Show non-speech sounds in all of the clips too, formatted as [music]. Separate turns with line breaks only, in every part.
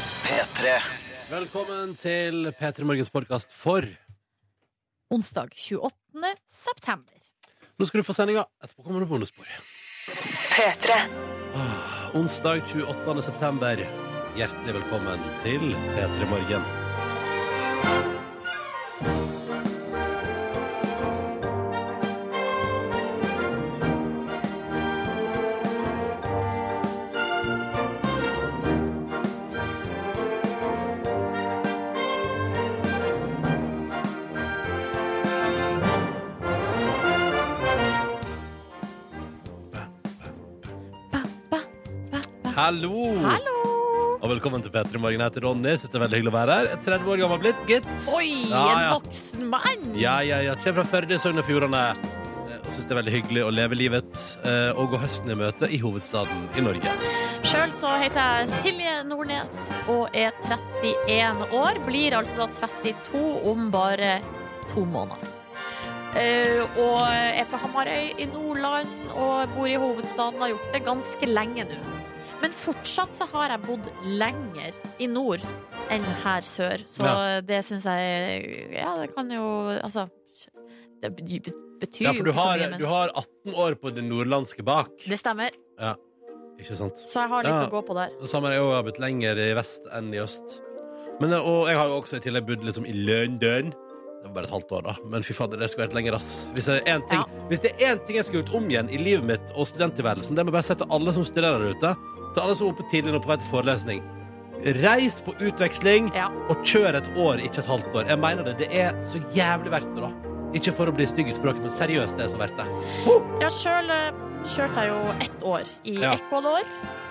P3.
Velkommen til P3 Morgens podkast for Nå
Onsdag 28. september.
skal du få sendinga. Etterpå kommer det bonusspor.
P3.
Ah, Onsdag 28. september. Hjertelig velkommen til P3 Morgen.
Ba, ba, ba, ba.
Hallo!
Hallo!
Og velkommen til P3 Morgen. Jeg heter Ronny. Syns det er veldig hyggelig å være her. Jeg er 30 år gammel blitt, gitt.
Oi,
Ja, ja.
en voksen mann!
Ja, ja, ja. Kjem fra Førde i Sogn og Fjordane. Eh, Og syns det er veldig hyggelig å leve livet eh, og gå høsten i møte i hovedstaden i Norge.
Sjøl så heter jeg Silje Nordnes og er 31 år. Blir altså da 32 om bare to måneder. Eh, og er fra Hamarøy i Nordland og bor i hovedstaden. Har gjort det ganske lenge nå. Men fortsatt så har jeg bodd lenger i nord enn her sør. Så det syns jeg Ja, det kan jo Altså Det bety- betyr
Ja, for du
jo ikke så
har,
mye, men
du har 18 år på det nordlandske bak.
det stemmer.
Ikke sant?
Så jeg har litt
Ja.
å gå på der.
Det samme har jeg også blitt lenger i vest enn i øst. Men, eh, og jeg har jo også i tillegg bodd liksom i London. Det var bare et halvt år, da. Men fy fader, det skulle vært lenger, ass. Hvis det er én ting, hvis det er én ting jeg skulle gjort om igjen i livet mitt og studenttilværelsen, det må jeg bare si til alle som studerer der ute, til alle som er oppe tidlig nå på vei til forelesning. Reis på utveksling
Ja.
og kjør et år, ikke et halvt år. Jeg mener det. Det er så jævlig verdt det, da. Ikke for å bli stygg i språket, men seriøst, det er så verdt det.
Ja, sjøl eh, kjørte jeg jo ett år i
Ja. [laughs]
Ecuador.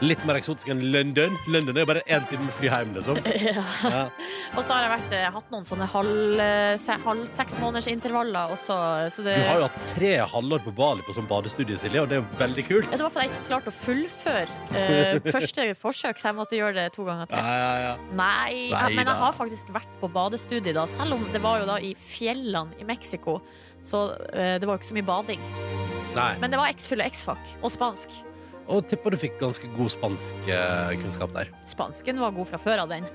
Litt mer eksotisk enn London. London er jo bare én time med fly hjem, liksom. Ja.
Og så har jeg vært, eh, hatt noen sånne halv, eh, se- halv seks måneders intervaller også. Så det,
Du har jo hatt tre halvår på Bali på sånn badestudie, Silje, og det er jo veldig kult.
Ja, det var fordi jeg ikke klarte å fullføre
[laughs]
eh, første forsøk, så jeg måtte gjøre det to ganger til.
Ja, ja, ja.
Nei,
Nei
ja, men
da.
jeg har faktisk vært på badestudie, da. Selv om det var jo da i fjellene i Mexico, så eh, det var jo ikke så mye bading.
Nei.
Men det var X-fyll og X-fac og spansk.
Og tipper du fikk ganske god spansk eh, kunnskap [laughs] der.
Spansken var god fra før av den.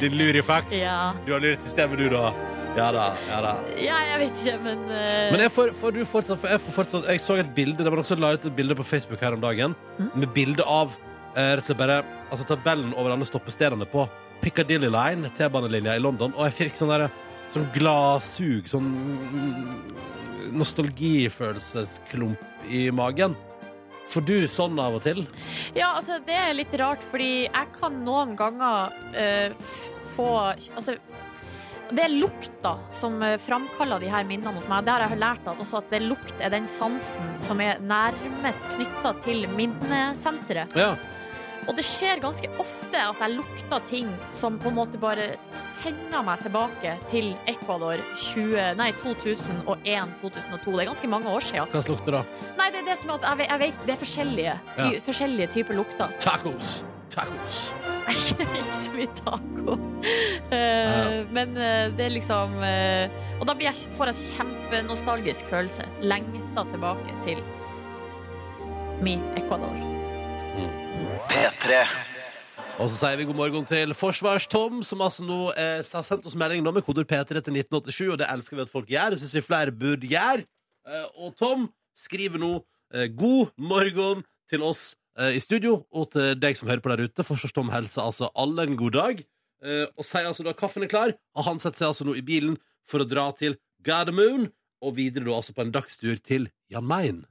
Din lurifaks.
ja.
Du har lurt systemet, du, da. Ja da. ja da
ja, jeg vet ikke, men, eh,
Men jeg, får, får du fortsatt, for jeg, får fortsatt, jeg så et bilde Det var noen som la ut et bilde på Facebook her om dagen
Mhm.
Med bilde av eh, rett og slett bare, altså, Tabellen over alle stoppestedene på Piccadilly Line, T-banelinja i London Og jeg fikk sånn der Sånn glasug Sånn mm, nostalgifølelsesklump i magen Får du sånn av og til?
Ja, altså det er litt rart, fordi jeg kan noen ganger eh, f- få Altså, det er lukta som eh, framkaller de her minnene hos meg. Det har jeg lært at også at det lukt er den sansen som er nærmest knytta til minnesenteret.
Ja,
Og det skjer ganske ofte at jeg lukter ting som på en måte bare sender meg tilbake til Ecuador 20, nei, 2001-2002. Det er ganske mange år siden.
hva slukte da?
Nei, det er det som er at jeg vet, jeg vet det er forskjellige, ty,
Ja.
forskjellige typer lukter.
Tacos! Tacos!
ikke så mye taco. Eh, Men eh, det er liksom eh, Og da blir jeg, får jeg kjempenostalgisk følelse. Lengta tilbake til mi Ecuador.
P3.
Og så sier vi god morgen til Forsvars-Tom, som altså nå eh, har sendt oss melding nå med koder P3 til 1987, og det elsker vi at folk gjør. Det syns vi flere burde gjøre. Eh, og Tom skriver nå eh, god morgen til oss eh, i studio, og til deg som hører på der ute. Forsvars-Tom hilser altså alle en god dag, eh, og sier altså da kaffen er klar, og han setter seg altså nå i bilen for å dra til Gardermoen, og videre da altså på en dagstur til Jan Mayen.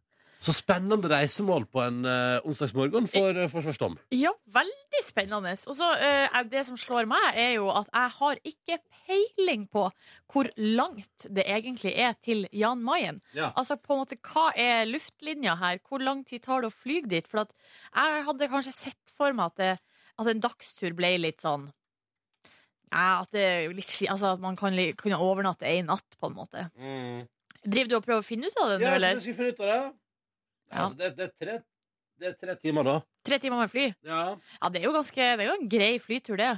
Så spennende reisemål på en eh, onsdagsmorgen for eh, Forsvars-Tom.
Ja, veldig spennende. Og så eh, er Det som slår meg, er jo at jeg har ikke peiling på hvor langt det egentlig er til Jan Mayen.
Ja.
Altså på en måte, Hva er luftlinja her? Hvor lang tid tar det å fly dit? For at jeg hadde kanskje sett for meg at, det, at en dagstur ble litt sånn ja, at, det er jo litt, sli- altså at man kan li- kunne overnatte ei natt, på en måte.
Mm.
Driver du og prøver å finne ut av det nå,
Ja, jeg trodde
eller?
jeg skulle finne ut av det.
Ja.
Altså, det, det, er tre, det er tre timer, da.
Tre timer med fly?
Ja.
Ja, det er jo ganske, det er jo en grei flytur, det.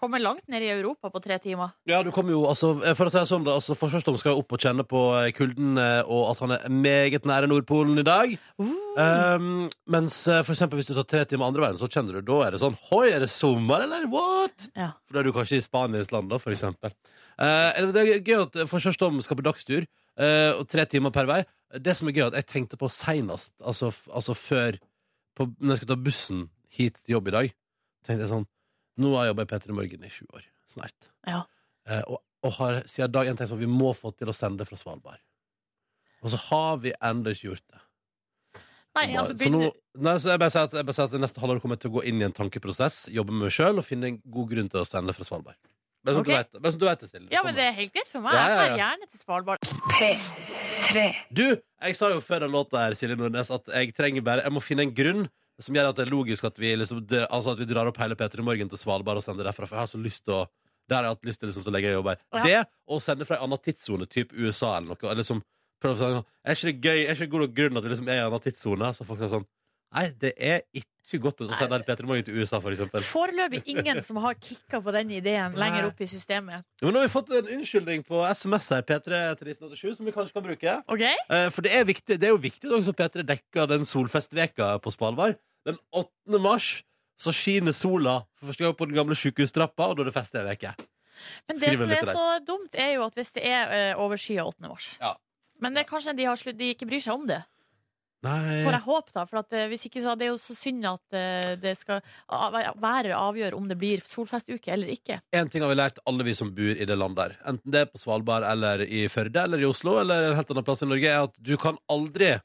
Kommer langt ned i Europa på tre timer.
Ja, du kommer jo, altså, for å si det sånn da, altså, Forsvarsdom skal jo opp og kjenne på eh, kulden eh, og at han er meget nære Nordpolen i dag.
Uh.
Um, mens eh, for eksempel hvis du tar tre timer andre veien, så kjenner du da er det sånn Hoi, er det sommer, eller what?
Ja.
For da er du kanskje i Spaniens land, da, for eksempel. Eh, eller det er gøy at Forsvarsdom skal på dagstur, eh, og tre timer per vei. Det som er gøy, er at jeg tenkte på seinest, altså, f- altså før på, Når jeg skulle ta bussen hit til jobb i dag, tenkte jeg sånn Nå har jeg jobba i P3 Morgen i sju år, snart.
Ja.
Eh, og, og har siden dag én tenkt sånn Vi må få til å sende fra Svalbard. Og så har vi ennå ikke gjort det.
Nei, altså,
så, nå,
begynner,
nei, så jeg bare sier at, jeg bare sier at det neste halvår kommer jeg til å gå inn i en tankeprosess, jobbe med meg sjøl og finne en god grunn til å sende fra Svalbard. Bare sånn at
Ok.
du vet- bare sånn at du vet det, Silje.
ja, men
kommer.
det er helt greit for meg.
Ja,
Jeg
ja,
drar
ja.
gjerne til Svalbard.
P3.
Du, jeg sa jo før den låta her, Silje Nordnes, at jeg trenger bare Jeg må finne en grunn som gjør at det er logisk at vi, liksom, dø- altså at vi drar opp hele P3 Morgen til Svalbard og sender derfra. For jeg har så lyst til å Det har jeg hatt lyst til liksom, til å legge i jobb her.
Ja.
Det, og sende fra en annen tidssone, type USA eller noe. Eller liksom, prøve å si sånn, er ikke det gøy, er ikke det god nok grunn at vi liksom er i en annen tidssone? Så folk sier sånn Nei, det er ikke godt å sende P3 Morgen til USA, for eksempel.
Foreløpig ingen som har kicka på den ideen lenger opp i systemet.
Men nå har vi fått en unnskyldning på SMS her, P3 til 1987, som vi kanskje kan bruke.
OK?
Eh, For det er, viktig, det er jo viktig da, som P3 dekker den solfestveka på Svalbard. Den 8. mars så skiner sola for første gang på den gamle sykehustrappa, og da er det fest ei uke.
Men det
Skriver
som
litt
er
til deg.
så dumt, er jo at hvis det er uh, overskya 8. mars
Ja.
Men det er kanskje de, har slutt, de ikke bryr seg om det. Får
Nei
jeg håpe, da. For at, eh, hvis ikke så er det jo så synd at eh, det skal av- været avgjør om det blir solfestuke eller ikke.
Én ting har vi lært, alle vi som bor i det landet der. Enten det er på Svalbard eller i Førde eller i Oslo eller en helt annen plass i Norge, er at du kan aldri eh,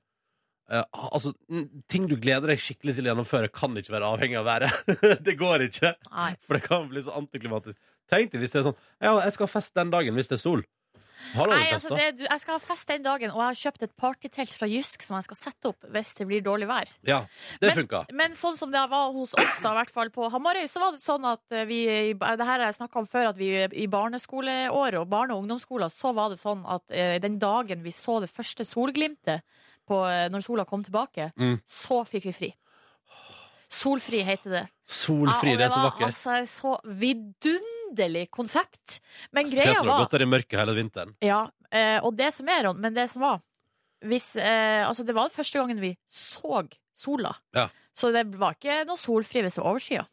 ha- Altså, n- ting du gleder deg skikkelig til å gjennomføre, kan ikke være avhengig av været. [laughs] det går ikke.
Nei.
For det kan bli så antiklimatisk. Tenk deg hvis det er sånn Ja, jeg skal ha fest den dagen hvis det er sol. Har du
Nei,
aldri fest,
altså,
da?
det, du, jeg skal ha fest den dagen, og jeg har kjøpt et partytelt fra Jysk som jeg skal sette opp hvis det blir dårlig vær.
Ja, det
Men-
funka.
Men sånn som det var hos oss, da, i hvert fall på Hamarøy, så var det sånn at eh, vi i- Det her har jeg snakka om før, at vi i barneskoleåret og barne- og ungdomsskolen, så var det sånn at eh, den dagen vi så det første solglimtet på, eh, når sola kom tilbake,
Mm.
så fikk vi fri. Solfri heter det.
Solfri,
Ja, og
det er så
var
vakkert.
Altså, et så vidunderlig konsept. Men
Spesielt
greia
når det har
var
gått der i mørket hele vinteren.
Ja, eh, og det som er, Ron, men det som var hvis, eh, altså Det var den første gangen vi så sola.
Ja.
Så det var ikke noe solfri hvis det var overskya.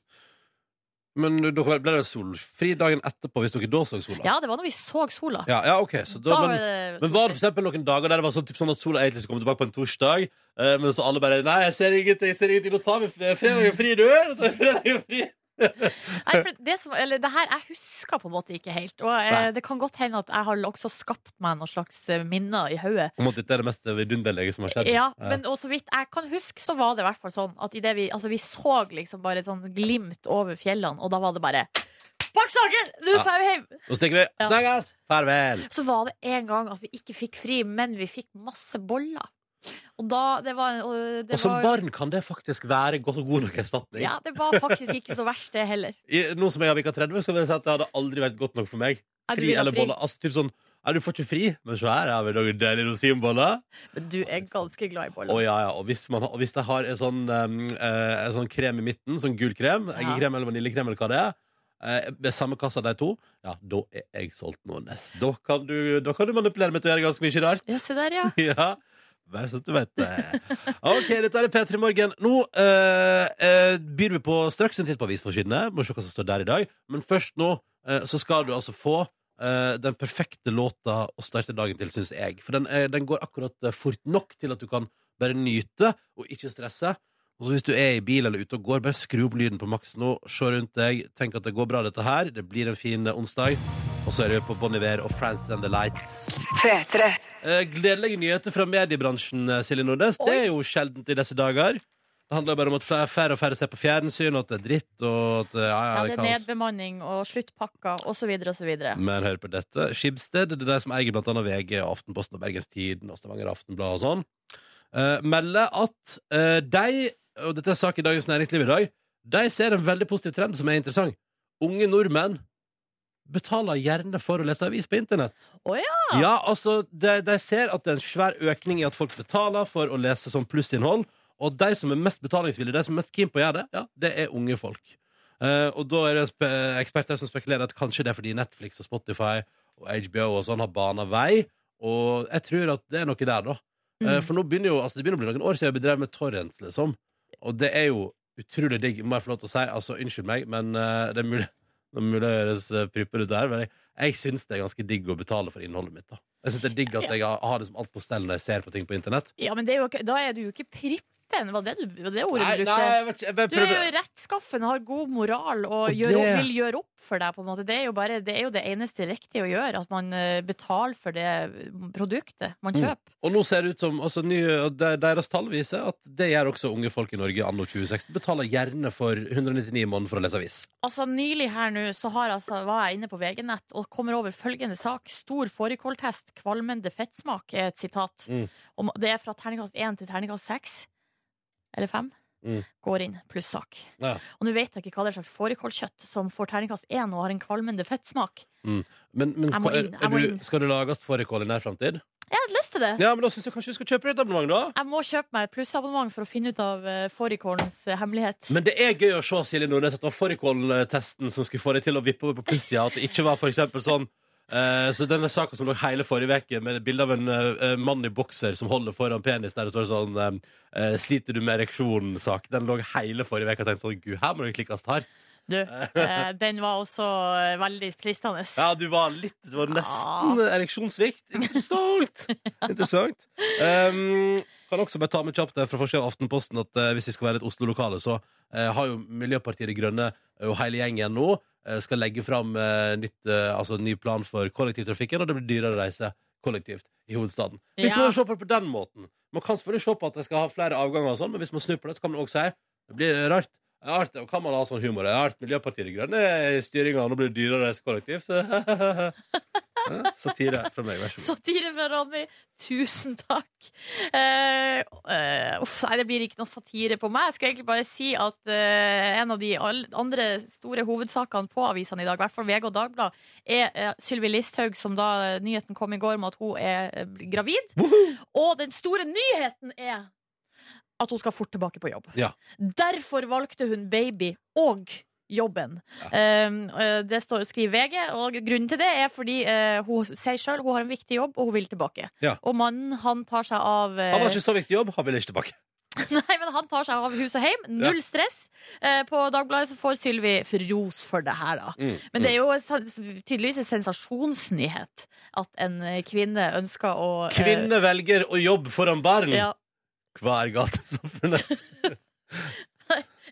Men dere ble det solfri dagen etterpå hvis dere da så sola?
Ja, det var når vi så sola.
ja, ja, ok. Så da,
Da var
men,
det
men var det for eksempel noen dager der det var sånn, typ, sånn at sola egentlig skulle komme tilbake på en torsdag, eh, men så alle bare Nei, jeg ser ingenting, jeg ser ingenting, nå tar vi f- fredagen fri, du! Nå tar vi fredagen fri!
Nei, for det, som, eller, det her jeg husker på en måte ikke helt. Og eh,
Nei.
det kan godt hende at jeg har også skapt meg noen slags eh, minner i hodet.
Om at dette er det mest vidunderlige som har skjedd.
Ja, men og så vidt jeg kan huske, så var det i hvert fall sånn at i det vi, altså, vi så liksom bare et sånn glimt over fjellene, og da var det bare Pakk saken! Nå
Ja.
får jeg jo hjem!
Nå stikker vi.
Ja.
Snakkes! Farvel!
Så var det en gang at vi ikke fikk fri, men vi fikk masse boller. Og da Det var, og det
Og som
var
barn kan det faktisk være godt og god nok erstatning.
Ja, det var faktisk ikke så verst, det heller.
I, nå som jeg har vikka 30, skal jeg si at det hadde aldri vært godt nok for meg.
Ja, du
Fri
vil ha
eller
fri.
bolle. Altså, typ sånn, ja, du får ikke fri, men så her har vi noen deilige rosinboller.
Men du er ganske glad i
Å,
boller.
ja, ja. Og hvis, man, har- og hvis jeg har en sånn, um, eh, en sånn krem i midten, sånn gul krem,
Ja.
eggekrem eller vaniljekrem eller hva det er, eh, ved samme kassa de to, ja, da er jeg solgt nå nest. Da kan du, da kan du manipulere meg til å gjøre ganske mye rart.
Ja, se der, ja.
[laughs] Ja, vær så du vet det. Ok, dette er P3 Morgen. Nå eh, eh, byr vi på straks en titt på avisforsidene. Må se hva som står der i dag. Men først nå eh, så skal du altså få eh, den perfekte låta å starte dagen til, syns jeg. For den, er- den går akkurat eh, fort nok til at du kan bare nyte og ikke stresse. Og så Hvis du er i bil eller ute og går, bare skru opp lyden på maks nå. Se rundt deg, tenk at det går bra, dette her. Det blir en fin eh, onsdag. Og så er det på Bon Iver og France and the Lights.
P3.
Eh, Gledelige nyheter fra mediebransjen, eh, Silje Nordnes. Det er jo sjeldent i disse dager. Det handler bare om at flere, færre og færre ser på fjernsyn, og at det er dritt, og at eh, ja, ja,
ja
det
det
er
er
kaos. Mm.
nedbemanning og sluttpakker og så videre og så videre.
Men hør på dette. Skibsted, det er de som eier blant annet VG, og Aftenposten og Bergens Tiden og Stavanger Aftenblad og sånn, eh, melder at eh, de, og dette er sak i Dagens Næringsliv i dag, de ser en veldig positiv trend som er interessant. Unge nordmenn betaler gjerne for å lese avis på internett.
Å ja.
Ja, altså, de, de ser at det er en svær økning i at folk betaler for å lese sånn plussinnhold, og de som er mest betalingsvillige, de som er mest keen på å gjøre det, ja, det er unge folk. Eh, og da er det spe eksperter som spekulerer at kanskje det er fordi Netflix og Spotify og HBO og sånn har bana vei. Og jeg tror at det er noe der, da. Eh, for nå begynner jo, altså det begynner å bli noen år siden jeg bedrev med torrents, liksom. Og det er jo utrolig digg, må jeg få lov til å si. Altså, unnskyld meg, men eh, det er mulig [laughs] det er mulig å høres eh, prippen ut her, men jeg, jeg syns det er ganske digg å betale for innholdet mitt. da. Jeg syns det er digg at jeg har, har liksom alt på stell når jeg ser på ting på internett.
Ja, men det er jo, ikke- da er du jo ikke prippen, var det, du, var det ordet
Nei,
du
nei,
brukte?
jeg vet ikke, jeg bare
Du er
prøvde.
jo rettskaffen og har god moral og,
Og
gjør,
det-
vil gjøre opp for deg, på en måte. Det er jo, bare, det er jo det eneste riktige å gjøre, at man eh, betaler for det produktet man
Mm.
kjøper.
Og nå ser det ut som altså, ny, og de- deres tall viser at det gjør også unge folk i Norge anno 2016. Betaler gjerne for 199 i måneden for å lese avis.
Altså, Nylig her nå så har, altså, var jeg inne på VG-nett og kommer over følgende sak. Stor fårikåltest, kvalmende fettsmak, er et sitat.
Mm.
Om, det er fra terningkast 1 til terningkast 6, eller 5,
Mm.
går inn plussak.
Ja.
Og nå vet jeg ikke hva det er slags fårikålkjøtt som får terningkast 1 og har en kvalmende fettsmak.
Men, men
Jeg må
hva- er,
inn, jeg må
er
inn.
du, skal du lages fårikål i nær framtid?
Jeg hadde lyst til det!
Ja, men da syns jeg kanskje du skal kjøpe deg et abonnement, da.
Jeg må kjøpe meg et plussabonnement for å finne ut av eh, fårikålens eh, hemmelighet.
Men det er gøy å se Silje Nordnes at det var fårikåltesten som skulle få deg til å vippe over på plussida. At det ikke var for eksempel sånn eh, Så denne saka som lå hele forrige uke, med et bilde av en eh, mann i bokser som holder foran penis, der det står sånn eh, 'Sliter du med ereksjonen?'-sak, den lå hele forrige uke. Jeg tenkte sånn Gud, her må det klikkes hardt.
Du, eh, den var også eh, veldig fristende.
Ja, du var litt Det var nesten ereksjonssvikt. Interessant! Interessant. Um, kan også bare ta med kjapt der fra forsida av Aftenposten at eh, hvis vi skal være et Oslo-lokale, så eh, har jo Miljøpartiet De Grønne eh, og hele gjengen nå eh, skal legge fram eh, nytt, eh, altså, ny plan for kollektivtrafikken, og det blir dyrere å reise kollektivt i hovedstaden. Hvis
Ja.
man ser på det på den måten Man kan selvfølgelig se på at det skal ha flere avganger, og sånn, men hvis man snur på det, så kan man også si det blir rart. Det er Rart, og kan man ha sånn humor? Det er rart Miljøpartiet De Grønne er i styringa, nå blir det dyrere å reise kollektivt. [laughs] Ja, Satire fra meg, vær så god.
Satire fra Ronny, tusen takk. Eh, eh, uff, nei, det blir ikke noe satire på meg. Jeg skulle egentlig bare si at eh, en av de all, andre store hovedsakene på avisene i dag, i hvert fall VG og Dagbladet, er eh, Sylvi Listhaug, som da eh, nyheten kom i går om at hun er eh, gravid. Og den store nyheten er at hun skal fort tilbake på jobb.
Ja.
Derfor valgte hun baby og jobben. Um, uh, det står, skriver VG, og grunnen til det er fordi uh, hun sier sjøl hun har en viktig jobb, og hun vil tilbake.
Ja.
Og mannen han tar seg av uh,
Han har ikke så viktig jobb, han vil ikke tilbake.
[laughs] Nei, men han tar seg av hus og heim. Null stress. Eh, på Dagbladet så får Sylvi ros for det her, da.
Mm,
Men det er jo sa- tydeligvis en sensasjonsnyhet at en eh, kvinne ønsker å eh,
Kvinne velger å jobbe foran barn.
ja.
Hva er galt i samfunnet?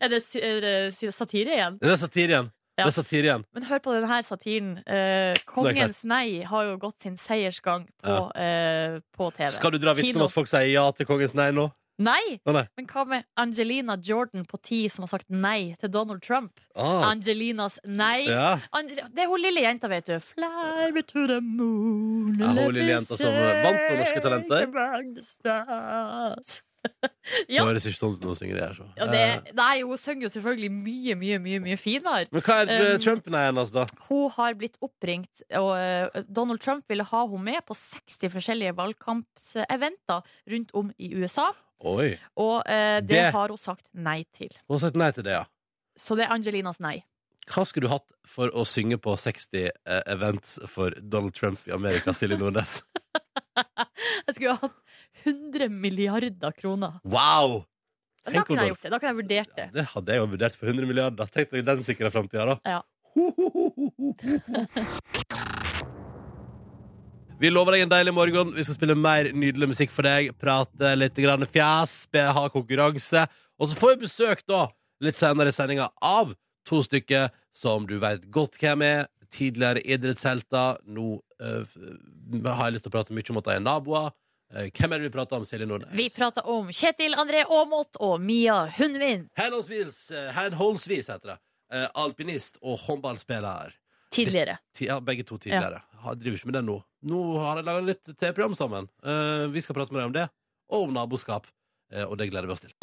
Er det, sy- er det sy- satire igjen?
Det er satire igjen.
Ja.
Det er satire igjen.
Men hør på denne satiren. Eh, Kongens nei har jo gått sin seiersgang på, eh, på TV.
Skal du dra vitsen om
Kino.
at folk sier ja til kongens nei nå?
Nei!
Å, nei.
Men hva med Angelina Jordan på ti som har sagt nei til Donald Trump?
Ah.
Angelinas nei.
Ja.
Ange- Det er hun lille jenta, vet du. Fly me to the moon.
Ja, hun
let
lille
me
jenta som, eh, vant over Norske
sing
Talenter.
among the stars.
Det
Ja.
høres ikke sånn ut når hun synger det her. Så. Eh,
Ja, det, nei, hun synger jo selvfølgelig mye, mye, mye, mye finere.
Men hva er eh,
Um,
Trump-nei hennes, da?
Hun har blitt oppringt, og eh, Donald Trump ville ha henne med på 60 forskjellige valgkampseventer rundt om i USA,
Oi.
og eh, det,
Det-
har hun sagt nei til.
Hun har sagt nei til det, ja.
Så det er Angelinas nei.
Hva skulle du hatt for å synge på 60 eh, events for Donald Trump i Amerika, Silje Nordnes?
Jeg skulle ha hatt 100 milliarder kroner.
Wow!
Da
Tenk
kunne
Olav.
jeg gjort det. Da kunne jeg vurdert det.
Det hadde jeg jo vurdert for 100 milliarder. Tenk deg den sikre framtida, da.
Ja.
Vi lover deg en deilig morgen. Vi skal spille mer nydelig musikk for deg. Prate litt grann fjas, be- ha konkurranse. Og så får vi besøk da, litt senere i sendinga av to stykker som du veit godt hvem er. Tidligere idrettshelter. Nå eh, f- har jeg lyst til å prate mye om at de er naboer. Eh, hvem er det vi prater om, Silje Nordnes?
Vi prater om Kjetil André Aamodt og Mia Hundvin.
Henholdsvis, eh, henholdsvis heter det. Eh, alpinist og håndballspiller.
Tidligere.
Ti- Ja, begge to tidligere. Ha- driver ikke med det nå. Nå har de laga litt TV-program sammen. Eh, vi skal prate med dem om det, og om naboskap. Eh, og det gleder vi oss til.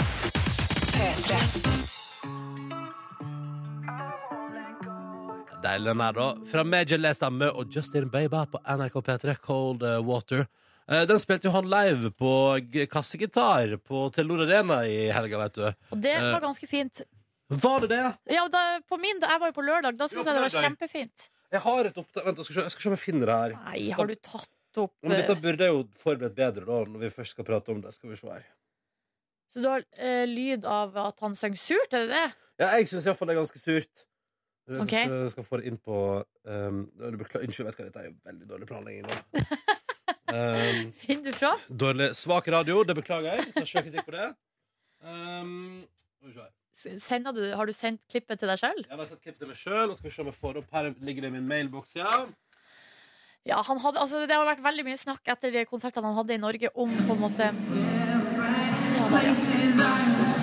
Deilig den her, da. Fra Major Les Amme og Justin Bieber på NRK P3, Cold eh, Water. Eh, den spilte jo han live på g- kassegitar på Telenor Arena i helga, vet du.
Og det
Eh.
var ganske fint.
Var det det?
Ja, da, på min, da, jeg var jo på lørdag. Da
Ja,
syns
på
jeg det var
lørdag.
kjempefint.
Jeg har et opptak Vent, jeg skal, se- jeg skal se om jeg finner det her.
Nei, har du tatt opp
Men dette
eh,
burde jeg jo forberedt bedre da, når vi først skal prate om det. Skal vi se her.
Så du har eh, lyd av at han sang surt, er det det?
Ja, jeg syns iallfall det er ganske surt. Jeg
Ok.
synes jeg skal få det inn på um, du Beklager, unnskyld, vet du hva, dette er jo veldig dårlig planlegging nå. Um,
Finner du fram?
dårlig, svak radio, det beklager jeg. Tar sjøkritikk på det. Um, skal vi se her.
S- Sender du, har du sendt klippet til deg sjøl?
jeg har sett klipp til meg sjøl. Skal vi se om jeg får det opp. Her ligger det i min mailboks, ja.
Ja, han hadde, altså, det har vært veldig mye snakk etter de konsertene han hadde i Norge om på en måte mm. ja, da, ja.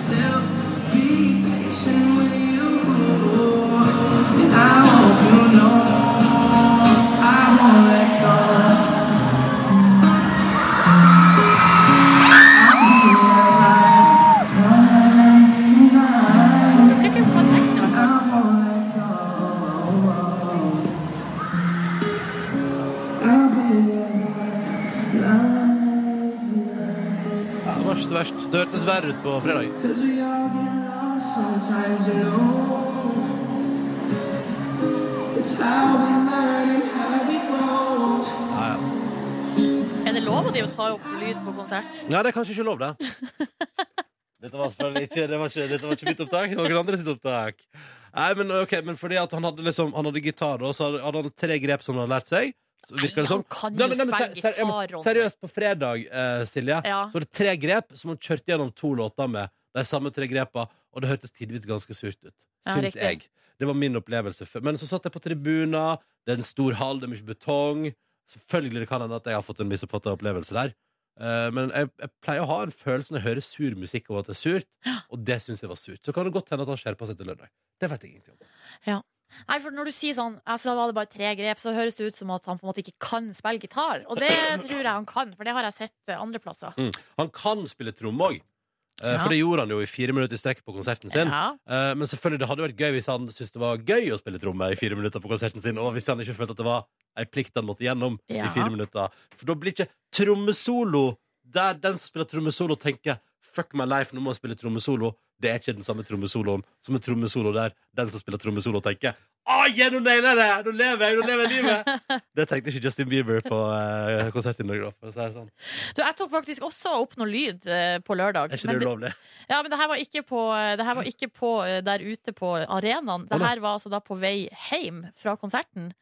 Det blir ikke på teksten, i hvert fall.
Ja, Det var ikke så verst. Det hørtes verre ut på fredag. Ja, ja.
Er det lov av de å ta opp lyd på konsert?
Nei, det er kanskje ikke lov, det. [laughs] Dette var selvfølgelig ikke, det var ikke, dette var ikke mitt opptak. Det var noen andre sitt opptak. Nei, men, ok, men fordi at han hadde, liksom, han hadde gitar, og så hadde- hadde han tre grep som han hadde lært seg. Så virker det
Nei, han
sånn.
kan
Nei,
jo
men- nei, men
spille
ser- ser- ja,
gitar,
men
Ronny.
Seriøst, på fredag, eh, Silje,
Ja.
så var det tre grep som han kjørte gjennom to låter med. De samme tre grepa, og det hørtes tidvis ganske surt ut.
Ja,
Syns
riktig.
jeg. Det var min opplevelse. før. Men så satt jeg på tribuner, det er en stor hall, det er mye betong. Selvfølgelig det kan hende at jeg har fått en misoppfatta opplevelse der. Eh, men jeg, jeg pleier å ha en følelse når jeg hører sur musikk og at det er surt, og det syns jeg var surt. Så kan det godt hende at han skjerpa seg til lørdag. Det vet jeg ingenting om.
Nei, for når du sier sånn altså, da var det bare tre grep, så høres det ut som at han på en måte ikke kan spille gitar. Og
[clears throat]
det tror jeg han kan, for det har jeg sett eh, andre plasser.
Han kan spille tromme òg,
Ja.
for det gjorde han jo i fire minutter i strekk på konserten sin.
Ja.
Eh, men selvfølgelig, det hadde vært gøy hvis han syntes det var gøy å spille tromme i fire minutter på konserten sin, og hvis han ikke følte at det var ei plikt han måtte gjennom i
Ja.
fire minutter. For da blir ikke trommesolo der den som spiller trommesolo, tenker Fuck my life, nå må jeg spille trommesolo. Det er ikke den samme trommesoloen som en trommesolo der den som spiller trommesolo, tenker Ah, yeah, nå nailer jeg det! Nå lever jeg! Nå lever jeg
[laughs]
livet! Det tenkte ikke Justin Bieber på eh, konsert i Norge. da, for å si det sånn.
Så jeg tok faktisk også opp noe lyd eh, på lørdag.
Er ikke
Men
det
det-
ulovlig?
Ja, men det her var ikke på, det her var ikke på eh, der ute på arenaen.
Å,
Det
nei.
her var altså da på vei hjem fra konserten.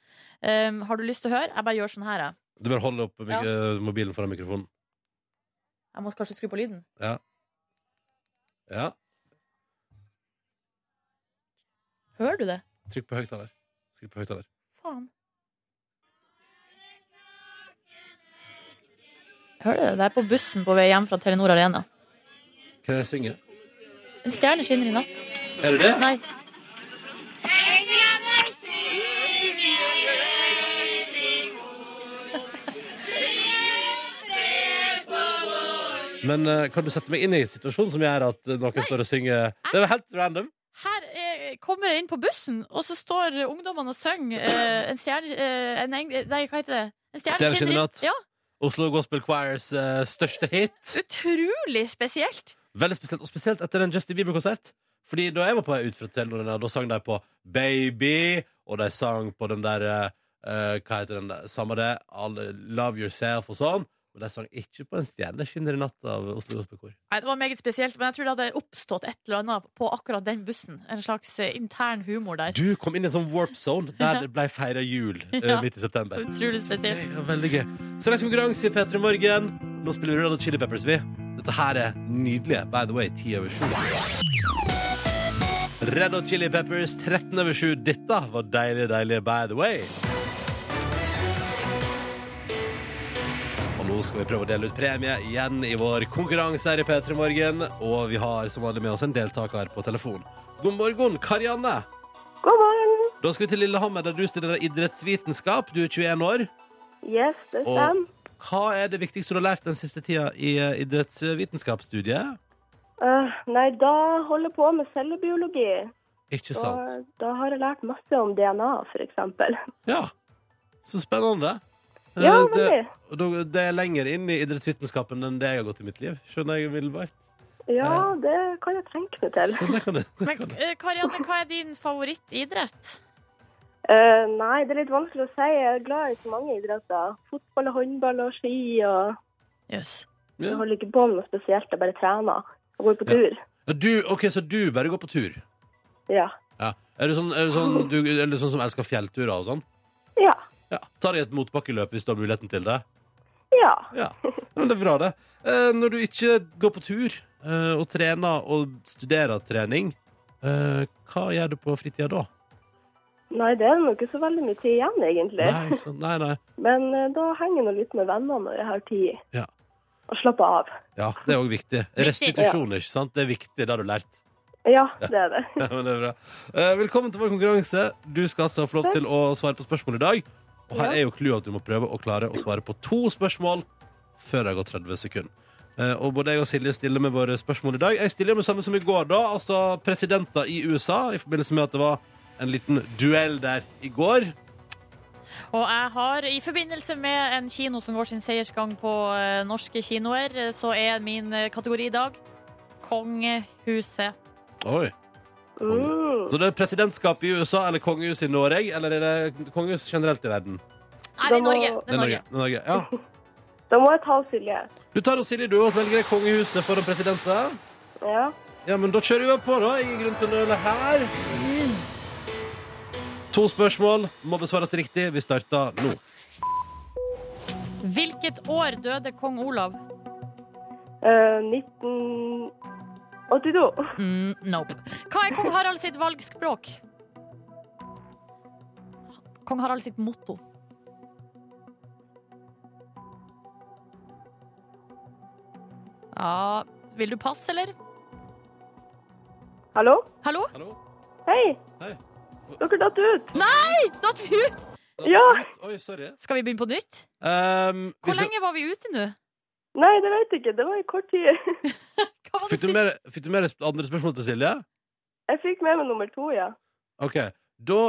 Um, har du lyst til å høre? Jeg bare gjør sånn her, jeg.
Du bør holde opp mik
Ja.
eh, mobilen foran mikrofonen.
Jeg må kanskje skru på lyden.
Ja,
Hører du det?
Trykk på høyttaler. Skru på høyttaler.
Faen. Hører du det? Det er på bussen på vei hjem fra Telenor Arena.
Hva er det jeg synger?
En stjerne skinner i natt.
Er det det?
Nei.
Men eh, kan du sette meg inn i situasjonen som gjør at eh, noen står og synger Det var helt random.
Her eh, kommer jeg inn på bussen, og så står eh, ungdommene og synger eh, en stjerne... Eh, en eng... Nei, hva heter det? En
Stjerne skinner i natt.
Ja,
Oslo Gospel Choirs eh, største hit.
utrolig spesielt.
Veldig spesielt, Og spesielt etter en Justin Bieber-konsert. Fordi da jeg var på vei ut fra Telenor, da sang de på Baby, og de sang på den der eh, Hva heter den der? Samme det. Alle, Love Yourself og sånn. Men de sang ikke på En stjerne skinner i natt av Oslo Gospel Kor.
Nei, Det var meget spesielt, men jeg tror det hadde oppstått et eller annet på akkurat den bussen. En slags eh, intern humor der.
Du kom inn i en sånn warp zone der det ble feira jul eh,
Ja.
midt i september.
Utrolig spesielt.
Ja, veldig gøy. Straks konkurranse i P3 Morgen. Nå spiller vi Red Hot Chili Peppers, vi. Dette her er nydelige. By the way, 10 over 7. Red Hot Chili Peppers, 13 over 7. Dette var deilig, deilig, by the way. Og nå skal vi prøve å dele ut premie igjen i vår konkurranse her i P3 Morgen. Og vi har som vanlig med oss en deltaker på telefon. God morgen, Karianne.
God morgen.
Da skal vi til Lillehammer, der du studerer idrettsvitenskap. Du er 21 år.
Yes, det
Og-
stemmer.
Hva er det viktigste du har lært den siste tida i eh, idrettsvitenskapsstudiet?
Eh, nei, da holder jeg på med cellebiologi.
Ikke sant?
Og da har jeg lært masse om DNA, f.eks.
Ja. Så spennende. Eh,
Ja,
det,
veldig.
og da- det er lenger inn i idrettsvitenskapen enn det jeg har gått i mitt liv. Skjønner jeg umiddelbart.
Ja, det kan jeg tenke meg til.
Men [laughs] det kan du.
Men eh, Karianne, hva er din favorittidrett?
Eh, nei, det er litt vanskelig å si. Jeg er glad i så mange idretter. Fotball, og håndball og ski. og
Jøss.
Jeg
Ja.
holder ikke på med noe spesielt, jeg bare trener og går på
Ja.
tur.
Og Du, ok, så du bare går på tur?
Ja.
Ja. Er du sånn, er du sånn, du, er du sånn som elsker fjellturer og sånn?
Ja.
Ja. Tar deg et motbakkeløp hvis du har muligheten til det?
ja.
Ja, men det er bra det. Eh, når du ikke går på tur eh, og trener og studerer trening, eh, hva gjør du på fritida da?
Nei, det er nok ikke så veldig mye tid igjen, egentlig.
Nei, ikke sant? nei, nei.
Men eh, da henger jeg nå litt med venner når jeg har tid.
Ja.
Og slapper av.
Ja, det er òg viktig. Restitusjon, ikke sant? Det er viktig, det har du lært.
Ja, det er
[laughs]
det.
Ja, men det er bra. Eh, velkommen til vår konkurranse. Du skal altså få lov til å svare på spørsmål i dag. Og her er jo clouet at du må prøve å klare å svare på to spørsmål før det har gått 30 sekunder. Eh, og både jeg og Silje stiller med våre spørsmål i dag. Jeg stiller med samme som i går, da. Altså presidenter i USA, i forbindelse med at det var en liten duell der i går.
Og jeg har, i forbindelse med en kino som går sin seiersgang på eh, norske kinoer, eh, så er min eh, kategori i dag Kongehuset.
Oi.
Uh.
Mm.
Så det er presidentskapet i USA eller kongehuset i Norge? Eller er det kongehuset generelt i verden?
Nei,
Da
det er Norge.
må-
Det er Norge.
Det er Norge. Ja.
Da må jeg ta Silje.
Du tar og Silje, du, og velger kongehuset foran presidenten.
Ja.
Ja, men da kjører vi på, da. Ingen grunn til å nøle her. To spørsmål må besvares riktig. Vi starter nå.
Hvilket år døde kong Olav?
Eh, 1982.
Mm, nope. Hva er kong Harald sitt valgspråk? Kong Harald sitt motto. Ja Vil du passe, eller?
Hallo?
Hallo?
Hallo?
Hei,
Hei.
dere datt ut.
Datt vi ut?
Ja.
Oi, sorry.
Skal vi begynne på nytt?
Um, vi
Hvor
skal-
lenge var vi ute nå?
Nei, det vet jeg ikke. Det var i kort tid. [laughs]
Hva var det
Fikk du
siste?
mer, fikk du mer sp- andre spørsmål til Silje?
Jeg fikk med meg nummer to, ja.
OK. Da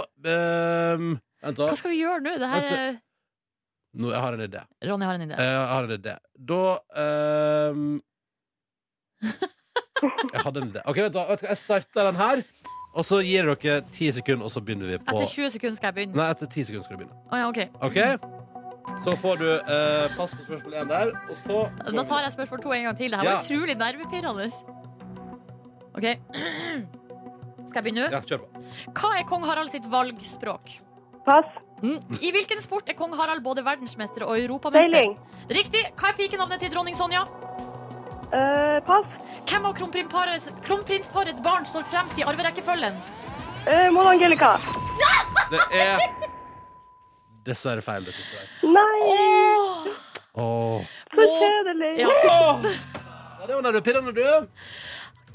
um, Vent, da.
Hva skal vi gjøre nå? Det her, eh,
Vent Nå, jeg har en idé. Eh,
Ronny har en idé.
Jeg har en idé. Da
[laughs]
um, Jeg hadde en idé. OK, vent, da. Vet du hva, Jeg starter den her, og så gir jeg dere ti sekunder, og så begynner vi på
Etter 20 sekunder skal jeg begynne.
Nei, etter ti sekunder skal du begynne.
Å ja, ok.
OK? Så får du eh, pass på spørsmål én der, og så
Da tar jeg spørsmål to en gang til. Det her
Ja.
var utrolig nervepirrende. OK. Skal jeg begynne nå?
Ja, kjør på.
Hva er kong Harald sitt valgspråk?
Pass.
I hvilken sport er kong Harald både verdensmester og europamester?
Seiling.
Riktig! Hva er pikenavnet til dronning Sonja?
Eh, pass.
Hvem av kronprinsparets, kronprinsparets barn står fremst i arverekkefølgen?
Uh, Mona Angelica.
Det er dessverre feil, det siste der.
Nei,
Åh.
så
Åh.
kjedelig.
Ja.
Ja, det var nervepirrende, du.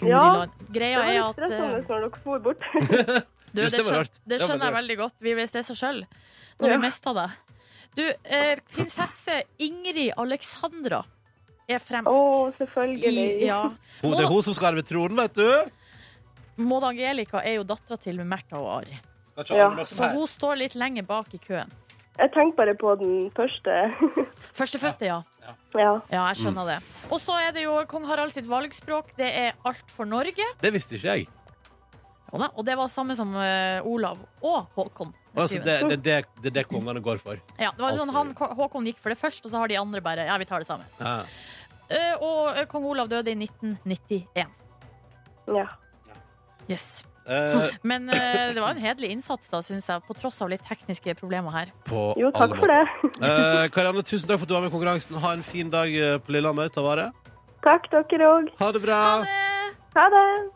Ja. Det
Greia
var
er
litt
at
stressende
eh,
når dere for
[laughs]
bort.
Du,
Just det
det,
var
skjønner,
rart.
det
Det var
skjønner jeg veldig
veldig
godt. Vi ble stressa sjøl når
Ja.
vi mista det. Du, eh, prinsesse Ingrid Alexandra er
Å,
fremst.
selvfølgelig.
I, ja.
Hun, det er hun som skal arve tronen, vet du.
Maud Angelica er jo dattera til Märtha og Ari,
Skal ikke arve
Ja.
noe
så
her.
hun står litt lenger bak i køen.
Jeg tenkte bare på den første. [laughs]
Førstefødte, ja.
ja.
Ja, jeg
Mm.
skjønner det. Og så er det jo kong Harald sitt valgspråk. Det er alt for Norge.
Det visste ikke jeg.
Og da- Og det var samme som eh, Olav og Håkon. den
Altså,
syvende.
det, det, det, det er det kongene går for.
Ja, det var
alt
sånn,
for
han, Håkon gikk for det først, og så har de andre bare Ja, vi tar det samme.
Ja.
Eh, og eh, kong Olav døde i 1991.
ja.
Yes.
Eh,
Men eh, det var en hederlig innsats, da, syns jeg, på tross av litt tekniske problemer her.
på
Jo, takk
alle
for det.
måter. Eh, Karianne, tusen takk for at du var med i konkurransen. Ha en fin dag eh, på Lillehammer. Ta vare.
[laughs] Takk, dere òg.
Ha det bra.
Ha det.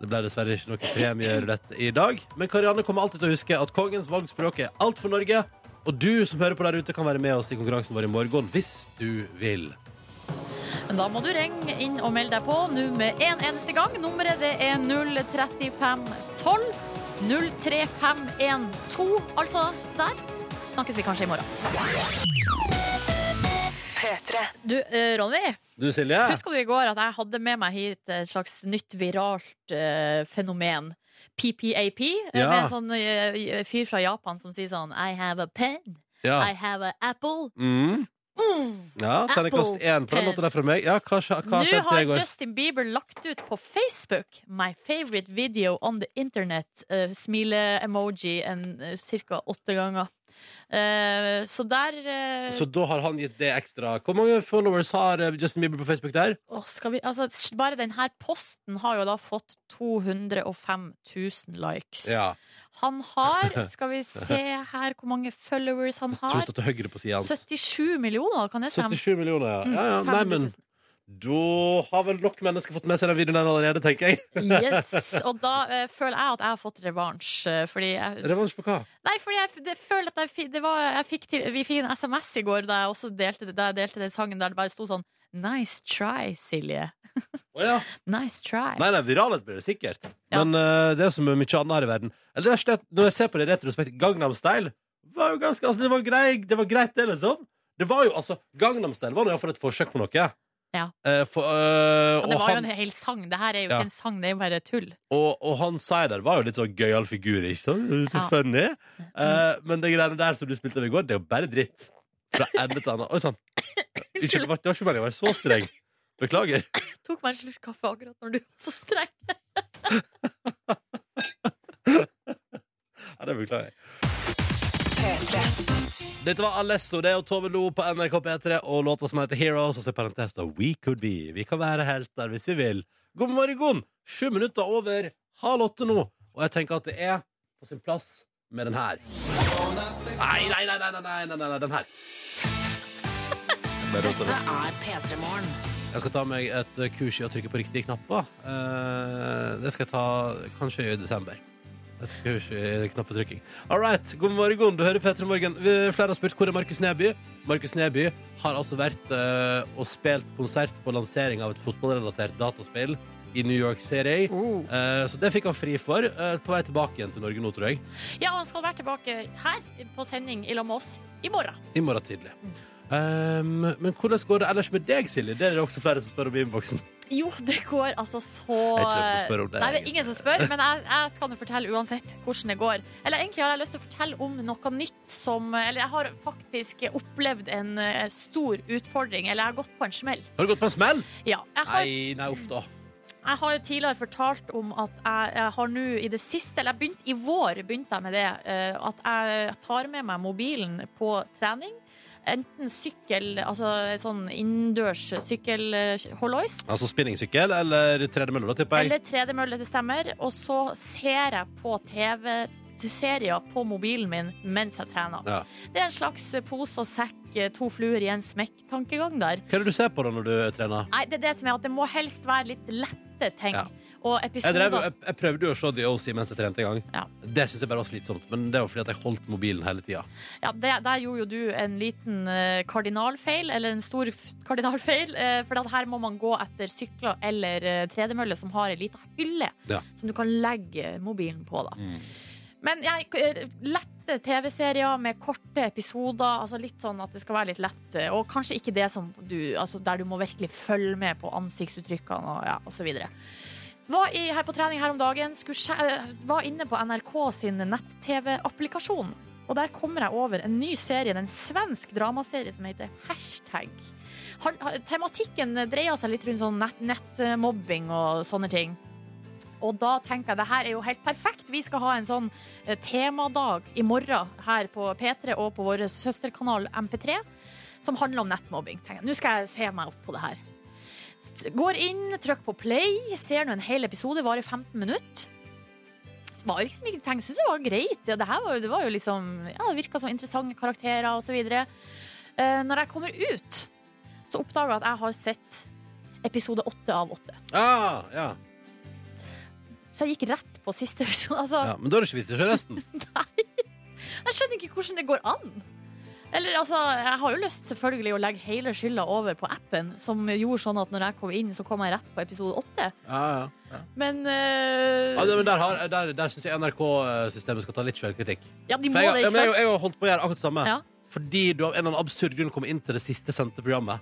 Det ble dessverre ikke noe premierulett i dag, men Karianne kommer alltid til å huske at kongens valgspråk er alt for Norge. Og du som hører på der ute, kan være med oss i konkurransen vår i morgen hvis du vil.
Men da må du ringe inn og melde deg på nå med en eneste gang. Nummeret det er 03512. 03512, altså der. Snakkes vi kanskje i morgen.
P3.
Du, eh, Ronny,
Du, Silje?
husker du i går at jeg hadde med meg hit et slags nytt viralt eh, fenomen? PPAP, eh,
Ja.
med en sånn eh, fyr fra Japan som sier sånn I have a pen,
Ja.
I have an apple,
Mm. Ja, Terningkast
Apple
én på den låta der fra meg. Ja, hva, skje- hva
Nå
skjedde til
har
i går?
Justin Bieber lagt ut på Facebook 'My favorite video on the internet'. eh, Smile-emoji uh, ca. åtte ganger. Eh, så der eh,
Så da har han gitt det ekstra. Hvor mange followers har eh, Justin Bieber på Facebook der?
åh, skal vi, altså, s- Bare denne posten har jo da fått 205 000 likes.
Ja. [laughs]
Han har Skal vi se her hvor mange followers han
Tror det
har.
står til høyre på sida hans.
77 millioner, kan det stemme?
77 millioner, ja. ja, ja.
Mm,
Nei, men
500 000.
da har vel nok mennesker fått med seg den videoen her allerede, tenker jeg.
Yes. Og da eh, føler jeg at jeg har fått revansj. eh, fordi jeg,
Revansj på hva?
Nei, fordi jeg f- det, føler at jeg, fi- det var, jeg fikk til, Vi fikk en SMS i går da jeg også delte, det- da jeg delte den sangen der det bare sto sånn Nice try, Silje.
Å ja.
Nice try.
Nei, nei, viralhet blir det sikkert.
Ja.
Men eh, det er som med mye annet her i verden Eller det verste er at Når jeg ser på det i retrospekt, Gangnam Style var jo ganske altså, det, var grei, det var greit, det, liksom. Det var jo, altså, Gangnam Style var nå iallfall et forsøk på noe.
Ja.
Eh, for, eh,
Og
og,
det var jo en
han,
hel sang. Det her er jo
Ja.
ikke en sang, det er jo bare tull.
og, og han Sider var jo litt sånn gøyal figur, ikke sant? Litt
Ja. Mm.
funny. Eh, men det greiene der som du spilte av i går, det er jo bare dritt. Fra ende til annen. Oi
[coughs]
sann. Unnskyld, det var det var ikke meningen å være så streng. Beklager.
Tok meg en slurk kaffe akkurat når du var så streng.
Ja, det beklager jeg. Dette var Alesso, det og Tove Lo på NRK P3 og låta som heter Heroes. Og så i parentes da, We Could Be. Vi kan være helter hvis vi vil. God morgen! Sju minutter over halv åtte nå, og jeg tenker at det er på sin plass med den her. Nei, nei, nei, nei, nei, nei, nei, nei, nei den her.
Dette er P3 Morgen.
Jeg skal ta meg et eh, kurs i å trykke på riktige knapper. Eh, det skal jeg ta kanskje i desember. Et kurs i knappetrykking. All right, god morgen. Du hører Petra Morgen. Vi- Flere har spurt hvor er Markus Neby. Markus Neby har altså vært eh, og spilt konsert på lansering av et fotballrelatert dataspill i New York City.
Oh.
Eh, så det fikk han fri for. eh, på vei tilbake igjen til Norge nå, tror jeg.
Ja, og han skal være tilbake her på sending i lag med oss i morgen.
I morgen tidlig. Um, men hvordan går det ellers med deg, Silje? Det er det også flere som spør om i innboksen.
Jo, det går altså så
Jeg er ikke nødt til å spørre om det,
Nei, det er
egentlig.
ingen som spør, men jeg, jeg skal nå fortelle uansett hvordan det går. Eller egentlig har jeg lyst til å fortelle om noe nytt som Eller jeg har faktisk opplevd en eh, stor utfordring, eller jeg har gått på en smell.
Har du gått på en smell?
Ja. Jeg har,
Nei, nei, uff da.
jeg har jo tidligere fortalt om at jeg, jeg har nå i det siste, eller jeg begynte i vår, begynte jeg med det, eh, at jeg tar med meg mobilen på trening. Enten sykkel, altså sånn innendørs sykkelhollois,
Altså spinningsykkel eller tredemølle, da, tipper jeg.
Eller tredemølle, det stemmer. Og så ser jeg på TV-serier på mobilen min mens jeg trener.
Ja.
Det er en slags pose og sekk, eh, to fluer i en smekk-tankegang der.
Hva er det du ser på da når du trener?
Nei, det er det som er at det må helst være litt lette ting.
Ja.
Og
Jeg,
episoder
drev, jeg, jeg prøvde jo å se The OC mens jeg trente en gang.
Ja.
Det syns jeg bare var slitsomt, men det var fordi at jeg holdt mobilen hele tida.
ja, det, Der gjorde jo du en liten eh, kardinalfeil, eller en stor f- kardinalfeil. eh, For at her må man gå etter sykler eller eh, tredemøller som har ei lita hylle
Ja.
som du kan legge mobilen på. da Men jeg, eh, lette TV-serier med korte episoder, altså litt sånn at det skal være litt lett. eh, Og kanskje ikke det som du altså Der du må virkelig følge med på ansiktsuttrykkene og, ja, og så videre. Var i, her på trening her om dagen, skulle, skje- eh, var inne på NRK sin nett-TV-applikasjon. Og der kommer jeg over en ny serie, en svensk dramaserie som heter Hashtag. Han, ha- tematikken dreier seg litt rundt sånn nett- nettmobbing og sånne ting. Og da tenker jeg det her er jo helt perfekt. Vi skal ha en sånn eh, temadag i morgen her på P3 og på vår søsterkanal MP3 som handler om nettmobbing. Tenker jeg, Nå skal jeg se meg opp på det her. S- Går inn, trykk på play, ser nå en hel episode, varer 15 minutter. Så var liksom ikke tenkt, synes det var greit. Ja, det her var jo, det var jo liksom, ja, det virket som interessante karakterer og så videre. Eh, når jeg kommer ut, så oppdager jeg at jeg har sett episode 8 av 8.
Ah, ja.
Så jeg gikk rett på siste episode. Altså,
ja. Men da er det ikke vits i å se resten.
Jeg skjønner ikke hvordan det går an. Eller, altså, jeg har jo lyst selvfølgelig å legge hele skylda over på appen, som gjorde sånn at når jeg kom inn, så kom jeg rett på episode åtte.
[laughs] Ja, ja. ja.
Men, eh,
ja det, men der, har- der, der syns jeg NRK-systemet skal ta litt sjølkritikk.
ja, de
For
må
Jeg,
det,
ja,
ikke
men jeg,
sant?
jeg har holdt på å gjøre akkurat det samme.
Ja.
Fordi du av en eller annen absurd grunn kom inn til det siste sendte programmet.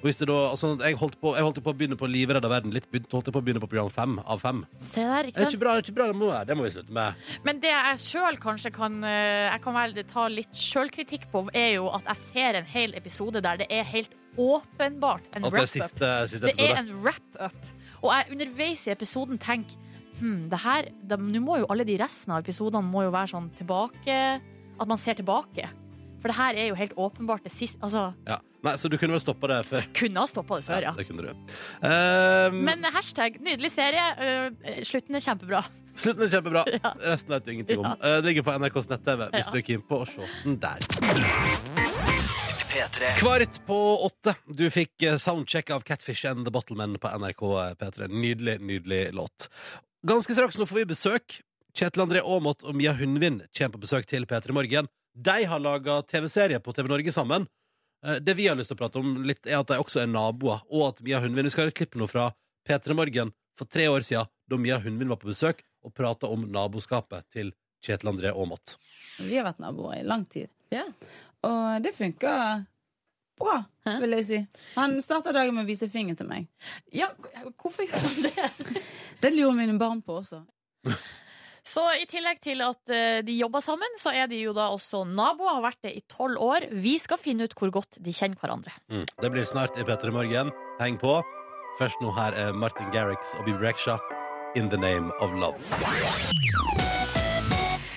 Og hvis det da, altså, jeg, holdt på, jeg holdt jo på å begynne på Livredd av verden litt. Begynte, holdt jeg på å begynne på program fem av fem.
Se der,
Det
ikke
er
sant?
ikke bra, det er ikke bra, det må, være- det må vi slutte med.
Men det jeg sjøl kanskje kan eh, Jeg kan vel ta litt sjølkritikk på, er jo at jeg ser en hel episode der det er helt åpenbart en
At det er
wrap-up.
siste, eh, siste
Det er
episode.
en wrap-up. Og jeg underveis i episoden tenker Hm, det her da- Nå må jo alle de resten av episodene Må jo være sånn tilbake At man ser tilbake. For det her er jo helt åpenbart det siste Altså,
Ja. Nei, så du kunne vel stoppa det før?
kunne ha stoppa det før, ja.
Det kunne du. Ehm,
Men hashtag nydelig serie. øh, slutten er kjempebra.
slutten er kjempebra. Resten vet du ingenting om.
Ja.
Eh, det ligger på NRKs nett-TV hvis
Ja.
du er keen på å se den der. Kvart på åtte. Du fikk eh, soundcheck av Catfish and The Bottlemen på NRK P3. Nydelig, nydelig låt. Ganske straks nå får vi besøk. Kjetil André Aamodt og Mia Hundvin kommer på besøk til P3 Morgen. De har laga TV-serie på TV Norge sammen. Eh, Det vi har lyst til å prate om, litt, er at de også er naboer, og at Mia Hundvin Vi skal ha et klipp nå fra P3 Morgen for tre år siden, da Mia Hundvin var på besøk og prata om naboskapet til Kjetil André Aamodt.
Vi har vært naboer i lang tid.
Ja.
Og det funka bra,
Hæ?
vil jeg si. Han starta dagen med å vise fingeren til meg.
[laughs] Ja, hvorfor gjør man det?
Det lurer mine barn på også.
Så i tillegg til at eh, de jobber sammen, så er de jo da også naboer. Har vært det i tolv år. Vi skal finne ut hvor godt de kjenner hverandre.
Mm. Det blir snart i P3 Morgen. Heng på. Først nå her er Martin Garrix og Bibi Rexha, In The Name Of Love.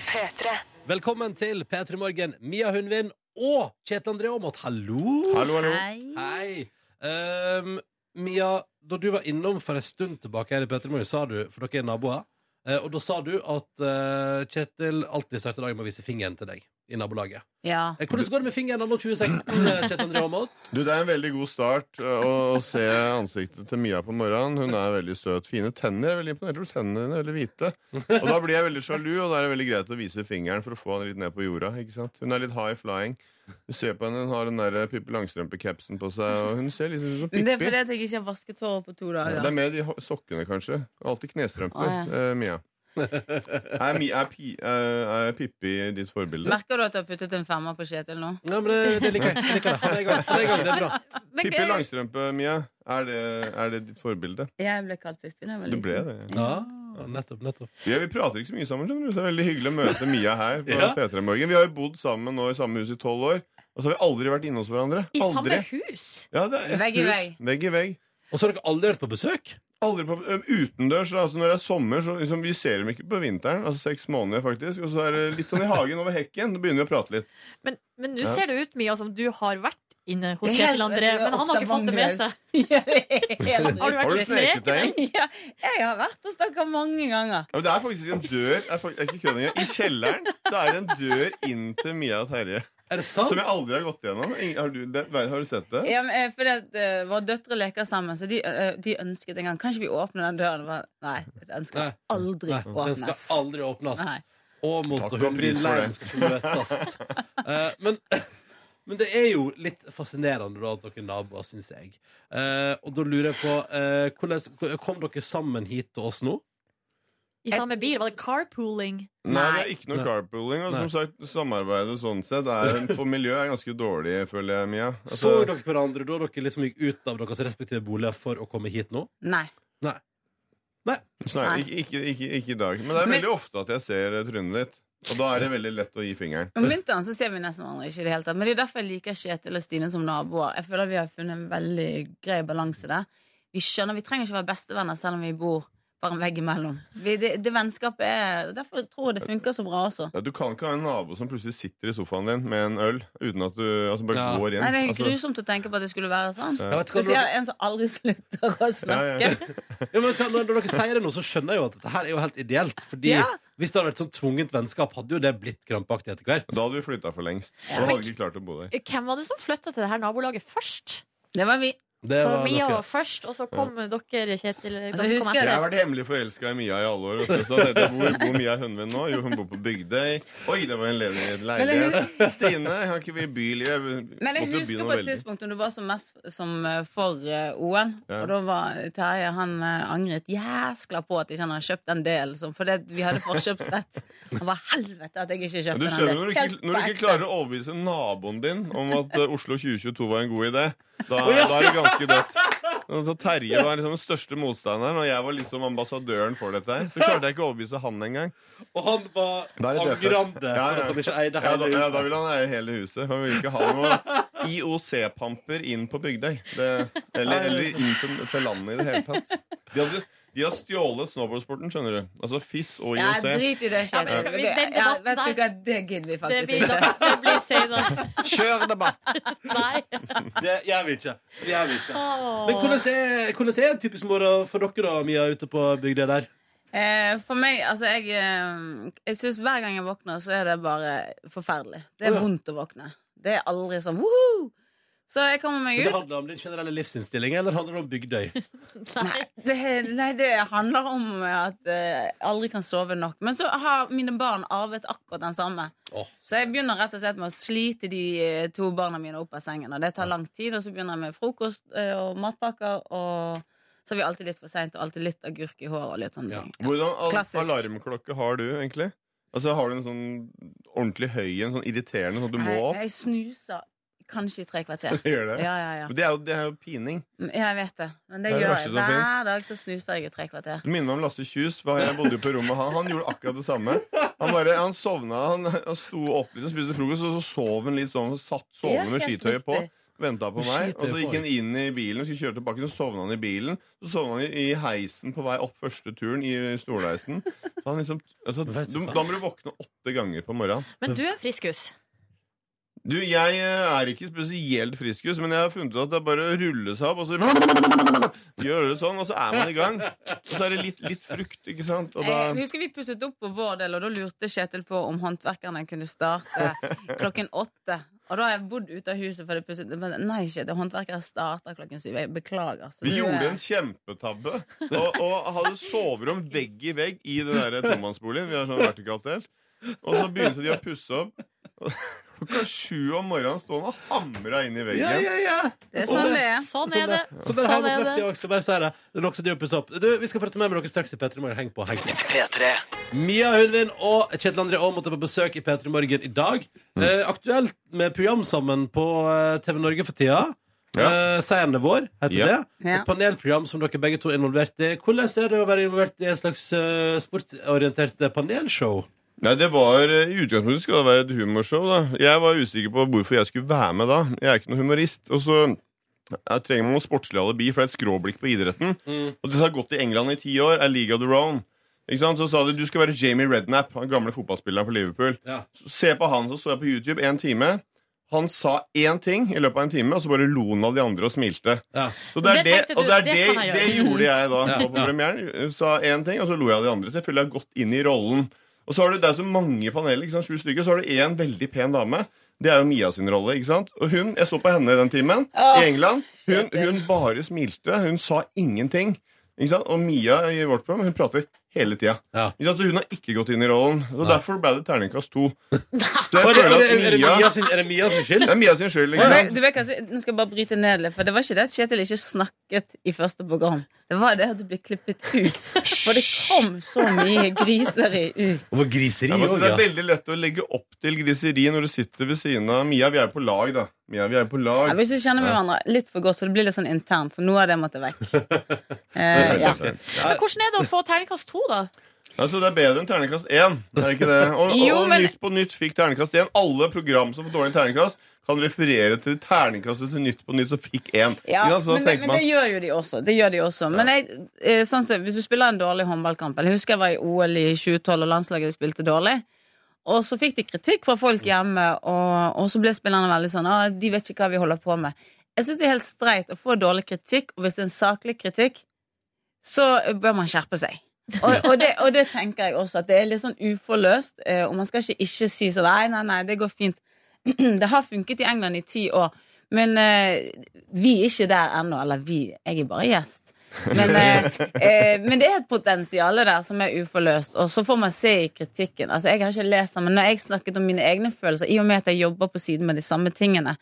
P3.
Velkommen til P3 Morgen, Mia Hundvin og Kjetil André Aamodt. Hallo!
Hallo, hallo.
Hei! Ehm, Mia, da du var innom for en stund tilbake her i P3 Morgen, sa du, for dere er naboer, eh, og da sa du at eh, Kjetil alltid starter dagen med å vise fingeren til deg i nabolaget.
Ja.
Eh, Hvordan går det med fingeren anno 2016, eh, Kjetil André Aamodt?
Du, Det er en veldig god start ø, å, å se ansiktet til Mia på morgenen. Hun er veldig søt. Fine tenner. Jeg er veldig imponert over tennene dine. er Veldig hvite. Og da blir jeg veldig sjalu, og da er det veldig greit å vise fingeren for å få henne litt ned på jorda. ikke sant? Hun er litt high flying. Du ser på henne, Hun har den der eh, Pippi Langstrømpe-capsen på seg, og hun ser liksom ut som
Men det er
Pippi.
fordi at jeg ikke har vasket håret på to
Ja, Det
dager.
er med de ho- sokkene, kanskje. Alltid knestrømper,
Å,
eh, Mia. Er, Mi- er, Pi- eh, er, er Pippi ditt forbilde?
Merker du at du har puttet en femmer på Kjetil nå?
Nei, men det, det liker jeg. Det liker jeg. Ha det i gang. Ha det i gang. Det er bra.
Men, øh,
Pippi Langstrømpe, Mia. Er det, er det ditt forbilde?
Jeg ble kalt Pippi da jeg var
Du
liten.
ble det. ja.
Ja, nettopp, nettopp.
Ja, vi prater ikke så mye sammen, skjønner du. Så det er veldig hyggelig å møte Mia her. på
Ja.
P3 Morgen. Vi har jo bodd sammen nå i samme hus i tolv år. Og så har vi aldri vært inne hos hverandre.
I samme
aldri.
hus?
Ja, det er ett
Vegg i
hus.
vegg.
Vegg i vegg.
Og så har dere aldri vært på besøk?
Aldri på, ø, utendørs. da, Altså når det er sommer, så liksom, vi ser dem ikke på vinteren. Altså seks måneder, faktisk. Og så er det litt sånn i hagen over hekken. Da begynner vi å prate litt.
Men men nå
Ja.
ser det ut, Mia, som du har vært inne hos
Jeg er-
Kjetil André,
jeg er
men han har ikke fått det med seg.
[laughs] [laughs] Ja, det er helt
Har du
Har du
vært
sneket deg inn?
ja, jeg har vært hos dere mange ganger.
Ja, men det er faktisk en dør er fak- er ikke kødd engang. I kjelleren så er det en dør inn til Mia og Terje.
Er det sant?
Som jeg aldri har gått gjennom. Ingen- Har du, det, har du sett det?
Ja, men, eh, fordi at eh, Våre døtre leker sammen, så de, eh, de ønsket en gang Kan ikke vi åpne den døren? Og bare, Nei, den skal
Nei.
aldri
Nei, den
åpnes.
skal aldri åpnes.
Nei.
Og mot
Takk
og
og
hun
pris
blir
for
lei
det.
den skal ikke
[laughs]
møtes. Eh, men, [laughs] men det er jo litt fascinerende da, at dere er naboer, syns jeg. Eh, og da lurer jeg på eh, hvordan Kom dere sammen hit til oss nå?
I samme bil? Var det carpooling?
Nei, det er ikke noe
Nei.
carpooling. Og
Nei.
som sagt, samarbeidet sånn sett er, for miljø er ganske dårlig, føler jeg, Mia.
Så
Altså,
dere hverandre da dere liksom gikk ut av deres respektive boliger for å komme hit nå?
Nei.
nei, ikke, ikke, ikke, ikke i dag. Men det er
Men-
veldig ofte at jeg ser eh, trynet ditt. Og da er det veldig lett å gi fingeren.
Om vinteren så ser vi nesten hverandre ikke i det hele tatt. Men det er derfor jeg liker Kjetil og Stine som naboer. Jeg føler vi har funnet en veldig grei balanse der. Vi skjønner, vi trenger ikke være bestevenner selv om vi bor bare en vegg imellom. Vi, det, det vennskapet er Derfor tror jeg det funker så bra også.
Ja, du kan ikke ha en nabo som plutselig sitter i sofaen din med en øl uten at du altså, bare
Ja.
går inn.
Nei, det er
altså,
grusomt å tenke på at det skulle være sånn.
Ja.
Jeg vet, hva dere,
Spesielt en som aldri slutter å snakke.
Ja,
ja, men, vet du hva, når dere sier det nå, så skjønner jeg jo at dette her er jo helt ideelt. Fordi
Ja.
hvis det hadde vært sånn tvungent vennskap, hadde jo det blitt krampaktig etter hvert.
da hadde vi flytta for lengst. Da hadde vi ikke klart å bo der.
Hvem var det som flytta til det her nabolaget først?
Det var vi.
Det
så
var
Mia
dere.
var først, og så kom dere, Kjetil. dere
husker
kom
jeg
Jeg
etter.
har vært hemmelig forelska i Mia i alle år. Også, så jeg tenkte, hvor bor Mia Hønven nå? Jo, hun bor på Bygdøy. Oi, det var en ledig leilighet. Stine, kan ikke vi byliv?
Men jeg husker på et tidspunkt når du var som mest som eh, for eh, OL.
Ja.
Og da var Terje Han eh, angret jæskla på at ikke han hadde kjøpt den delen. som- For det, vi hadde forkjøpsrett. Han var helvete at jeg ikke
Men
kjøpte
Du
den
skjønner når du,
delen.
ikke, når du ikke klarer å overbevise naboen din om at eh, Oslo 2022 var en god idé, Da, da er det ganske dødt. Så Terje var liksom den største motstanderen, og jeg var liksom ambassadøren for dette. her Så klarte jeg ikke å overbevise han engang.
Og han var
Da er det dødfødt.
angrende
Ja, ja.
for sånn at han ikke eide
Ja, da,
hele
ja, da
huset.
vil han eie hele huset. Han vil ikke ha noe IOC-pamper inn på Bygdøy. Det, eller, eller inn til, til landet i det hele tatt. De, hadde, de har stjålet snowboardsporten, skjønner du. Altså FIS og
Ja,
IOC.
drit i det,
Ja, men skal vi- den
Det- ja,
debatten
vet du
der-
hva, det gidder vi
Det
faktisk
blir,
ikke.
det blir senere.
Kjør debatt!
Nei.
Det gjør vi ikke. Det gjør vi ikke.
Åh.
Men hvordan er, hvordan er en typisk morgen for dere da, Mia, ute på bygda der?
Eh, for meg, altså jeg, eh, jeg synes hver gang jeg våkner, så er det bare forferdelig. Det er
Å, ja.
vondt å våkne. Det er aldri sånn woho! Så jeg kommer meg
Men det
ut.
handler om din generelle livsinnstilling, eller handler det om Bygdøy?
Nei.
Det, nei, det handler om at eh, jeg aldri kan sove nok. Men så har mine barn arvet akkurat den samme.
Åh,
Så jeg begynner rett og slett med å slite de eh, to barna mine opp av sengen. Og det tar lang tid, og så begynner jeg med frokost eh, og matpakker, og så er vi alltid litt for seint, og alltid litt agurk i håret og litt sånne
Ja.
ting.
Hvordan al
Klassisk.
alarmklokke har du, egentlig? Altså Har du en sånn ordentlig høy en, sånn irriterende, sånn at du må
Jeg,
opp?
jeg snuser kanskje i tre kvarter.
[laughs] Gjør det?
Ja, ja, ja.
Men Det er jo, det er jo pining.
Mm, Jeg vet det. Men det,
Det er det
gjør jeg.
verste som
Hver
finnes.
dag så snuser jeg i tre kvarter.
Du minner meg om Lasse Kjus. hva Jeg bodde jo på rommet han. Han gjorde akkurat det samme. Han bare, han sovna, han, han sto opp litt og spiste frokost, og så sov han litt sånn. Satt
Ja,
sovende med
helt
skitøyet på.
riktig.
Venta på meg.
Skitøyet
Og så
på,
gikk han inn i bilen, og skulle kjøre tilbake, så sovna han i bilen. Så sovna han i, i heisen på vei opp første turen i stolheisen. Så han liksom, altså,
Vet
du,
du hva?
da må du våkne åtte ganger på morgenen.
Men du er en friskus.
Du, jeg eh, er ikke spesielt friskus, men jeg har funnet ut at det er bare å rulle seg opp, og så [laughs] gjøre det sånn, og så er man i gang. Og så er det litt, litt frukt, ikke sant? Og da,
Jeg husker Eh, vi pusset opp på vår del, og da lurte Kjetil på om håndverkerne kunne starte klokken åtte. Og da har jeg bodd ute av huset for det pusset men Nei, Kjetil, håndverkere starter klokken syv. Jeg beklager. Så
vi
du,
gjorde
eh,
en kjempetabbe, og, og hadde soverom vegg i vegg i det der tomannsboligen. Vi har sånn vertikalt delt. Og så begynte de å pusse opp. [laughs] og Klokka sju om morgenen sto han og hamra inn i veggen.
Ja, ja, ja!
Det er sånn det er.
Sånn er det.
Så der
Sånn
hjemme
er
hos
det.
Lefty også, bare sier det. Det er nok som driver og pusser opp. Du, vi skal prate mer med dere straks i P3 Morgen. Heng på, heng på. Mia Hundvin og Kjetil André Aamodt er på besøk i P3 Morgen i dag.
Mm.
Eh, aktuelt med program sammen på eh, TV Norge for tida.
Ja.
Eh, Seierne vår heter
Ja.
det.
Ja.
Et panelprogram som dere begge to er involvert i. Hvordan er det å være involvert i et slags eh, sportsorientert eh, panelshow?
Nei, det var eh, I utgangspunktet skulle det være et humorshow. da Jeg var usikker på hvorfor jeg skulle være med da. Jeg er ikke noen humorist. Og så jeg trenger man noe sportslig alibi, for det er et skråblikk på idretten.
Mm.
Og det har gått i England i ti år. Er League of the Round. Ikke sant? Så sa de du skal være Jamie Redknapp, han gamle fotballspilleren for Liverpool.
Ja.
Så Se på han, så så jeg på YouTube én time. Han sa én ting i løpet av en time, og så bare lo han av de andre og smilte.
Ja.
Så det er
Det
det,
tenkte du,
og det, er
det
det,
kan jeg
det
gjøre.
gjorde jeg da.
Ja,
Og på
ja.
premieren sa én ting, og så lo jeg av de andre. Så jeg føler jeg har gått inn i rollen. Og så har du, det er så mange paneler, ikke sant, sju stykker, så har du én veldig pen dame. Det er jo Mia sin rolle. ikke sant? Og hun, Jeg så på henne i den timen i England. Hun, hun bare smilte. Hun sa ingenting. ikke sant? Og Mia i vårt program hun prater hele tida.
Ja.
Ikke sant? Så hun har ikke gått inn i rollen. Så Derfor ble det terningkast to.
[laughs]
Så
Er,
jeg
det-
føler
er,
at
det- er, det Mia
Mia
sin, er det Mia sin skyld?
[laughs] Det er Mia sin skyld.
Du
ikke
vet,
sant?
du vet, hva, nå skal jeg bare bryte ned litt, for det var ikke det at Kjetil ikke snakket i første program. Det var det at det ble klippet ut. For det kom så mye griseri ut.
Over griseri
Jeg må si,
også,
det
ja.
er veldig lett å legge opp til griseri når du sitter ved siden av Mia. Vi er jo på lag, da. Mia, vi er jo på lag.
Ja, hvis vi kjenner hverandre litt for godt, så det blir litt sånn internt. Så noe av det måtte vekk. Eh, ja.
Men hvordan er det å få terningkast to, da?
Altså, det er bedre enn terningkast én. Det er ikke det. Og,
Jo,
og
men-
Nytt på Nytt fikk terningkast én. Alle program som får dårlig terningkast, kan referere til terningkastet til Nytt på Nytt som fikk én.
Ja,
Ikke sant? Så
men,
da
det,
tenker
men
man-
det gjør jo de også. Det gjør de også. Men jeg, eh, sånn som, hvis du spiller en dårlig håndballkamp eller Jeg husker jeg var i OL i 2012, og landslaget spilte dårlig. Og så fikk de kritikk fra folk hjemme, og, og så ble spillerne veldig sånn ah, 'De vet ikke hva vi holder på med'. Jeg syns det er helt streit å få dårlig kritikk, og hvis det er en saklig kritikk, så bør man skjerpe seg. Og, og, det, og det tenker jeg også, at det er litt sånn uforløst, eh, og man skal ikke ikke si sånn Nei, nei, nei, det går fint. [clears throat] det har funket i England i ti år, men eh, vi er ikke der ennå. Eller vi, jeg er bare gjest.
[laughs]
Men, eh, eh, men det er et potensial der som er uforløst, og så får man se i kritikken. Altså, jeg har ikke lest den, men når jeg snakket om mine egne følelser, i og med at jeg jobber på siden med de samme tingene,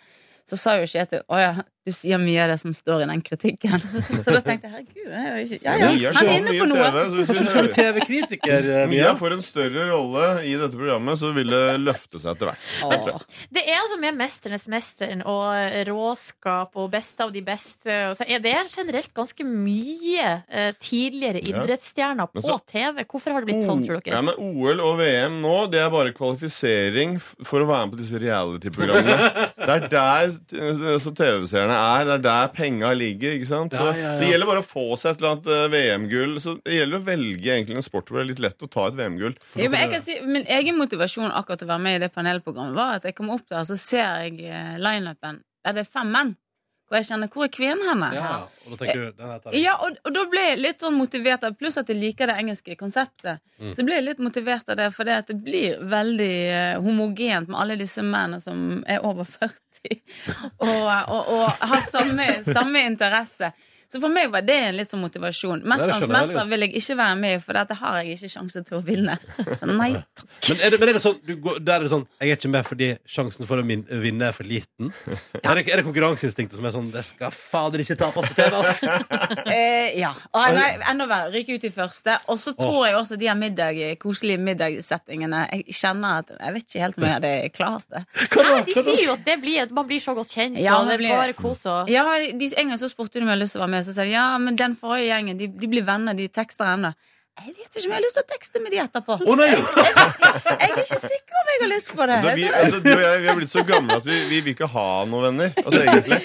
så sa jo Kjetil Å ja, du sier mye av det som står i den kritikken. [laughs] Så da tenkte jeg herregud, jeg er jo ikke ja,
Mia
ja,
er
han
så
er inne
mye
på noe.
TV,
[laughs]
så hvis
Kanskje du skal bli
vi-
TV-kritiker, eh,
Mia
Mia?
får en større rolle i dette programmet, så vil det løfte seg etter hvert.
Det er altså med 'Mesternes mesteren' og eh, råskap og 'Beste av de beste'. Og så er det generelt ganske mye eh, tidligere
Ja.
idrettsstjerner
Men
på
så- Mm.
TV. Hvorfor har det blitt
Mm.
sånn, tror
Ja,
dere?
men OL og VM nå, det er bare kvalifisering f- for å være med på disse
[laughs]
reality-programmene. Det er der eh, så TV-seerne er. Det er der penga ligger. ikke sant? Så
Ja, ja, ja.
Det gjelder bare å få seg et eller annet eh, VM-gull. Så Det gjelder å velge egentlig en sport hvor det er litt lett å ta et VM-gull.
Jo, men jeg kan si, min egen motivasjon akkurat til å være med i det panelprogrammet var at jeg kom opp der, så ser jeg eh, lineupen. Der det er fem menn. Hvor jeg kjenner Hvor er kvinnen henne?
Ja, og da tenker du, den her tar jeg.
Ja, og, og da ble jeg litt sånn motivert av Pluss at jeg liker det engelske konseptet.
Mm.
Så ble jeg litt motivert av det, for det, at det blir veldig eh, homogent med alle disse mennene som er over 40 [laughs] og, og, og har samme, samme interesse. Så for meg var det en litt sånn motivasjon.
det skjønner jeg
'Mesterens
veldig
mester' vil jeg ikke være med i, for dette har jeg ikke sjanse til å vinne. [laughs] Så nei takk.
Men er det, men er det sånn, du går, der er det sånn Jeg er ikke med fordi sjansen for å min, vinne er for liten. Er, det, er det konkurranseinstinktet som er sånn Det skal fader ikke tapes på TV,
[laughs]
ass!
Eh, ja. Ah, nei, enda verre. Ryke ut i første. Og så tror jeg også de her middag, koselige middagssettingene Jeg kjenner at Jeg vet ikke helt om jeg hadde klart det.
Nei, de sier jo at det blir, man blir så godt kjent,
Ja,
og det
man
er
blir-
bare kos og
Ja, de, En gang så spurte de om jeg hadde lyst til å være med. Så sa de ja, men den forrige gjengen de, de blir venner. De tekster ennå. Jeg vet ikke om jeg har lyst til å tekste med de etterpå.
Å nei!
Jeg er ikke sikker om jeg har lyst på det.
Da, vi, altså, du og jeg vi har blitt så gamle at vi, vi vil ikke ha noen venner. Altså, egentlig.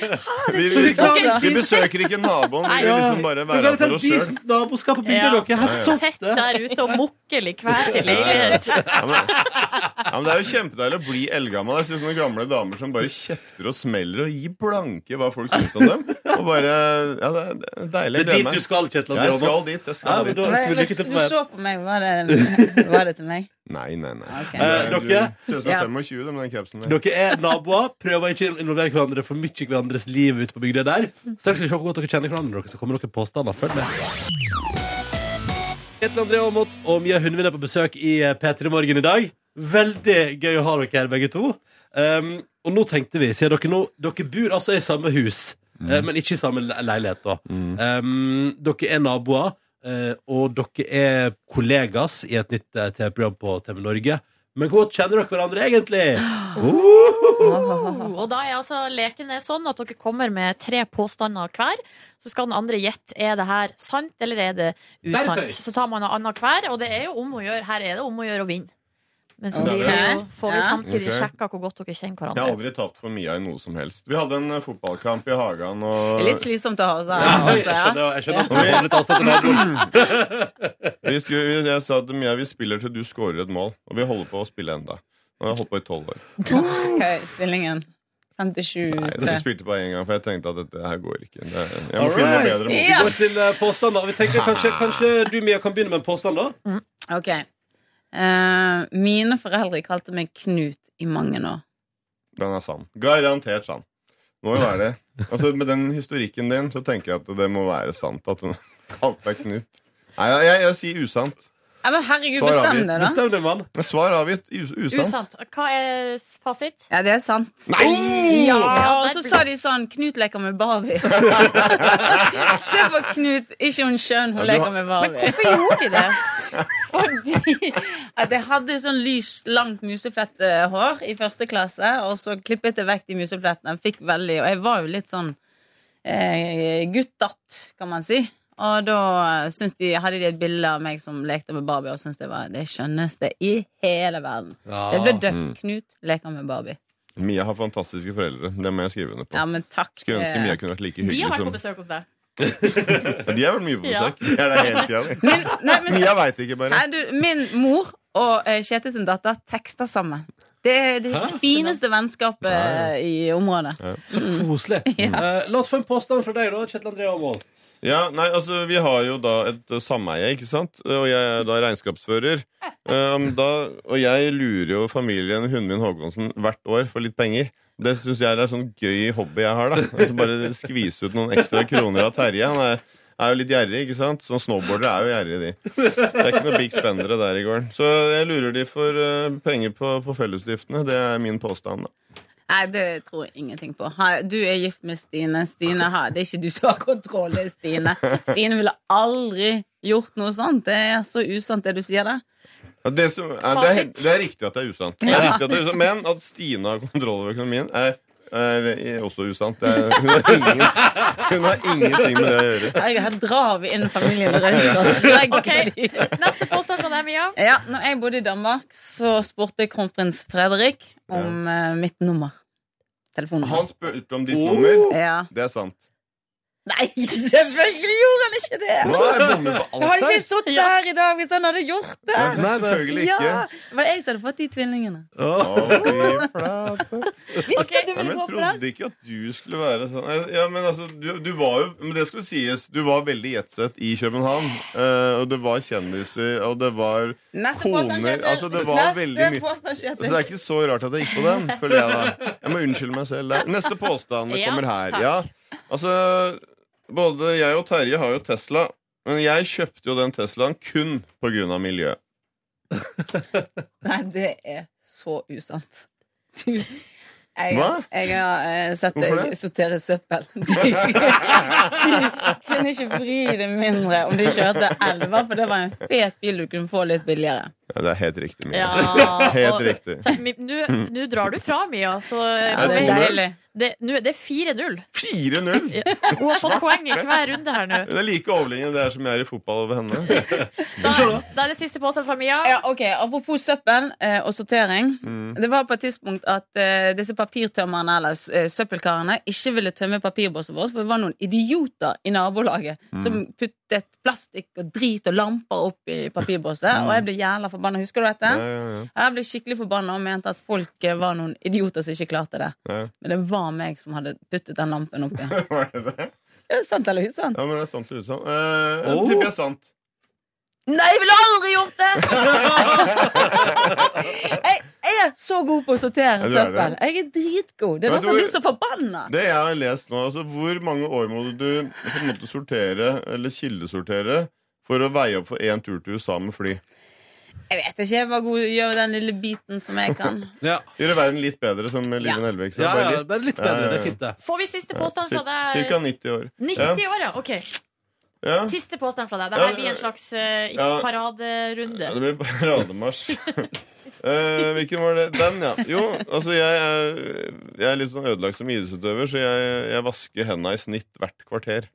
Vi, vi, vi, vi besøker ikke naboen. Vi vil liksom bare være
ta
for oss sjøl.
decent naboskap og bilde
Ja.
av dere. Helt sånn.
Sett der ute og mukkel i hver sin
Ja,
leilighet.
men, ja, men Det er jo kjempedeilig å bli eldgammel. Jeg synes sånne gamle damer som bare kjefter og smeller og gir blanke hva folk syns om dem. Og bare, ja, Det er- det er deilig.
Det
Jeg
er
gleder
dit du
meg.
skal, Kjetil André
Jeg skal
Aamodt.
dit. jeg
Ja,
skal
men
dit
da ønsker vi lykke til
du
på veien.
så på meg. Var det, var det til meg?
Nei, nei, nei.
Ok.
Eh,
Du
dere?
ser ut som du er 25 da, med den capsen der.
Dere er naboer. Prøver ikke å involvere hverandre for mye i hverandres liv ute på bygda der. Straks skal vi se hvor godt dere kjenner hverandre, dere, så kommer noen påstander. Følg med. Kjetil André Aamodt og Mia Hundvin er på besøk i eh, P3 Morgen i dag. Veldig gøy å ha dere her, begge to. Um, og nå tenkte vi, siden dere nå Dere bor altså i samme hus, eh, men ikke i samme le- leilighet, da. Um, dere er naboer, eh, og dere er kollegas i et nytt eh, TV-program på TV Norge. Men hvor godt kjenner dere hverandre egentlig?
Og da er altså leken er sånn at dere kommer med tre påstander hver. Så skal den andre gjette er det her sant eller er det usant.
Verktøys.
Så tar man en annen hver, og det er jo om å gjøre, her er det om å gjøre å vinne. Men så
Ok.
blir det jo, får vi
Ja.
samtidig
Ok.
sjekka hvor godt dere kjenner
Jeg har
hverandre.
aldri tapt for Mia i noe som helst. Vi hadde en eh, fotballkamp i hagen,
Det er
og
Litt slitsomt å ha også.
Ja, jeg
også, ja.
skjønner, jeg skjønner at man har litt avstand til naboen.
vi skulle, jeg sa til Mia vi spiller til du scorer et mål. Og vi holder på å spille enda. Nå har jeg holdt på i tolv år.
Hva er stillingen? 57
Nei,
til-
jeg spilte bare én gang, for jeg tenkte at dette her går ikke. Det, jeg må
All
finne noe
right.
bedre.
Vi
mål.
Ja.
går til eh, påstander. Vi tenker kanskje, kanskje du, Mia, kan begynne med en påstand, da?
Ok. Eh, mine foreldre kalte meg Knut i mange år.
Den er sann. Garantert sann. Må jo være det. Altså, med den historikken din så tenker jeg at det må være sant at hun [laughs] kalte deg Knut. Nei, jeg, jeg, jeg sier usant.
Ja, men herregud,
Svar
bestem
avgitt.
det, da.
Bestem deg, mann.
Svar avgitt. Us usant.
Usant. Hva er s- fasit?
Ja, det er sant.
Nei!
Ja, og
der
så
ble-
sa de sånn Knut leker med Barbie. [laughs] Se på Knut. Ikke hun skjønn, hun
Ja, du har-
leker med
Men
Barbie.
hvorfor gjorde de det?
Fordi [laughs] at jeg hadde sånn lyst, langt musefletthår i første klasse, og så klippet jeg vekk de museflettene. Jeg Fikk veldig, og jeg var jo litt sånn eh, guttatt, kan man si. Og da eh, syns de, hadde de et bilde av meg som lekte med Barbie, og syntes det var det skjønneste i hele verden. Det
Ah,
ble døpt
mm.
Knut leker med Barbie.
Mia har fantastiske foreldre. Det må jeg skrive under på.
Ja, men takk.
Skulle ønske Mia
eh,
kunne vært like
De har
hyggelig
vært
som
på besøk hos deg.
Ja, De har vært mye på
Ja.
besøk. Jeg er der hele tiden.
Min, nei, men,
Mia veit ikke, bare.
Nei, du, min mor og eh, Kjetil sin datter tekster sammen. Det er det fineste vennskapet eh, i området.
Så [laughs] koselig. Eh, la oss få en påstand fra deg, da, Kjetil André Aamodt.
Ja, nei, altså Vi har jo da et eh, sameie, ikke sant? Eh, Og jeg er da regnskapsfører. Um, da, og jeg lurer jo familien Hundvin Håkonsen hvert år for litt penger. Det syns jeg er en sånn gøy hobby jeg har. da altså Bare skvise ut noen ekstra kroner av Terje. Han er, er jo litt gjerrig, ikke sant? Sånn snowboardere er jo gjerrige, de. Det er ikke noe big spendere der i gården. Så jeg lurer de for eh, penger på, på fellesutgiftene. Det er min påstand, da.
Nei, det tror jeg ingenting på. Ha- Du er gift med Stine. Stine har, det er ikke du som har kontroll, det er Stine. Stine ville aldri gjort noe sånt. Det er så usant, det du sier der.
Ja, det, som, er, det, er, det er riktig at det er usant. Det er riktig at det er usant men at Stine har kontroll over økonomien, er, er, også usant. Det er, hun, har ingen, hun har ingenting med det å gjøre.
Nei, Her drar vi inn familien rundt
[laughs]
oss. Legger
Ok.
de.
Neste påstand fra deg, Mia.
Ja, når jeg bodde i Danmark, så spurte jeg kronprins Fredrik om eh, mitt nummer. Telefonnummer.
Han spurte om ditt nummer.
Ja.
Det er sant.
Nei, selvfølgelig gjorde han ikke det!
Hva er bommer på
Jeg hadde
alt
ikke
her?
sittet her i dag hvis han hadde gjort det!
Nei,
Nei, nei.
selvfølgelig ikke.
Ja, det var jeg som hadde fått de tvillingene.
Oh.
Å, fy flate.
[laughs] Visste du
Nei,
ville gå
men jeg
for den?
trodde ikke at du skulle være sånn Ja, men altså, du, du var jo Men det skulle sies, du var veldig jetsett i København. eh, og det var kjendiser, og det var
Neste
Koner,
påstand, Kjetil.
altså, det var veldig mye-
Neste påstand,
Så det
Kjetil.
er ikke så rart at jeg gikk på den, føler jeg da. Jeg må unnskylde meg selv der. Neste påstand det
Ja,
kommer her.
takk.
Ja, altså, både jeg og Terje har jo Tesla, men jeg kjøpte jo den Teslaen kun på grunn av miljø.
Nei, det er så usant. Du, jeg,
Hva?
jeg har eh, sett
Hvorfor
deg
det?
sortere søppel. [laughs] Du, du kunne ikke bry deg mindre om du kjørte elva, for det var en fet bil du kunne få litt billigere.
Ja, det er helt riktig, Mia.
Ja,
[laughs] Helt
og-
riktig.
Mi- Nå nå drar du fra, Mia. Så
Ja, det er deilig.
det, nå- det er 4-0.
4-0!
Hun har fått poeng i hver runde her nå.
Det er like overliggende det er som jeg er i fotball over henne.
Da, da er det siste påstand fra Mia.
Ja, ok, Apropos søppel eh, og sortering. Det var på et tidspunkt at eh, disse papirtømmerne eller s- eh, søppelkarene ikke ville tømme papirbåsen vår, for det var noen idioter i nabolaget som puttet plastikk og drit og lamper opp i papirbåset. Og jeg ble jævla forbanna. Husker du dette?
Ja, ja, ja.
Jeg ble skikkelig forbanna og mente at folk eh, var noen idioter som ikke klarte det.
Ja.
Men det var meg som hadde puttet den lampen opp igjen.
Var det det?
Er det sant eller usant?
Ja, men det er sant eller usant? Eh, jeg
Oh.
tipper jeg er sant.
Nei, jeg ville aldri gjort
[laughs]
det! jeg er så god på å sortere
Ja, du er
søppel.
det.
Jeg er dritgod. Det er
Men
derfor
du-
du er så forbanna.
Det jeg har lest nå, altså Hvor mange år må du på en måte sortere, eller kildesortere, for å veie opp for én tur til USA med fly?
Jeg vet ikke. Jeg var god til å gjøre den lille biten som jeg [laughs] kan.
Ja,
Gjøre verden litt bedre, som Live Nelvik sa.
ja,
Bare
ja, bare litt bedre. Det er fint, det.
Får vi siste påstand fra
Cir-
deg?
Cirka 90 år.
90 år, ja. Ok.
Ja.
Siste påstand fra deg. Dette
Ja,
blir en slags eh,
ja.
paraderunde.
ja, det blir parademarsj. Eh, hvilken var det? Den, ja. Jo, altså jeg er, jeg er litt sånn ødelagt som idrettsutøver, så jeg, jeg vasker henda i snitt hvert kvarter.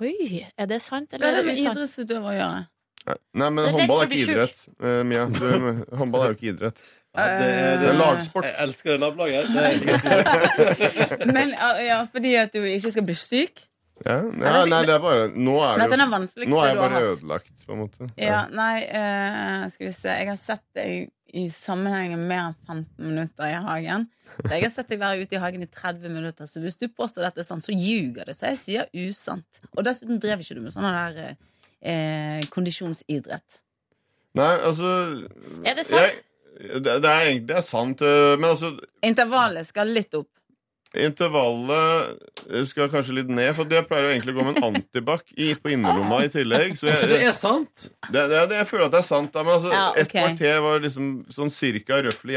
Oi, er det sant
Hva er
eller
det
er det
med
usant?
idrettsutøver å gjøre?
Nei, men
Det er redd
håndball
for å
er ikke
bli sjuk.
idrett. eh, Mia. Du, håndball er jo ikke idrett.
Ja, det er,
Det er
jeg
lagsport.
elsker det nabolaget. Det er
[laughs]
helt
Men ja, ja, fordi at du ikke skal bli syk?
Ja, ja, nei, det er bare Nå er
Dette
det
er den
jo
vanskeligste
Nå er jeg
du har
bare
hatt.
ødelagt, på en måte.
Ja, nei, eh, skal vi se Jeg har sett deg i sammenheng med mer enn 15 minutter i hagen. Så jeg har sett deg være ute i hagen i 30 minutter, så hvis du påstår dette er sant, så ljuger du. Så jeg sier usant. Og dessuten drev ikke du med sånn der eh, eh, kondisjonsidrett.
Nei, altså
Er det sant?
Jeg, det, det er egentlig det er sant, øh, men altså
Intervallet skal litt opp.
Intervallet skal kanskje litt ned, for jeg pleier jo egentlig å gå med en antibac i- på innerlomma i tillegg. Så
Så det
[laughs]
jeg,
er sant?
det, det, det, jeg føler at det er sant. Da, men altså,
Ja,
ett
ok.
kvarter var liksom sånn cirka røffelig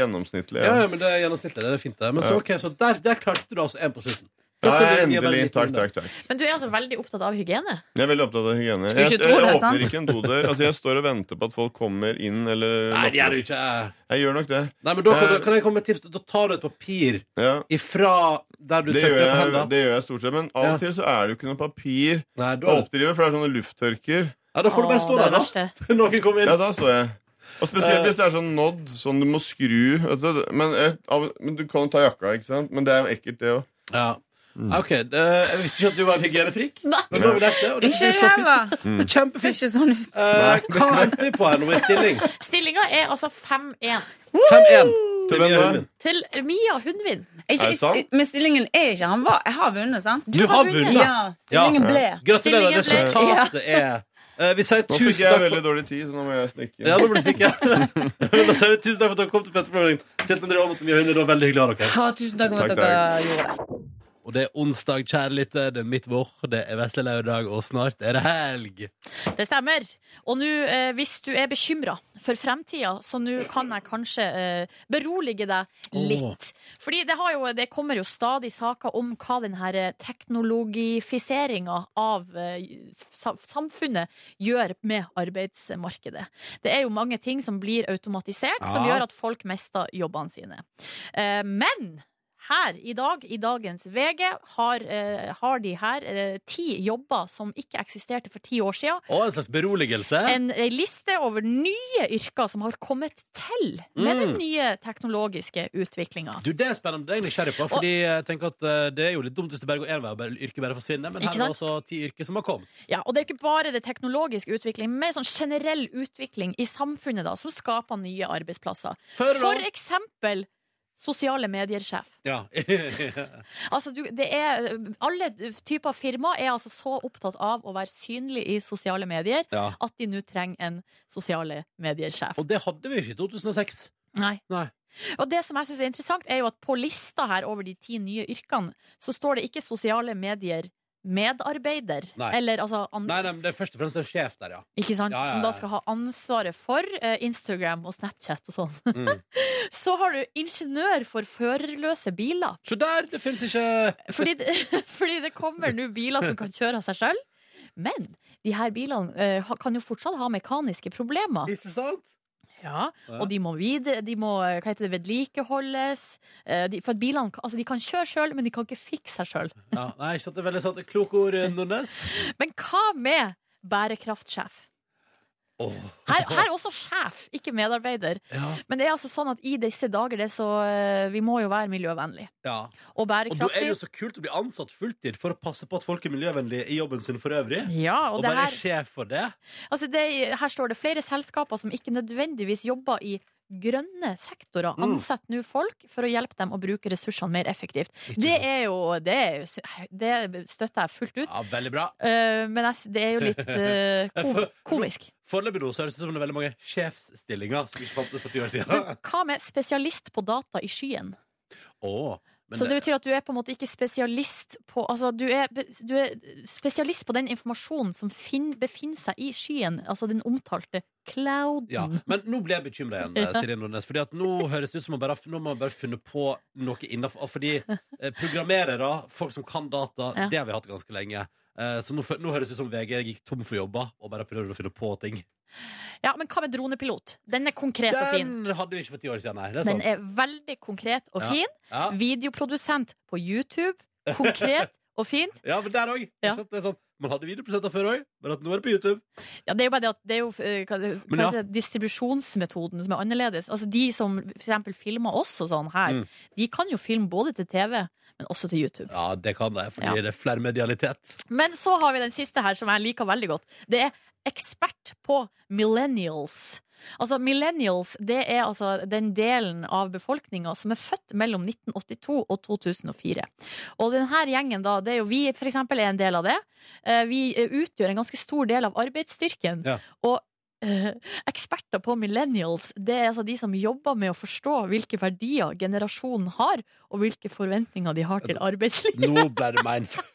Ja,
gjennomsnittlig. Ja.
ja, men det er gjennomsnittlig. Det er fint, det. Men så, ok, så der, der klarte du altså én på slutten.
Ja, jeg,
Gratulerer, Mia,
endelig.
bare
Takk,
litt
takk, takk.
Men du er altså veldig opptatt av hygiene.
Jeg er veldig opptatt av hygiene.
Skulle
Jeg,
ikke
jeg,
tro det er sant.
åpner ikke en dodør. Altså, jeg står og venter på at folk kommer inn eller
Nei, det gjør du ikke.
Jeg gjør nok det.
Nei, men da kan, da kan jeg komme med et tips. Da tar du et papir
Ja.
ifra der du
Det gjør,
tørker opp
jeg,
hendene.
det gjør jeg stort sett, men av og
Ja.
til så er det jo ikke noe papir
Nei,
å
da,
oppdrive, for det er sånne lufttørker.
ja, da får du bare stå der, [laughs] da.
verste.
Noen kommer inn.
Ja, da så jeg.
Eh.
Og spesielt hvis det er sånn nådd, sånn du må skru vet du. Men, jeg, av, men du kan jo ta jakka, ikke sant? Men det er jo ekkelt, det òg.
Ja. Ah, Ok, det, Jeg visste ikke at du var en hygienefrik. Men nå har vi lært det, og det synes
Ikke
jeg er så fint.
ræva!
Det er
Ser
Kjempefint.
ikke sånn ut.
Eh, hva endte vi på her nå i stilling?
Stillinga er altså 5-1.
5-1
Til
til
hvem
Mia
da?
Hundvin.
Til Mia Hundvin.
Er
Ikke,
det sant?
men stillingen er ikke han var. Jeg har vunnet, sant?
Du har vunnet.
Ja, stillingen
Ja.
ble.
Gratulerer.
Stillingen
ble-
Resultatet er eh, Vi sier
Nå fikk
tusen
jeg
takk for
veldig dårlig tid, så nå må jeg snikke.
Ja, [laughs] nå blir det stikke. da sier vi tusen takk for at dere kom til Petter Morgen. Kjetil André Aamodt og Mia Hunde, det var veldig hyggelig å ha dere her.
Ha, tusen takk for
Takk,
at dere gjorde det.
Og det er onsdag, kjære lytter, det er mitt vår, det er vesle lørdag, og snart er det helg.
Det stemmer. Og nå, eh, hvis du er bekymra for fremtida, så nå kan jeg kanskje eh, berolige deg
Åh.
litt. Fordi det, har jo, det kommer jo stadig saker om hva denne teknologifiseringa av eh, sa- samfunnet gjør med arbeidsmarkedet. Det er jo mange ting som blir automatisert, som
Ja.
gjør at folk mister jobbene sine. Eh, men her i dag, i dagens VG, har, eh, har de her eh, ti jobber som ikke eksisterte for ti år siden.
Og en slags beroligelse.
En eh, liste over nye yrker som har kommet til med
Mm.
den nye teknologiske utviklinga.
Du, Det er spennende, det er jeg nysgjerrig på. Fordi jeg tenker at eh, Det er jo litt dumt hvis det bare går én vei og bare yrket bare forsvinner. Men
Ikke
her er det også ti yrker som har kommet.
Ja, og det er ikke bare det teknologiske utvikling, men sånn generell utvikling i samfunnet da, som skaper nye arbeidsplasser.
Før
For
da-
eksempel sosiale medier-sjef.
ja. [laughs]
Altså, du, det er, alle typer firmaer er altså så opptatt av å være synlig i sosiale medier
ja.
at de nå trenger en sosiale medier-sjef.
Og det hadde vi jo ikke i 2006.
Nei.
Nei.
Og det som jeg synes er interessant, er jo at på lista her over de ti nye yrkene, så står det ikke sosiale medier medarbeider.
Nei.
Eller altså an
Nei, nei, men det er først og fremst en sjef der, ja.
Ikke sant?
Ja, ja, ja.
Som da skal ha ansvaret for eh, Instagram og Snapchat og sånn.
Mm.
[laughs] Så har du ingeniør for førerløse biler.
Se der! Det fins ikke
Fordi det, [laughs] fordi det kommer nå biler som kan kjøre av seg sjøl. Men de her bilene eh, ha- kan jo fortsatt ha mekaniske problemer.
Ikke sant?
Ja,
Ja.
Og de må videre, de må eh, hva heter det, vedlikeholdes. Eh, De, for at bilene kan- altså de kan kjøre sjøl, men de kan ikke fikse seg sjøl.
Ja, nei, ikke sant? Det er veldig sant. Kloke ord, eh, Nordnes.
Men hva med bærekraftsjef?
Åh.
Her, her også sjef, ikke medarbeider.
Ja.
Men det er altså sånn at i disse dager det er så eh, Vi må jo være miljøvennlig
ja.
og
Og da er det
bærekraftig.
jo så kult å bli ansatt fulltid for å passe på at folk er miljøvennlige i jobben sin for øvrig.
Ja, og
Og
det
bare
her,
er sjef for det.
altså det, her står det flere selskaper som ikke nødvendigvis jobber i grønne sektorer.
Mm.
Ansetter nå folk for å hjelpe dem å bruke ressursene mer effektivt.
Ikke
Det
sant?
er jo Det, er, jo sy- det støtter jeg fullt ut.
Ja, veldig bra.
Eh, men jeg, s- det er jo
[laughs]
litt eh, kom,
For- [laughs]
komisk.
Foreløpig nå så høres det ut som det er veldig mange sjefsstillinger som ikke fantes for ti år
[laughs]
siden.
Hva med spesialist på data i skyen?
Åh, men
Så det betyr at du er på en måte ikke spesialist på Altså, du er, be- du er spesialist på den informasjonen som finn, befinner seg i skyen, altså den omtalte clouden.
ja. Men nå ble jeg bekymra igjen, eh, Silje Nordnes. Fordi at nå høres det ut som man bare, har- nå må man bare funnet på noe innafor Fordi eh, programmerere, folk som kan data,
Ja.
det har vi hatt ganske lenge. Eh, så nå, fø- nå høres det ut som VG gikk tom for jobber og bare prøvde å finne på ting.
Ja, men hva med dronepilot? Den er konkret og fin.
Den hadde vi ikke for ti år siden, nei. Det er
Den
sant.
er veldig konkret og
Ja.
fin.
Ja.
Videoprodusent på YouTube.
[laughs]
Konkret og fint.
ja, men der òg.
Ja.
Sånn. Man hadde videoprosenter før òg, men at nå er det på YouTube.
Ja, det er jo bare det at det er jo eh, hva, det-
Men
hva
ja.
heter det, distribusjonsmetoden som er annerledes. Altså De som f.eks. filmer oss og sånn her,
Mm.
de kan jo filme både til TV, men også til YouTube.
Ja, det kan det, fordi
Ja.
det er flermedialitet.
Men så har vi den siste her som jeg liker veldig godt. Det er ekspert på millennials. Altså Millennials det er altså den delen av befolkninga som er født mellom 1982 og 2004. Og denne gjengen, da, det er jo vi for eksempel er en del av det. Eh, Vi eh, utgjør en ganske stor del av arbeidsstyrken.
Ja.
Og eh, eksperter på millennials det er altså de som jobber med å forstå hvilke verdier generasjonen har, og hvilke forventninger de har til arbeidslivet.
Nå ble det mindfuck.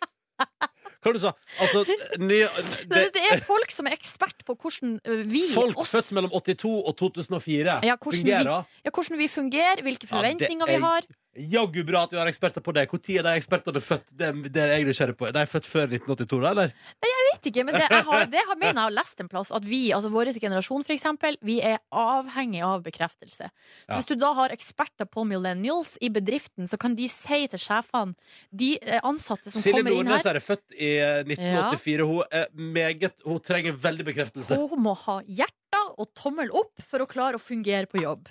Hva var det du sa Altså, nye,
Det,
det,
det er folk som er ekspert på hvordan ø, vi,
Folk
oss,
født mellom 82 og 2004
Ja, hvordan
fungerer.
ja, hvordan vi fungerer, hvilke forventninger
er-
vi har.
Jaggu bra at vi har eksperter på det. Når er de ekspertene født? Det, er- det er jeg nysgjerrig på. De er født før 1982, da, eller?
Vet ikke, men det, jeg har, det har, mener jeg har lest en plass at vi, altså vår generasjon for eksempel, vi er avhengig av bekreftelse. Så
Ja.
hvis du da har eksperter på millennials i bedriften, så kan de si til sjefene, de ø, ansatte som
Silje
kommer inn
Nordnes
her,
er født i 1984. Hun, er meget, hun trenger veldig bekreftelse.
hun må ha hjertet og tommel opp for å klare å fungere på jobb.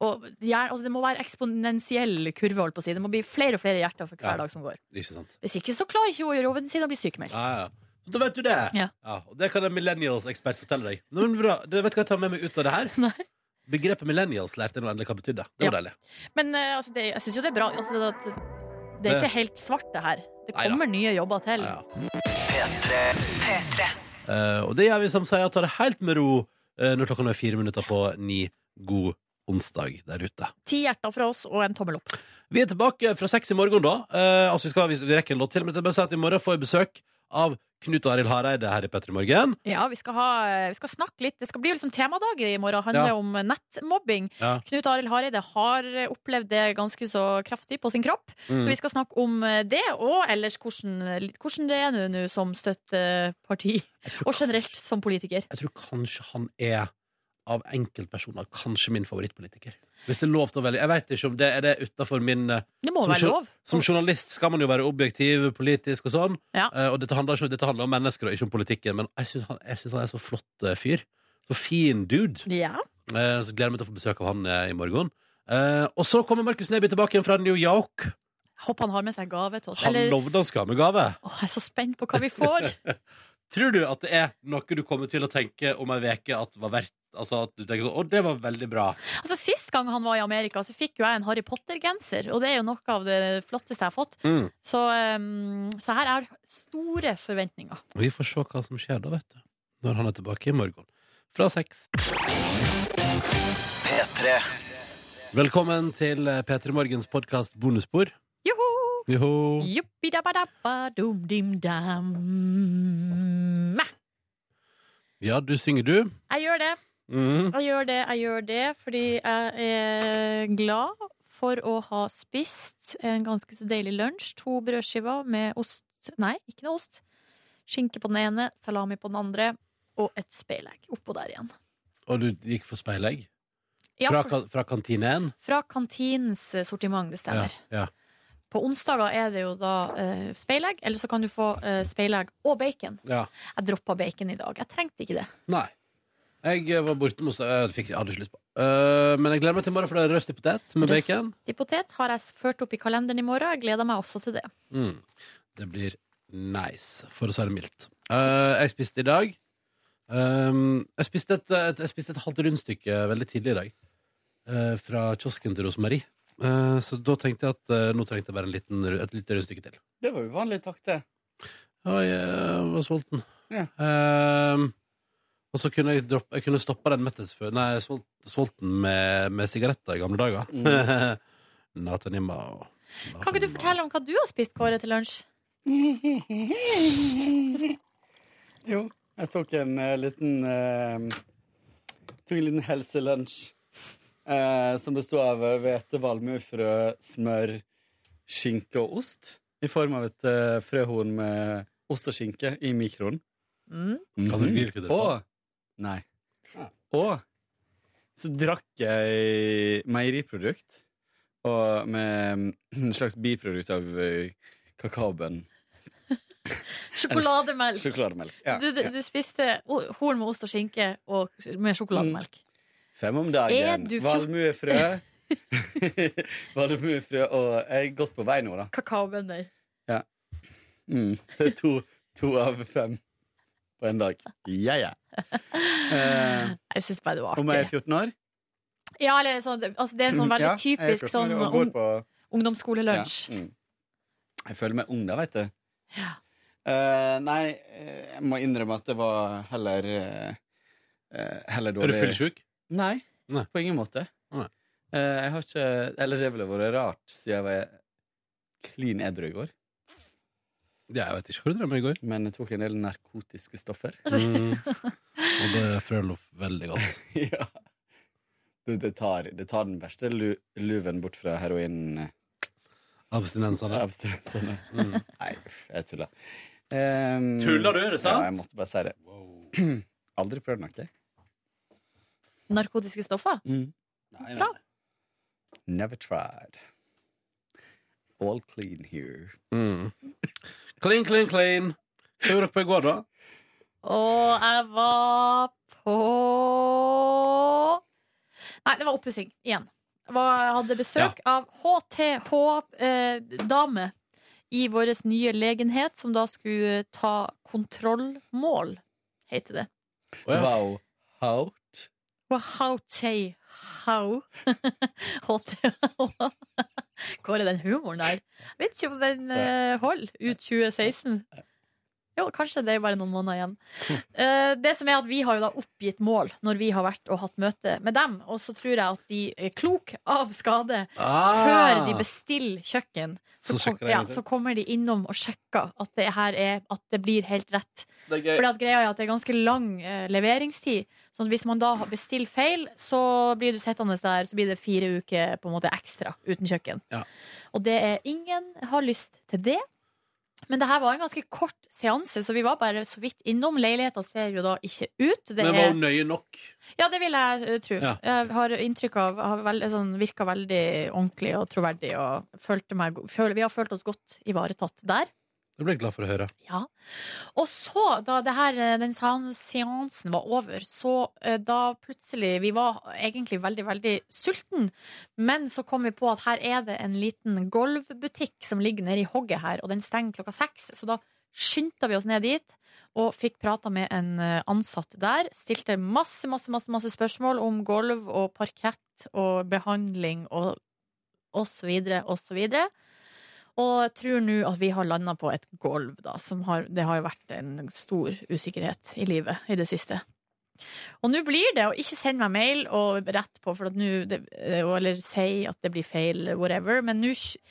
Og, gjerne- altså, det må være eksponentiell kurve, holdt på å si. Det må bli flere og flere hjerter for
Ja.
hver dag som går.
Ikke sant?
Hvis ikke så klarer ikke hun å gjøre jobben sin og blir sykemeldt.
Ja, ja. Så da vet du det.
Ja.
og det kan en millennials-ekspert fortelle deg. Nå, men bra. Du vet hva jeg tar med meg ut av det her?
[laughs] Nei.
Begrepet millennials lærte jeg nå endelig hva betydde. Det var
Ja.
deilig.
Men eh, altså, det, jeg syns jo det er bra. Altså, det, at, det er
Det-
ikke helt svart, det her. Det
Neida.
kommer nye jobber til.
Ja, ja. Eh, og det gjør vi som sier, tar det helt med ro eh, når klokka nå er fire minutter på ni. God onsdag der ute.
Ti hjerter fra oss og en tommel opp.
Vi er tilbake fra seks i morgen, da. Eh, altså, vi, skal, vi, vi rekker en låt til, men jeg vil bare si at i morgen får vi besøk av Knut Arild Hareide her i Petter i Morgen.
Ja, vi skal, ha, vi skal snakke litt. Det skal bli liksom temadager i morgen. Handler
Ja.
om nettmobbing.
Ja.
Knut Arild Hareide har opplevd det ganske så kraftig på sin kropp.
Mm.
Så vi skal snakke om eh, det, og ellers hvordan, hvordan det er nå- nå som støtteparti.
Jeg tror,
Og generelt som politiker.
jeg tror kanskje han er, av enkeltpersoner, kanskje min favorittpolitiker. Hvis det er lov til å velge. Jeg vet ikke om det er det utenfor min eh,
Det må
Som
være
jour-
lov.
Som journalist skal man jo være objektiv, politisk og sånn.
Ja.
Eh, og dette handler, ikke, dette handler om mennesker og ikke om politikken, men jeg syns han, jeg synes han er så flott eh, fyr. Så fin dude.
Ja.
Eh, så gleder jeg meg til å få besøk av han eh, i morgen. Eh, og så kommer Markus Neby tilbake igjen fra New York.
Håper han har med seg gave til oss.
Han
Eller,
lovde han skal ha med gave.
Åh, jeg er så spent på hva vi får.
Tror du at det er noe du kommer til å tenke om ei uke at var verdt Altså at du tenker sånn Å, det var veldig bra.
Altså, Sist gang han var i Amerika, så fikk jo jeg en Harry Potter-genser. Og det er jo noe av det flotteste jeg har fått.
Mm.
Så, um, så her er store forventninger.
Og vi får se hva som skjer da, vet du. Når han er tilbake i morgen. Fra seks. Velkommen til eh, P3 Morgens podkast Bonusspor.
Joho!
Joho.
Juppidabadabadumdimdam.
Ja, du synger, du.
Jeg gjør det, jeg gjør det, jeg gjør det fordi jeg er glad for å ha spist en ganske så deilig lunsj. To brødskiver med ost Nei, ikke noe ost. Skinke på den ene, salami på den andre, og et speilegg oppå der igjen.
Og du gikk for speilegg?
Ja,
Fra,
for-
kan- fra kantinen?
Fra kantinens eh, sortiment, det
Ja,
stemmer.
ja.
På onsdager er det jo da eh, speilegg, eller så kan du få eh, speilegg og bacon.
ja.
Jeg droppa bacon i dag. Jeg trengte ikke det.
Nei. Jeg eh, var borte med Jeg fikk, jeg hadde ikke lyst på Eh, Men jeg gleder meg til i morgen, for det er røst i potet med
Røst.
bacon.
Til potet har jeg ført opp i kalenderen i morgen. Jeg gleder meg også til det.
Mm. Det blir nice, for å si det mildt. Eh, jeg spiste i dag ehm, jeg, spiste et, et, jeg spiste et halvt rundstykke veldig tidlig i dag. eh, fra kiosken til Rosemarie. Eh, så da tenkte jeg at eh, nå trengte jeg bare en liten, ru- et lite rundstykke til.
Det var uvanlig takt, det.
Ja, jeg var sulten.
Ja.
Ehm, og så kunne jeg, droppe, jeg kunne stoppa den mettelsesfølelsen Nei, svol- sulten med, med sigaretter i gamle dager. [laughs] Natanima og
Kan ikke du fortelle om hva du har spist, Kåre, til lunsj?
Jo, jeg tok en eh, liten eh, Tok en liten helselunsj. eh, som bestod av eh, hvete, valmuefrø, smør, skinke og ost. I form av et eh, frøhorn med ost og skinke i mikroen.
Mm.
Kan du grillkrydder på?
Og Nei. Og så drakk jeg meieriprodukt og med mm, en slags biprodukt av eh, kakaobønn.
Sjokolademelk.
Sjokolademelk. Ja.
Du, du, du spiste o- horn med ost og skinke og med
Mm.
sjokolademelk.
Fem om
Er
dagen.
du fjort-
Valmuefrø. [laughs] Valmuefrø og Jeg er godt på vei nå, da.
Kakaobønner.
Mm. Det er to, to av fem på en dag. Ja, ja. Eh,
Jeg syns bare det var
om jeg er
artig.
14 år?
Ja, eller sånn, altså, det er en sånn veldig
Ja, jeg er
typisk
14
sånn
år og går
ung,
på-
ungdomsskolelunsj.
Ja, mm. Jeg føler meg ung, da, veit du.
Ja.
Eh, nei, eh, jeg må innrømme at det var heller eh, eh, Heller
Er
dårlig.
du fyllesyk?
Nei,
Nei.
på ingen måte.
Nei.
Eh, jeg har ikke Eller det ville vært rart, siden jeg var klin edru i går.
Ja, jeg vet ikke hvor du drømmer i går.
Men jeg tok en del narkotiske stoffer. [laughs]
Altså-
Mm. Og det føler jeg veldig godt.
ja. det, det, tar, det tar den verste lu, luven bort fra eh, heroinabstinensene.
Abstinensene. Mm.
[laughs] Nei, uff, jeg tuller. Um,
Tuller du, er det sant?
Ja, jeg måtte bare si det. [clears throat] Aldri prøvd nok det. Mm.
Narkotiske stoffer.
Mm. Nei,
Bra.
Never tried. All clean here.
Mm. Clean, clean, clean. Hva gjorde dere på i går, da?
Og jeg var på Nei, det var oppussing igjen. Jeg var- jeg hadde besøk av HTH-dame eh, i vår nye legenhet, som da skulle ta kontrollmål, heter det.
Å, ja.
Wow. Out.
Og [laughs] HTH [laughs] HTH Hvor er den humoren der? Jeg vet ikke om den eh, holder ut
[laughs]
2016. Jo, kanskje det er bare noen måneder igjen. Eh, det som er at Vi har jo da oppgitt mål når vi har vært og hatt møte med dem. Og så tror jeg at de er klok av skade
Ah,
før de bestiller kjøkken. Så,
Så sjekker
kom,
de
ja,
det.
så kommer de innom og sjekker at det her er At det blir helt rett.
Det er gøy.
For greia er at det er ganske lang eh, leveringstid. Så hvis man da bestiller feil, så blir du sittende der, så blir det fire uker på en måte ekstra uten kjøkken.
Ja.
Og det er ingen har lyst til det. Men det her var en ganske kort seanse, så vi var bare så vidt innom. Leiligheta ser jo da ikke ut. Det
Men var
er,
hun nøye nok?
ja, det vil jeg eh, tro.
Ja.
Jeg har inntrykk av har vel, sånn, Virka veldig ordentlig og troverdig. Og følte meg, go- føl, vi har følt oss godt ivaretatt der.
Det ble jeg glad for å høre.
Ja. Og så, da det her, eh, den sean- seansen var over, så eh, da plutselig Vi var egentlig veldig, veldig sulten, men så kom vi på at her er det en liten gulvbutikk som ligger nede i hogget her, og den stenger klokka seks. Så da skyndte vi oss ned dit og fikk prata med en eh, ansatt der. Stilte masse, masse, masse, masse spørsmål om gulv og parkett og behandling og og så videre, og så videre. Og jeg tror nå at vi har landa på et gulv, da. Som har, det har jo vært en stor usikkerhet i livet i det siste. Og nå blir det å ikke sende meg mail og rett på, for at nå det- eh, Eller si at det blir feil, whatever. Men nå kj-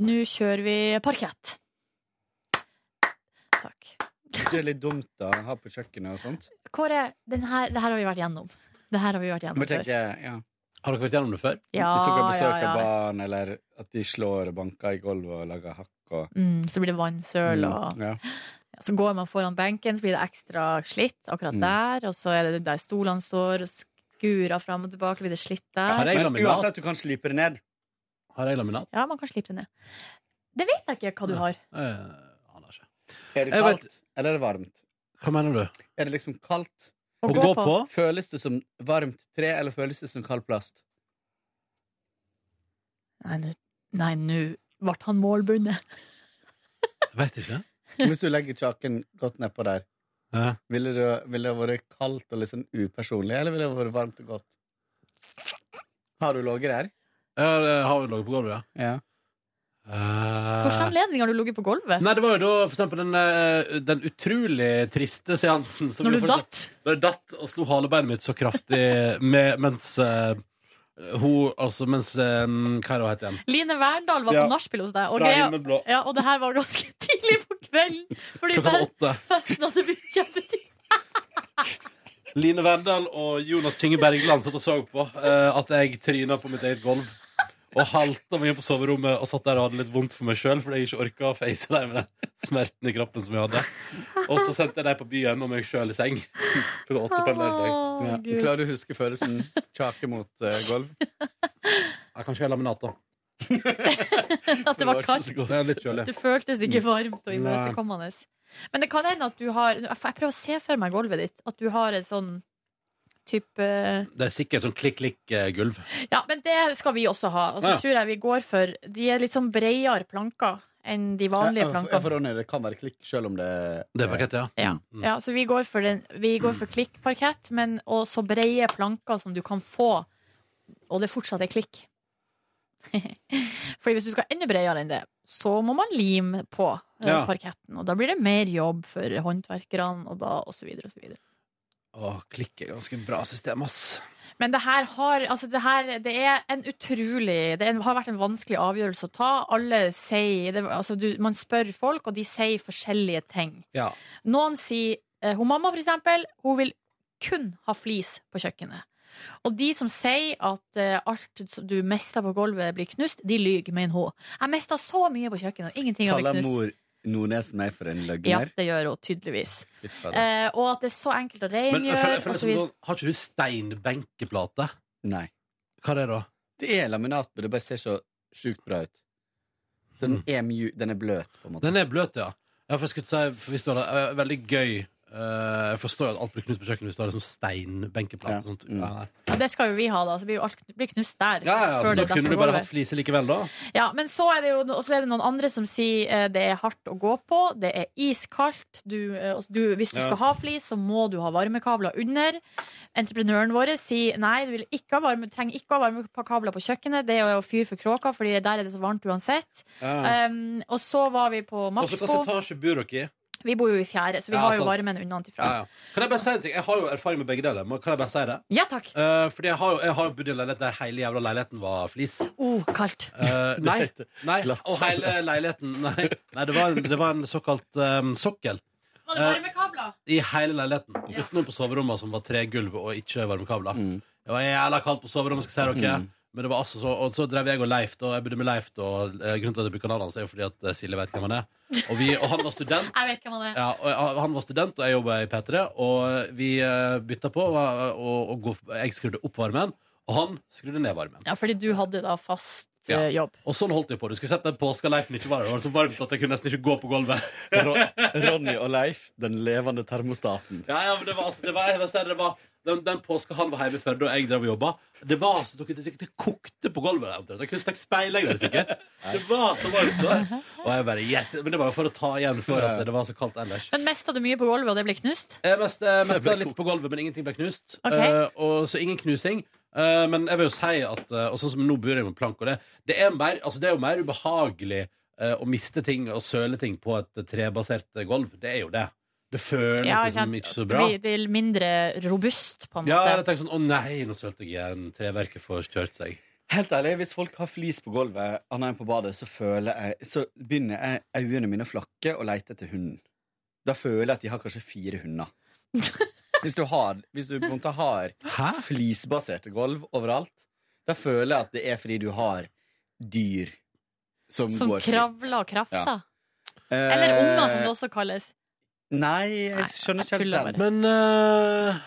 nå kjører vi parkett. Takk.
Det er litt dumt da, å ha på kjøkkenet og sånt.
Kåre, den her, det her har vi vært gjennom. Det her har vi vært gjennom
Men
før.
tenker jeg, ja.
Har dere vært gjennom det før?
Hvis dere
Ja, ja,
besøker
ja.
barn, eller at de slår og banker i gulvet og lager hakk og Mm,
Mm, så blir det vannsøl og
Ja.
Ja, Så går man foran benken, så blir det ekstra slitt akkurat
Mm.
der. Og så er det der stolene står, og skurer fram og tilbake, blir det slitt
Har
der.
jeg
Men
laminat?
uansett, du kan slipe det ned.
Har jeg laminat?
Ja, man kan slippe det ned. Det vet jeg ikke hva du har.
Eh, aner ikke.
Er det
Jeg vet-
kaldt, eller er det varmt?
Hva mener du?
Er det liksom kaldt?
Å gå på?
Føles det som varmt tre, eller føles det som kald plast?
Nei, nå- Nei, nå ble han målbundet.
Vet ikke.
Hvis du legger kjaken godt nedpå der,
Ja.
ville det, ville det vært kaldt og litt sånn upersonlig, eller ville det vært varmt og godt? Har du ligget der?
Ja, det har vi laget på gulvet, ja.
Ja.
Eh,
Hvilken anledning har du ligget på gulvet?
Nei, det var jo da for eksempel den, eh, den utrolig triste seansen som
Når
vi
du
fortsatt-
datt?
Da jeg datt og slo halebeinet mitt så kraftig med, mens eh, hun Altså mens eh, Hva er det hun heter igjen?
Line Verndal var
Ja.
på nachspiel hos deg, og,
Fra
greia,
himmelblå.
ja, og det her var ganske [laughs] tidlig på kvelden. Fordi
Klokka var
fe-
åtte.
festen hadde begynt kjempetidlig.
Line Verndal og Jonas Kinge Bergland satt og så på eh, at jeg tryna på mitt eget gulv. Og halta meg inn på soverommet og satt der og hadde litt vondt for meg sjøl fordi jeg ikke orka å face deg med den smerten i kroppen som jeg hadde. Og så sendte jeg deg på byen og meg sjøl i seng klokka åtte på en lørdag.
Å,
Ja.
Gud.
Klarer du å huske følelsen kjake mot eh, gulv?
Ja, kanskje jeg har laminat, da.
At det var kaldt.
Det er litt
[laughs]
kjølig.
Det føltes ikke varmt og
Nei.
imøtekommende. Men det kan hende at du har Jeg prøver å se for meg gulvet ditt. At du har en sånn type
Det er sikkert sånn klikk-klikk-gulv.
Ja, men det skal vi også ha. Og så
Ja.
tror jeg vi går for De er litt sånn bredere planker enn de vanlige
Ja, for- ja, for
plankene.
Ronny, det kan være klikk selv om det Eh,
Det er parkett, ja.
Ja.
Mm.
ja, så vi går for, den, vi går for klikkparkett, men og så brede planker som du kan få, og det fortsatt er klikk. [laughs] Fordi hvis du skal enda bredere enn det, så må man lime på eh,
Ja.
parketten. Og da blir det mer jobb for håndverkerne, og da og så videre og så videre.
Å, klikk er ganske bra system, ass.
Men det her har Altså, det her Det er en utrolig Det er en- har vært en vanskelig avgjørelse å ta. Alle sier det, Altså, du, man spør folk, og de sier forskjellige ting.
Ja.
Noen sier eh, Hun mamma, for eksempel, hun vil kun ha flis på kjøkkenet. Og de som sier at eh, alt som du mister på gulvet, blir knust, de lyver, mener hun. Jeg mista så mye på kjøkkenet, ingenting har
Kaller
blitt knust.
mor Nordnes meg for en
Ja,
løgner?
det gjør hun tydeligvis.
Fy fader.
Eh, og at det er så enkelt å
Men jeg føler,
rengjøre.
jeg føler
og så
som
videre.
sånn, har ikke du steinbenkeplate?
Nei.
Hva er det, da?
Det er laminat, men det bare ser så sjukt bra ut. Så den er, mju- den er bløt, på en måte.
Mm. Den er bløt, ja. ja for jeg skulle si, for hvis du hadde, eh, veldig gøy eh, Jeg forstår jo at alt blir knust på kjøkkenet hvis du har det som steinbenkeplate.
Ja.
og Sånt.
Mm.
Ja, nei.
Ja, det skal jo vi ha, da. Så blir jo alt kn- blir knust der.
ja, ja,
før
så da
det detter
kunne du
på
bare
gulvet.
hatt flise likevel, da.
Ja, men så er det jo og så er det noen andre som sier eh, det er hardt å gå på, det er iskaldt. Du, eh, og du, hvis du
Ja.
skal ha flis, så må du ha varmekabler under. Entreprenøren vår sier nei, du vil ikke ha varme, trenger ikke ha varmekabler på kjøkkenet. Det er jo fyr for kråka, Fordi der er det så varmt uansett.
Ja.
Um, og så var vi på
Og så
Maxbo.
hvilken etasje bor dere i?
Vi bor jo i fjerde, så vi
Ja,
har jo
sant.
varmen unna
Ja,
antifra.
ja. Kan jeg bare si en ting? Jeg har jo erfaring med begge deler. men Kan jeg bare si det?
Ja takk.
Eh, fordi jeg har jo jeg har jo bodd i en leilighet der hele jævla leiligheten var flis.
Oh, kaldt.
Eh, nei,
Det
nei,
glatt.
og hele leiligheten Nei, nei det, var en, det var en såkalt eh, sokkel
Var
det
varmekabler?
i hele leiligheten. Utenom på soverommet, som var tre gulv og ikke varmekabler. Det var jævla kaldt på soverommet, skal jeg si dere. Men det var altså så, og så drev jeg og Leif, da. Jeg bodde med Leif, da. og, eh, Grunnen til at jeg bruker navnet hans, er jo fordi at eh, Silje vet hvem han er. Og, vi, og han var student.
[laughs] Jeg vet hvem han er.
Ja, og jeg- han var student, og jeg jobba i P3. Og vi eh, bytta på, og, og, og gå- jeg skrudde opp varmen, og han skrudde ned varmen.
Ja, fordi du hadde da fast
Ja.
eh, jobb.
Og sånn holdt jeg på. Du skulle sett den påskeleifen ikke var der. Det var så varmt at jeg kunne nesten ikke gå på gulvet.
Ro Ronny og Leif, den levende termostaten.
Ja, ja, men det var, altså, det var, jeg vil si det var den, den påska han var hjemme i Førde og jeg drev og jobba, det var altså, det, det, det kokte på gulvet. der omtrent. Jeg kunne stikke speil i det, sikkert. Det var så varmt der. Og jeg bare, yes! Men det var jo for å ta igjen for at det var så kaldt ellers.
Men mista du mye på gulvet, og det ble knust?
Jeg mest, jeg mest litt på gulvet, men ingenting ble knust.
Ok.
Eh, og, så ingen knusing. Eh, men jeg vil jo si at eh, Og sånn som nå bor jeg med plank og det, det er, mer, altså, det er jo mer ubehagelig eh, å miste ting og søle ting på et trebasert eh, gulv. Det er jo det. Det føles
Ja,
liksom
ikke
ikke
sant?
så bra.
Det blir mindre robust, på en
Ja, jeg
måte.
hadde tenkt sånn, å nei, nå sølte jeg igjen Treverket får kjørt seg
Helt ærlig, Hvis folk har flis på gulvet, annet enn på badet, så, føler jeg, så begynner jeg, øynene mine å flakke og lete etter hunden. Da føler jeg at de har kanskje fire
[laughs]
hunder. Hvis du, har, hvis du på en måte har flisbaserte gulv overalt, da føler jeg at det er fordi du har dyr som,
Som
går
kravler og krafser.
fritt. Eh,
Eller unger, som det også kalles.
Nei, jeg
Nei,
skjønner
jeg
ikke
tuller
helt den.
Men eh,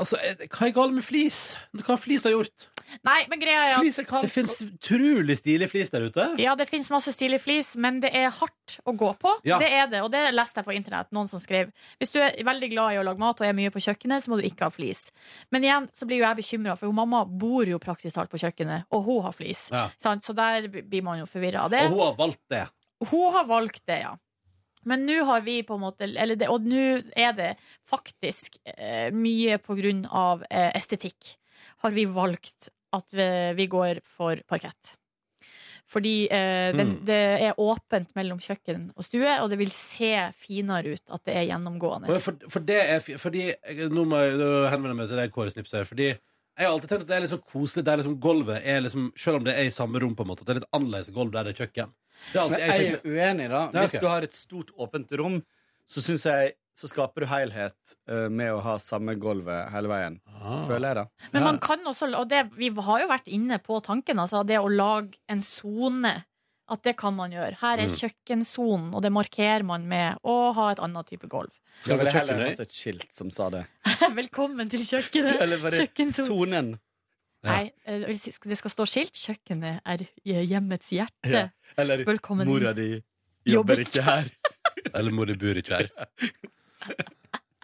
Altså, eh, hva er galt med flis? Hva har flis har gjort?
Nei, men greia er at
Flis er kaldt Det finnes utrolig stilig flis der ute
ja, det finnes masse stilig flis, men det er hardt å gå på.
Ja.
Det er det, og det leste jeg på internett. Noen som skrev Hvis du er veldig glad i å lage mat og er mye på kjøkkenet, så må du ikke ha flis. Men igjen så blir jo jeg bekymra, for hun mamma bor jo praktisk talt på kjøkkenet, og hun har flis.
Ja.
Sant? Så der blir man jo forvirra av det.
Og hun har valgt det
Hun har valgt det, ja. Men nå har vi på en måte eller det, Og nå er det faktisk eh, mye på grunn av eh, estetikk. Har vi valgt at vi, vi går for parkett. Fordi eh, den, det er åpent mellom kjøkken og stue, og det vil se finere ut at det er gjennomgående.
Og for, for det er fi- Fordi jeg- Nå må jeg nå henvender jeg meg til deg, Kåre Snips her. Fordi jeg har alltid tenkt at det er litt sånn koselig der liksom gulvet er liksom Selv om det er i samme rom, på en måte. At det er litt annerledes gulv der det er kjøkken. Det er alltid,
Men
jeg
jeg
tenker,
er uenig, da.
Ja,
Hvis
ok.
du har et stort, åpent rom, så syns jeg så skaper du helhet eh, med å ha samme gulvet hele veien. Føler jeg, da.
Men man kan også, og det, vi har jo vært inne på tanken, altså det å lage en sone. At det kan man gjøre. Her er kjøkkensonen, og det markerer man med å ha et annet type gulv.
Skal
Jeg
vi
ville
på
heller
kjøkkenøy?
hatt et skilt som sa det.
Velkommen til kjøkkenet.
[laughs] Eller bare
Kjøkkensonen.
sonen.
Ja.
Nei, eh, det vil si- det skal stå skilt. Kjøkkenet er hjemmets hjerte.
Ja. Eller
Velkommen.
mora di
Jobber
jobber ikke [laughs] her.
Eller mor, det bor ikke her.
Eh.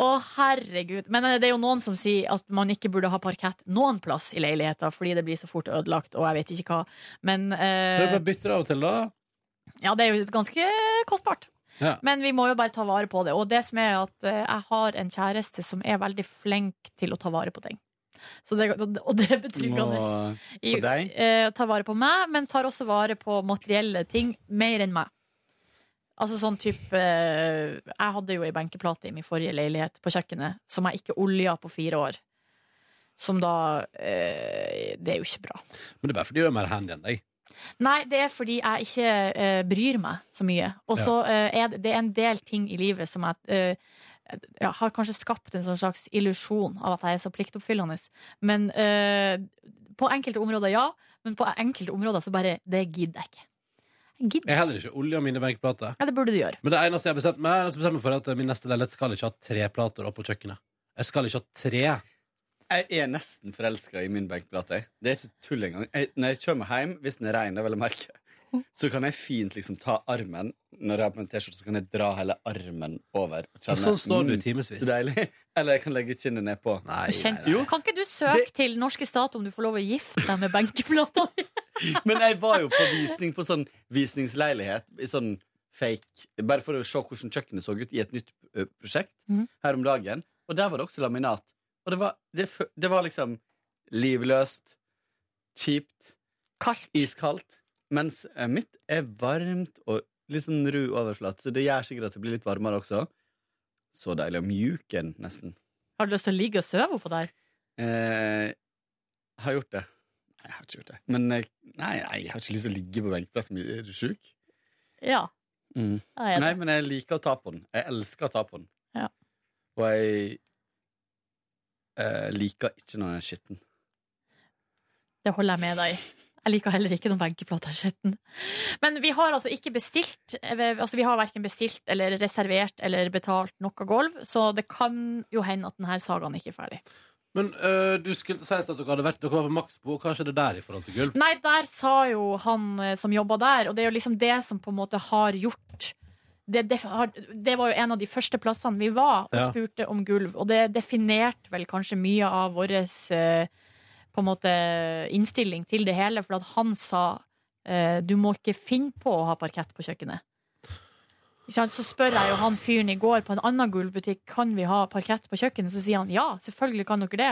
Å, herregud. Men eh, det er jo noen som sier at man ikke burde ha parkett noen plass i leiligheter fordi det blir så fort ødelagt, og jeg vet ikke hva. Men
Men
eh,
Bare bytter av og til, da.
Ja, det er jo ganske kostbart.
Ja.
Men vi må jo bare ta vare på det. Og det som er at eh, jeg har en kjæreste som er veldig flink til å ta vare på ting. Så det, og det er betryggende. I-
på deg?
eh, tar vare på meg, men tar også vare på materielle ting mer enn meg. Altså sånn type eh, Jeg hadde jo ei benkeplate i min forrige leilighet på kjøkkenet som jeg ikke olja på fire år. Som da eh, Det er jo ikke bra.
Men det er bare fordi du er mer handy enn deg.
Nei, det er fordi jeg ikke eh, bryr meg så mye. Og så eh, er det, det er en del ting i livet som jeg eh, ja, har kanskje skapt en sånn slags illusjon av at jeg er så pliktoppfyllende. Men eh, på enkelte områder ja, men på enkelte områder så bare Det gidder jeg ikke. Jeg gidder.
Jeg har heller ikke olja mine benkeplater.
Ja, det burde du gjøre.
Men det eneste jeg har bestemt meg, jeg har bestemt meg for, er at min neste leilighet skal ikke ha tre plater opp på kjøkkenet. Jeg skal ikke ha tre.
Jeg er nesten forelska i min benkplate. jeg. Det er ikke tull engang. Jeg, når jeg kommer hjem, hvis den er rein, det vil jeg merke, [laughs] så kan jeg fint liksom ta armen Når jeg har på en T-skjorte, så kan jeg dra hele armen over. Og
Og
kjenne,
sånn står du i
mm,
timevis.
Så deilig. Eller jeg kan legge kinnet nedpå.
Kjenn-
Jo.
Kan ikke du søke til norske stat om du får lov å gifte deg med benkeplata?
[laughs] Men jeg var jo på visning på sånn visningsleilighet i sånn fake Bare for å se hvordan kjøkkenet så ut i et nytt ø, prosjekt
Mhm.
her om dagen. Og der var det også laminat. Og det var, det, fø- det var liksom livløst, kjipt,
Kaldt.
iskaldt. Mens eh, mitt er varmt og litt sånn ru overflat, så det gjør sikkert at det blir litt varmere også. Så deilig. Og mjuk en, nesten.
Har du lyst til å ligge og sove oppå der?
Eh, har gjort det. Nei, jeg har ikke gjort det. Men eh, nei, nei, jeg har ikke lyst til å ligge på benkeplassen min. Er du sjuk?
Ja.
Mm.
da er
Nei,
det.
men jeg liker å ta på den. Jeg elsker å ta på den.
Ja.
Og jeg eh, liker ikke når den er skitten.
Det holder jeg med deg i. Jeg liker heller ikke noen benkeplater skitten. Men vi har altså ikke bestilt Altså vi har verken bestilt eller reservert eller betalt noe gulv, så det kan jo hende at denne sagaen ikke er ferdig.
Men øh, du skulle sies at dere hadde vært Dere var på Maxbo. Hva skjedde der i forhold til gulv?
Nei, der sa jo han eh, som jobba der, og det er jo liksom det som på en måte har gjort det, det, har, det var jo en av de første plassene vi var og
Ja.
spurte om gulv, og det definerte vel kanskje mye av vår eh, på en måte innstilling til det hele, for at han sa eh, du må ikke finne på å ha parkett på kjøkkenet. Ikke sant? Så spør jeg jo han fyren i går på en annen gulvbutikk kan vi ha parkett på kjøkkenet, så sier han ja, selvfølgelig kan dere det,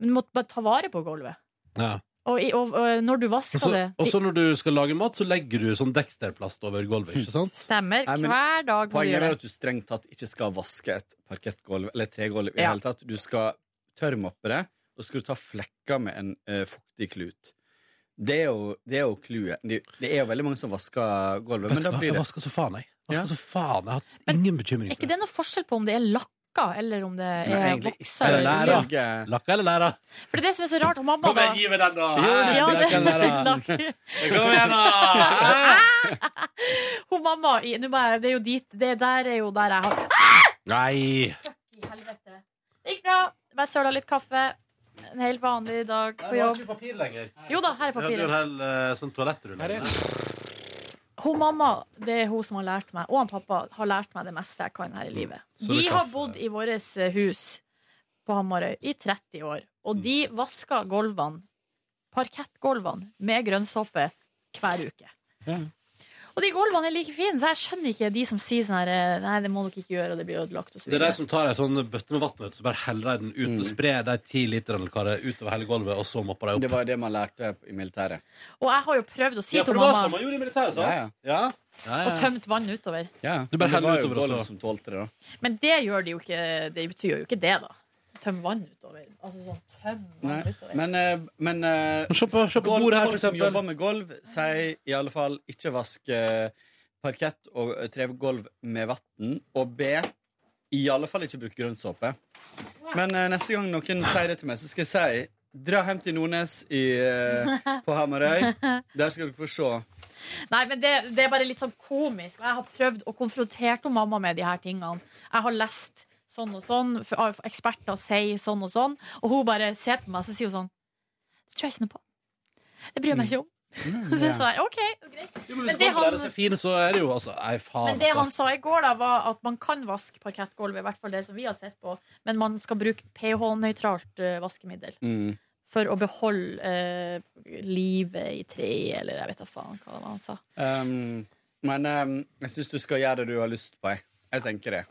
men du må bare ta vare på gulvet.
Ja.
Og, i, og, og når du
Og
vasker
så-
det
og så når du skal lage mat, så legger du sånn Dexter-plast over gulvet. [laughs] Ikke [laughs] sant?
Stemmer.
Nei, men-
hver dag må du
Poenget
gjøre
er
det.
at du strengt tatt ikke skal vaske et parkettgulv eller et tregulv. i
Ja.
hele tatt. Du skal tørrmoppe det, og så skal du ta flekker med en eh, fuktig klut. Det er jo, det er jo clouet. Det, det er jo veldig mange som vasker gulvet,
Vet
men
du
da
hva?
blir
Jeg
det
vasker så faen, jeg. Vasker
Ja.
så faen, jeg har hatt
Men
ingen bekymring
Er ikke
for det.
det noe forskjell på om det er lakka eller om det
Nei,
er
egentlig ikke.
Eh, vokser?
Eller
Eller,
læra.
ja.
Følge-
Lakka eller læra?
For det er det som er så rart. Og mamma da
gi meg den, da!
Jo,
ja, det,
Lakka eller
lakka.
Kom igjen, da!
[laughs] Hun mamma i- nå må jeg- Det er jo dit Det der er jo der jeg har
[laughs] Nei!
I helvete. Det gikk bra. Bare søla litt kaffe. En helt vanlig dag på jobb.
papir lenger.
Jo da, her er
Jeg hadde jo en
papiret.
hel eh, sånn toalettrulle.
Hun mamma, det er hun som har lært meg, og han pappa har lært meg det meste jeg kan her i livet.
Mm. Så
De
det er
har
kaffe.
bodd i vårt hus på Hamarøy i 30 år, og de
Mm.
vasker gulvene, parkettgulvene, med grønnsåpe hver uke.
Ja.
Og de gulvene er like fine, så jeg skjønner ikke de som sier sånn her eh, Nei, det må dere ikke gjøre, og det blir ødelagt, og så
Det er de
videre.
som tar ei sånn bøtte med vann og så bare heller de den ut og sprer de ti literne eller hva det er, utover hele gulvet, og så mopper de
Det
opp.
var det man lærte i militæret.
Og jeg har jo prøvd å si
Ja, for
til
det var
mamma
sånn man gjorde i militæret, sant? Ja. ja.
og tømt vann utover.
Ja,
Du bare
men det
heller
var jo
utover, og
gulv
så-
som tålte det, da.
Men det gjør de jo ikke Det betyr jo ikke det, da. Tømme vann utover. Altså sånn tøm vann
Nei.
utover.
Men, eh, men eh,
Men Se på, se på
Gulv-
bordet her, for
folk som jobber
eksempel.
med gulv, sier i alle fall ikke vask eh, parkett og eh, trevegulv med vann, og B i alle fall ikke bruke grønnsåpe. Men eh, neste gang noen sier det til meg, så skal jeg si dra hjem til Nordnes i, eh, på Hamarøy. Der skal dere få se.
Nei, men det, det er bare litt sånn komisk. Og jeg har prøvd å konfrontere hun mamma med de her tingene. Jeg har lest sånn og sånn, for- av eksperter sier sånn og sånn, og hun bare ser på meg, så sier hun sånn Det tror jeg ikke noe på. Det bryr jeg meg ikke om.
Mm.
[laughs] Så jeg er sånn her, ok, greit.
Jo, men
Men
hvis
det
gulvet
han-
deres er fine, så er det jo altså Nei, faen,
Men det han
altså.
sa i går, da, var at man kan vaske parkettgulvet, i hvert fall det som vi har sett på, men man skal bruke pH-nøytralt eh, vaskemiddel.
Mm.
For å beholde eh, livet i treet, eller jeg vet da faen hva det var han sa.
Um, men eh, jeg syns du skal gjøre det du har lyst på. Jeg, jeg tenker det.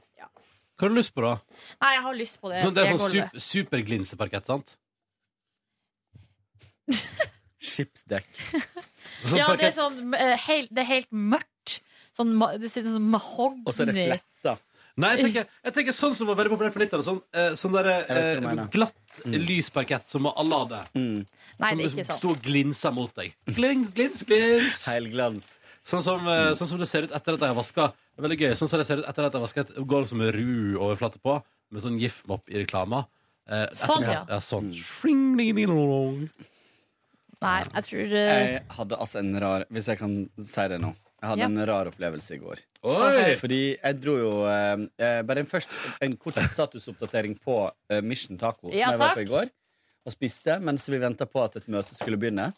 Hva har du lyst på, da?
Nei, jeg har lyst på Eh, det.
Sånn, det er sånn
tregulvet.
super, superglinseparkett, sant?
Skipsdekk.
Sånn
ja, det er
parkett-
sånn eh, helt, Det er helt mørkt. Sånn, ma- det ser ut som mahogni.
Og så er det fletta.
Nei, jeg tenker, jeg tenker sånn som var veldig populært på 90-tallet. Sånn, eh, sånn der,
Jeg vet hva du
eh,
mener. Mm.
glatt lys parkett som alle hadde.
Nei,
Som
det er ikke
liksom
sånn.
sto og glinsa mot deg. Glins, glins, glins.
Helglans.
Sånn som,
Mm.
eh, sånn som det ser ut etter at jeg har vaska. Det er veldig gøy. Sånn som det ser ut etter at jeg har vaska et gulv som er ru overflate på, med sånn giftmopp i reklama. Eh,
Sånn,
etterpå-
ja.
ja sånn.
Mm.
Fling, ding, ding, dong.
Nei, jeg tror eh,
Jeg hadde altså en rar Hvis jeg kan si det nå. Jeg hadde
Ja.
en rar opplevelse i går.
Sånn
Eh,
Oi!
Fordi jeg dro jo eh, eh, Bare en, først, en kort statusoppdatering på eh, Mission Taco.
Ja,
som jeg var
takk.
på i går Og spiste mens vi venta på at et møte skulle begynne.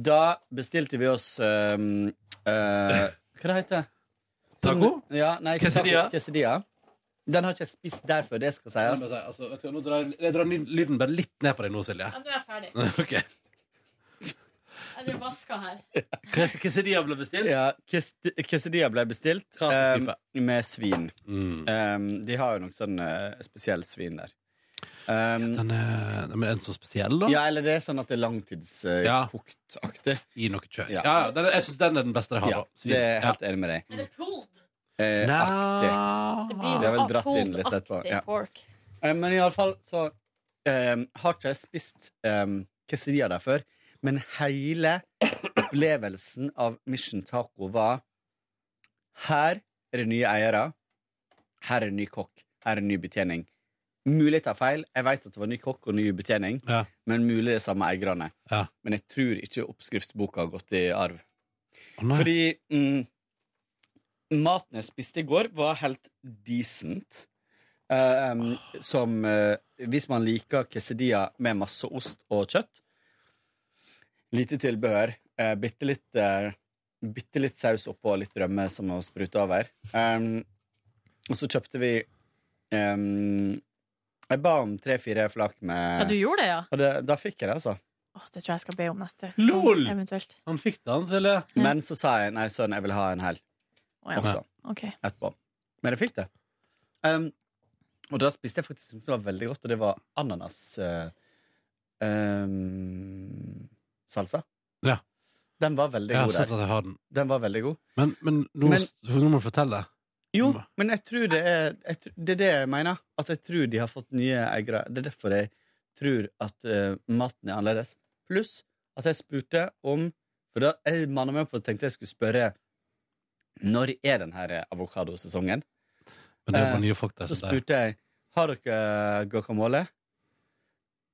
Da bestilte vi oss eh, eh, Hva det heter det?
Taco?
Ja, nei, ikke taco,
Quesadilla?
quesadilla. Den har ikke jeg spist derfor, det skal sies.
Altså, vet du, hva, nå drar, jeg drar lyden bare litt ned på deg nå, Silje. [laughs]
ja, Nå er jeg ferdig.
Ok.
Jeg blir vaska her.
Hva hva sier de jeg ble bestilt?
Ja, quest- quesadilla ble bestilt
Hva slags type?
eh, med svin.
Mm.
Eh, de har jo noe sånn eh, spesiell svin der. Um,
Den er, den er en så spesiell, da.
ja, eller det er sånn at det er eh,
Ja.
langtidskoktaktig.
I noe kjøtt. Ja.
Ja.
Ja, den er, jeg syns den er den beste jeg har.
ja,
da. Svin.
det er jeg helt enig med deg.
Er det pulled?
Eh,
Nei.
aktig.
Det blir
Ah. Det er vel
sånn
dratt inn litt
pulled-aktig
etterpå, ja.
pork.
Eh, Men iallfall så eh, har ikke jeg spist eh, quesadilla der før. Men hele opplevelsen av Mission Taco var Her er det nye eiere. Her er det ny kokk. Her er det ny betjening. Mulig jeg tar feil. Jeg vet at det var ny kokk og ny betjening,
Ja.
men mulig det er samme eierne.
Ja.
Men jeg tror ikke oppskriftsboka har gått i arv.
Å, nei.
Fordi mm, maten jeg spiste i går, var helt decent. Ehm, som eh, Hvis man liker quesadilla med masse ost og kjøtt, lite tilbehør, uh, bitte litt eh, Bitte litt saus oppå og litt rømme som å sprute over. Ehm, og så kjøpte vi ehm, Jeg ba om tre-fire flak med
Ja, du gjorde det, ja?
Og det, da fikk jeg det, altså.
Åh, det tror jeg jeg skal be om neste
Lol!
Eventuelt.
Han fikk den, til jeg.
Men så sa jeg nei, sønn, jeg vil ha en hel
Å, ja.
også.
Ok.
etterpå. Men jeg fikk det. Um, og da spiste jeg faktisk noe som var veldig godt, og det var ananas eh, um, Salsa.
Ja.
Den var veldig
Jeg har
god
sett
der.
at jeg har den.
Den var veldig god.
Men, men, nå,
Men-
nå må du fortelle.
Jo,
Mm.
men jeg tror det er jeg, tr- Det er det jeg mener. At jeg tror de har fått nye eiere. Det er derfor jeg tror at eh, maten er annerledes. Pluss at jeg spurte om For da jeg manna meg opp og tenkte jeg skulle spørre når er den her avokadosesongen.
Men det
Eh,
var nye folk der.
Så
så det-
spurte jeg Har dere eh, guacamole?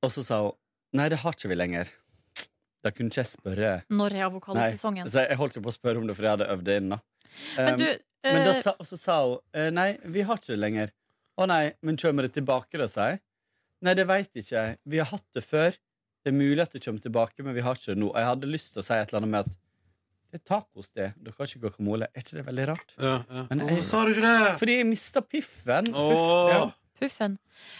Og så sa hun Nei, det har ikke vi lenger. Da kunne ikke jeg spørre.
Når er
Nei.
avokadosesongen?
Så jeg holdt ikke på å spørre om det, for jeg hadde øvd det inn. da
Men du,
Um,
eh,
men da sa, og så sa hun eh, Nei, vi har ikke det lenger. Å nei, men kommer det tilbake, da, sa jeg. Nei, det veit ikke jeg. Vi har hatt det før. Det er mulig at det kommer tilbake, men vi har ikke det nå. Og jeg hadde lyst til å si et eller annet med at det er tacos, det. Dere har ikke guacamole. Er ikke det veldig rart?
Ja, ja.
Men jeg-
Hvorfor sa du ikke det?
Fordi jeg mista piffen.
Åh.
Ja.
puffen.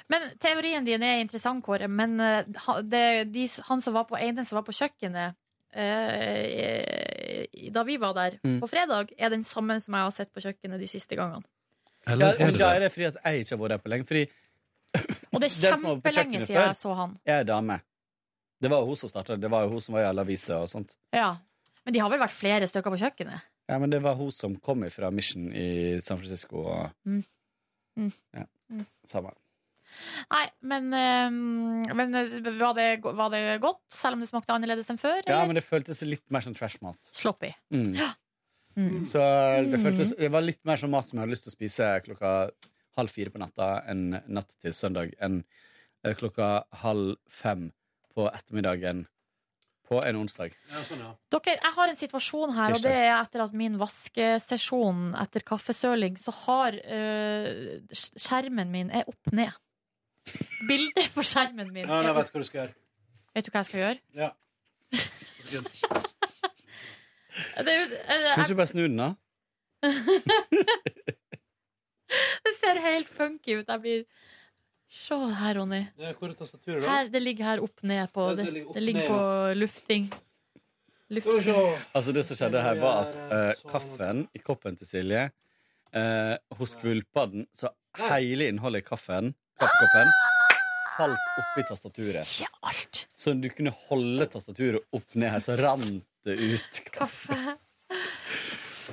Men teorien din er interessant, Kåre, men eh, ha- det, de, s- han som var på, en, den som var på kjøkkenet eh, i- da vi var der
Mm.
på fredag, er den samme som jeg har sett på kjøkkenet de siste gangene.
Eller
Ja,
er
men
det
da
det?
er det fordi at jeg ikke har vært der på lenge. Fordi
Og det er
Den som var på
kjempelenge
kjøkkenet
siden
før.
jeg så han.
jeg er dame. Det var jo hun som starta det. Det var jo hun som var i alle aviser og sånt.
Ja. Men de har vel vært flere stykker på kjøkkenet?
Ja, men det var hun som kom fra Mission i San Francisco og
Mm. Mm.
Ja.
Mm.
Samme.
Nei, men, eh, men eh, var, det, go- var det godt, selv om det smakte annerledes enn før?
Ja,
eller?
men det føltes litt mer som trashmat.
Sloppy.
Mm.
Mm.
Så det, føltes, det var litt mer som mat som jeg hadde lyst til å spise klokka halv fire på natta enn natt til søndag enn eh, klokka halv fem på ettermiddagen på en onsdag.
Ja, sånn, ja.
Dere, jeg har en situasjon her, og
Tirsdag.
det er etter at min vaskesesjon etter kaffesøling, så har øh, sk- skjermen min er opp ned. Bildet på skjermen min
Ja,
er
jeg
opp.
vet hva du skal gjøre.
Vet du hva jeg skal gjøre?
Ja.
Det, er jo- øh,
Kan du ikke bare snu den, da?
jeg, det ser helt funky ut. Jeg blir Se her, Ronny.
Det er hvor er tastaturet, da?
Her, det ligger her opp ned på
Ja,
Det,
det ligger opp
det ligger
ned,
på lufting.
Skal vi
Lufting.
se.
Altså Det som skjedde her, var at eh, kaffen i koppen til Silje eh, Hun skvulpa den, så hele innholdet i kaffen, kaffekoppen falt oppi tastaturet.
Ikke alt!
Så du kunne holde tastaturet opp ned her, så rant det ut.
Kaffe.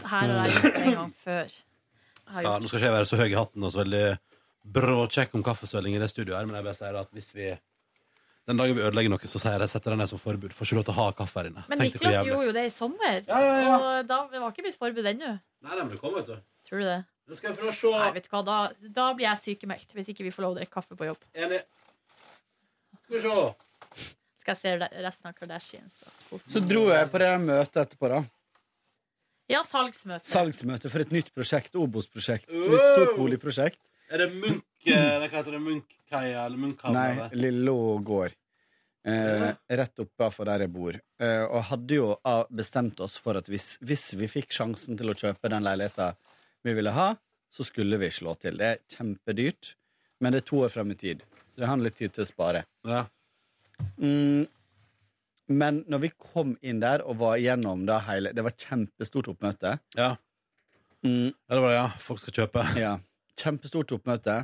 Her har jeg gjort det en gang før. Jeg har
Ja,
gjort-
nå skal ikke jeg være så høy i hatten og så veldig bråkjekk om kaffesvelling i det studioet her, men jeg bare sier at hvis vi den dagen vi ødelegger noe, så sier jeg det, setter jeg ned som forbud. Får ikke lov til å ha kaffe her inne.
Men
Tenk deg hvor
Niklas
jævlig.
gjorde jo det i sommer,
Ja, ja, ja.
og da var ikke mitt forbud ennå.
Nei, nei, men det kommer, vet du.
Tror du det?
Det skal jeg prøve å se.
Nei, vet du hva, da, da blir jeg sykemeldt hvis ikke vi får lov å drikke kaffe på jobb.
Enig. Skal vi se.
Skal jeg se re- resten av Kardashians. og kose
Så
meg.
dro jeg på det der møtet etterpå, da.
Ja, salgsmøte.
Salgsmøte for et nytt prosjekt. Obos-prosjekt. Et stort boligprosjekt.
Er det Munch, eller hva heter det, Munch-kaia, eller
Nei,
Munch-havna?
Lillå gård. Eh, rett oppe for der jeg bor. Eh, og hadde jo ah, bestemt oss for at hvis, hvis vi fikk sjansen til å kjøpe den leiligheta vi ville ha, så skulle vi slå til. Det er kjempedyrt, men det er to år frem i tid, så det har litt tid til å spare.
Ja.
Mm. Men når vi kom inn der og var igjennom da hele Det var kjempestort oppmøte.
ja.
Mm,
Ja, det var det, ja. Folk skal kjøpe.
ja. Kjempestort oppmøte.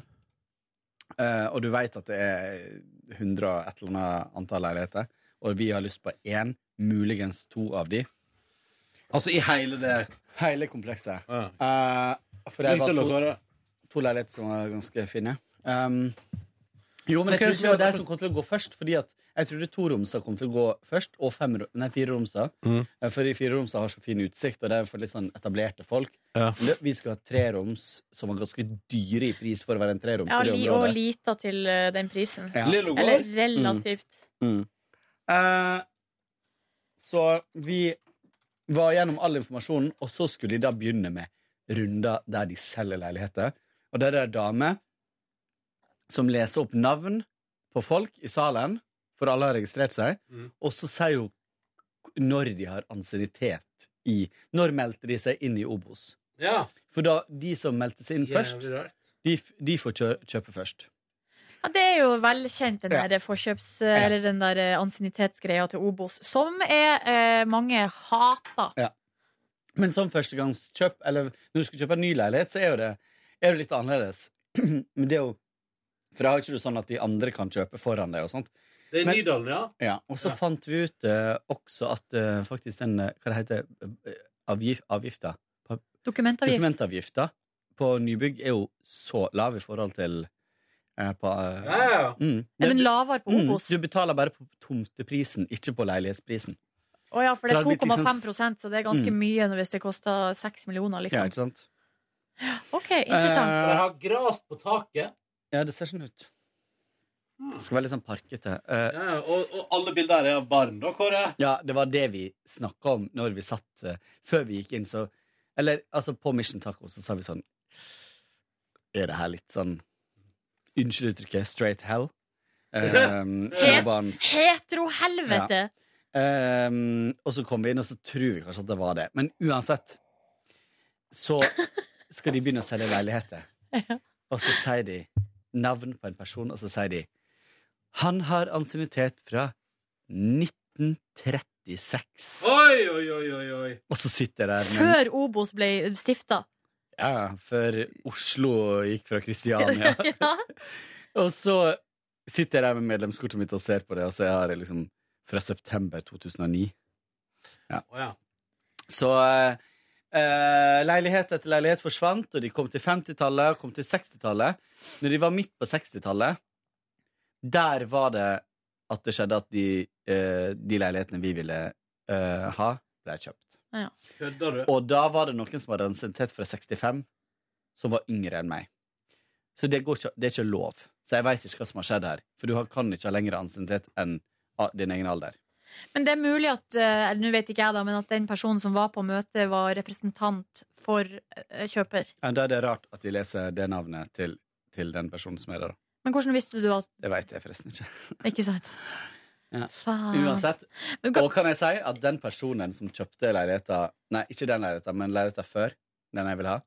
Eh, og du vet at det er 100 og et eller annet antall leiligheter, og vi har lyst på én, muligens to av de.
Altså i hele det
Hele komplekset.
Ja.
Eh, for det var to, to leiligheter som var ganske fine. Um, jo, men jeg
Ok, så
tror ikke det var
det er
de som kom til å gå først. Fordi at jeg trodde toromsa kom til å gå først, og femro- nei, fireromsa.
Mhm.
Eh, For de fireromsa har så fin utsikt, og det er for litt sånn etablerte folk.
Ja.
Men det- Vi skulle ha treroms som var ganske dyre i pris for å være en treroms.
Ja,
i det
li og
området.
lita til eh, den prisen.
Ja.
Lillo går.
Eller relativt.
Eh, så vi var gjennom all informasjonen, og så skulle de da begynne med runder der de selger leiligheter. Og der er det ei dame som leser opp navn på folk i salen, for alle har registrert seg,
Mhm.
og så sier hun når de har ansiennitet i Når meldte de seg inn i Obos?
Ja.
For da, de som meldte seg inn først,
Jævlig rart.
de, f- de får kjø kjøpe først.
Ja, det er jo velkjent, den
Ja.
der forkjøps... Eller den der eh, ansiennitetsgreia til Obos, som er eh, mange hater.
Men som førstegangskjøp, eller når du skal kjøpe en ny leilighet, så er jo det, er det litt annerledes. [clears throat] Men det er jo For da har ikke du sånn at de andre kan kjøpe foran deg og sånt.
Det er
Men-
Nydalen, ja.
Ja, Og så
Ja.
fant vi ut eh, også at eh, faktisk den eh, Hva det heter det? Avgif, avgifta?
Dokumentavgift.
Dokumentavgifta på nybygg er jo så lav i forhold til eh, på eh,
Ja, ja, ja.
mm.
Er den lavere på
Mm,
Obos?
Du betaler bare på tomteprisen, ikke på leilighetsprisen.
Å ja, for det
Så
er
det blir liksom-
2,5 så det er ganske
Mm.
mye når- hvis det koster 6 millioner,
Ja,
liksom.
ikke sant?
OK, interessant.
For jeg har gras på taket,
Ja, det ser sånn ut. Det skal være litt sånn parkete. Eh,
ja, ja, og, og alle bilder her er av barn, da, Kåre.
Ja, det var det vi snakka om når vi satt eh, Før vi gikk inn, så Eller altså, på Mission Taco så sa vi sånn Er det her litt sånn Unnskyld uttrykket, straight hell? Um, småbarns
Heterohelvete!
Ehm, Og så kom vi inn, og så tror vi kanskje at det var det. Men uansett så skal de begynne å selge leiligheter. Og så sier de navn på en person, og så sier de Han har ansiennitet fra 1936.
Oi, oi, oi, oi, oi.
Og så sitter jeg der med
Før Obos ble stifta.
ja, ja, Før Oslo gikk fra Kristiania.
[laughs] Ja.
Og så sitter jeg der med medlemskortet mitt og ser på det, og så har jeg liksom fra september 2009.
Å, ja.
Så eh, eh, leilighet etter leilighet forsvant, og de kom til 50-tallet og kom til 60-tallet. Når de var midt på 60-tallet, der var det at det skjedde at de, eh, de leilighetene vi ville eh, ha, ble kjøpt.
Kødder du?
Og da var det noen som hadde ansiennitet fra 65, som var yngre enn meg. Så det, går ikke, det er ikke lov. Så jeg veit ikke hva som har skjedd her. For du har- kan ikke ha lengre ansiennitet enn ah, din egen alder.
Men det er mulig at eh, Nå vet ikke jeg, da, men at den personen som var på møtet, var representant for eh, kjøper.
Ja, Da er det rart at de leser det navnet til, til den personen som er der. da.
Men hvordan visste du at
Det veit jeg forresten ikke.
Ikke sant?
Ja.
Faen.
Uansett.
Men
Og
kan-
kan jeg si at den personen som kjøpte leiligheta Nei, ikke den leiligheta, men leiligheta før, den jeg vil ha,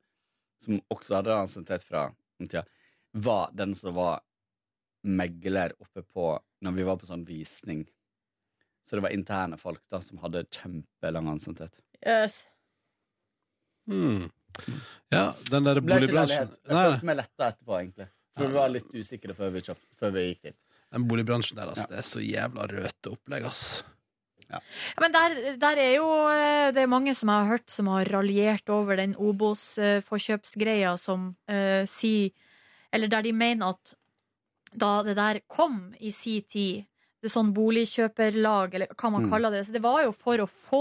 som også hadde ansiennitet fra den tida, var den som var megler oppe på Når vi var på sånn visning. Så det var interne folk da som hadde kjempelang ansiennitet.
Yes.
Hmm. Ja, den der
Det ble ikke
boligbransjen
leilighet. Jeg
Nei, nei.
følte meg letta etterpå, egentlig. For vi var litt usikre før vi, kjøpt, før vi gikk dit.
Den boligbransjen der, altså. Det er så jævla røte opplegg, ass.
Ja, Men der, der er jo eh, Det er mange som jeg har hørt som har raljert over den Obos-forkjøpsgreia som eh, sier Eller der de mener at da det der kom i si tid, det er sånn boligkjøperlag, eller hva man
Mm.
kaller det, så det var jo for å få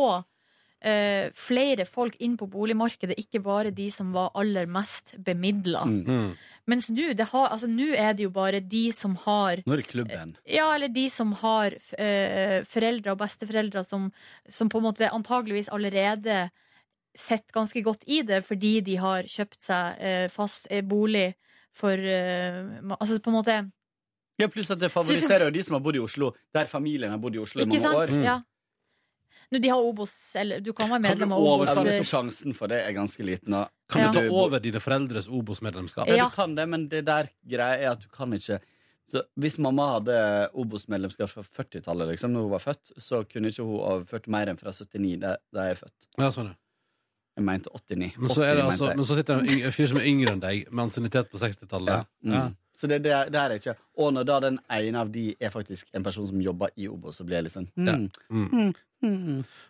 eh, flere folk inn på boligmarkedet, ikke bare de som var aller mest bemidla.
Mm.
Hmm.
Mens nå det har- altså, nå er det jo bare de som har
Nå er det klubben.
ja, eller de som har eh, foreldre og besteforeldre som, som på en måte antageligvis allerede sett ganske godt i det, fordi de har kjøpt seg eh, fast eh, bolig for eh, ma- Altså på en måte
Ja, Pluss at det favoriserer jo de som har bodd i Oslo, der familien har bodd i Oslo i
Ikke
mange
sant?
år. Mm.
Ja. Nå, de har Obos, eller du kan være
Kan du
medlem av
overta
Ja, men
Obos. eh,
Sjansen for det er ganske liten. Da.
Kan
Ja.
du ta over dine foreldres Obos-medlemskap?
Ja,
Ja.
du kan det, men det der greia er at du kan ikke så Hvis mamma hadde Obos-medlemskap fra 40-tallet, liksom, når hun var født, så kunne ikke hun overført mer enn fra 79, da da jeg er født.
Ja, sånn, ja.
Jeg mente 89.
Men så, er det
80,
altså,
mente jeg.
men så sitter det en yng- en fyr som er yngre enn deg, med ansiennitet på 60-tallet.
Ja. Mm. Så det, det, er- det er jeg ikke. Og når da den ene av de er faktisk en person som jobber i Obos, så blir jeg litt sånn hmm.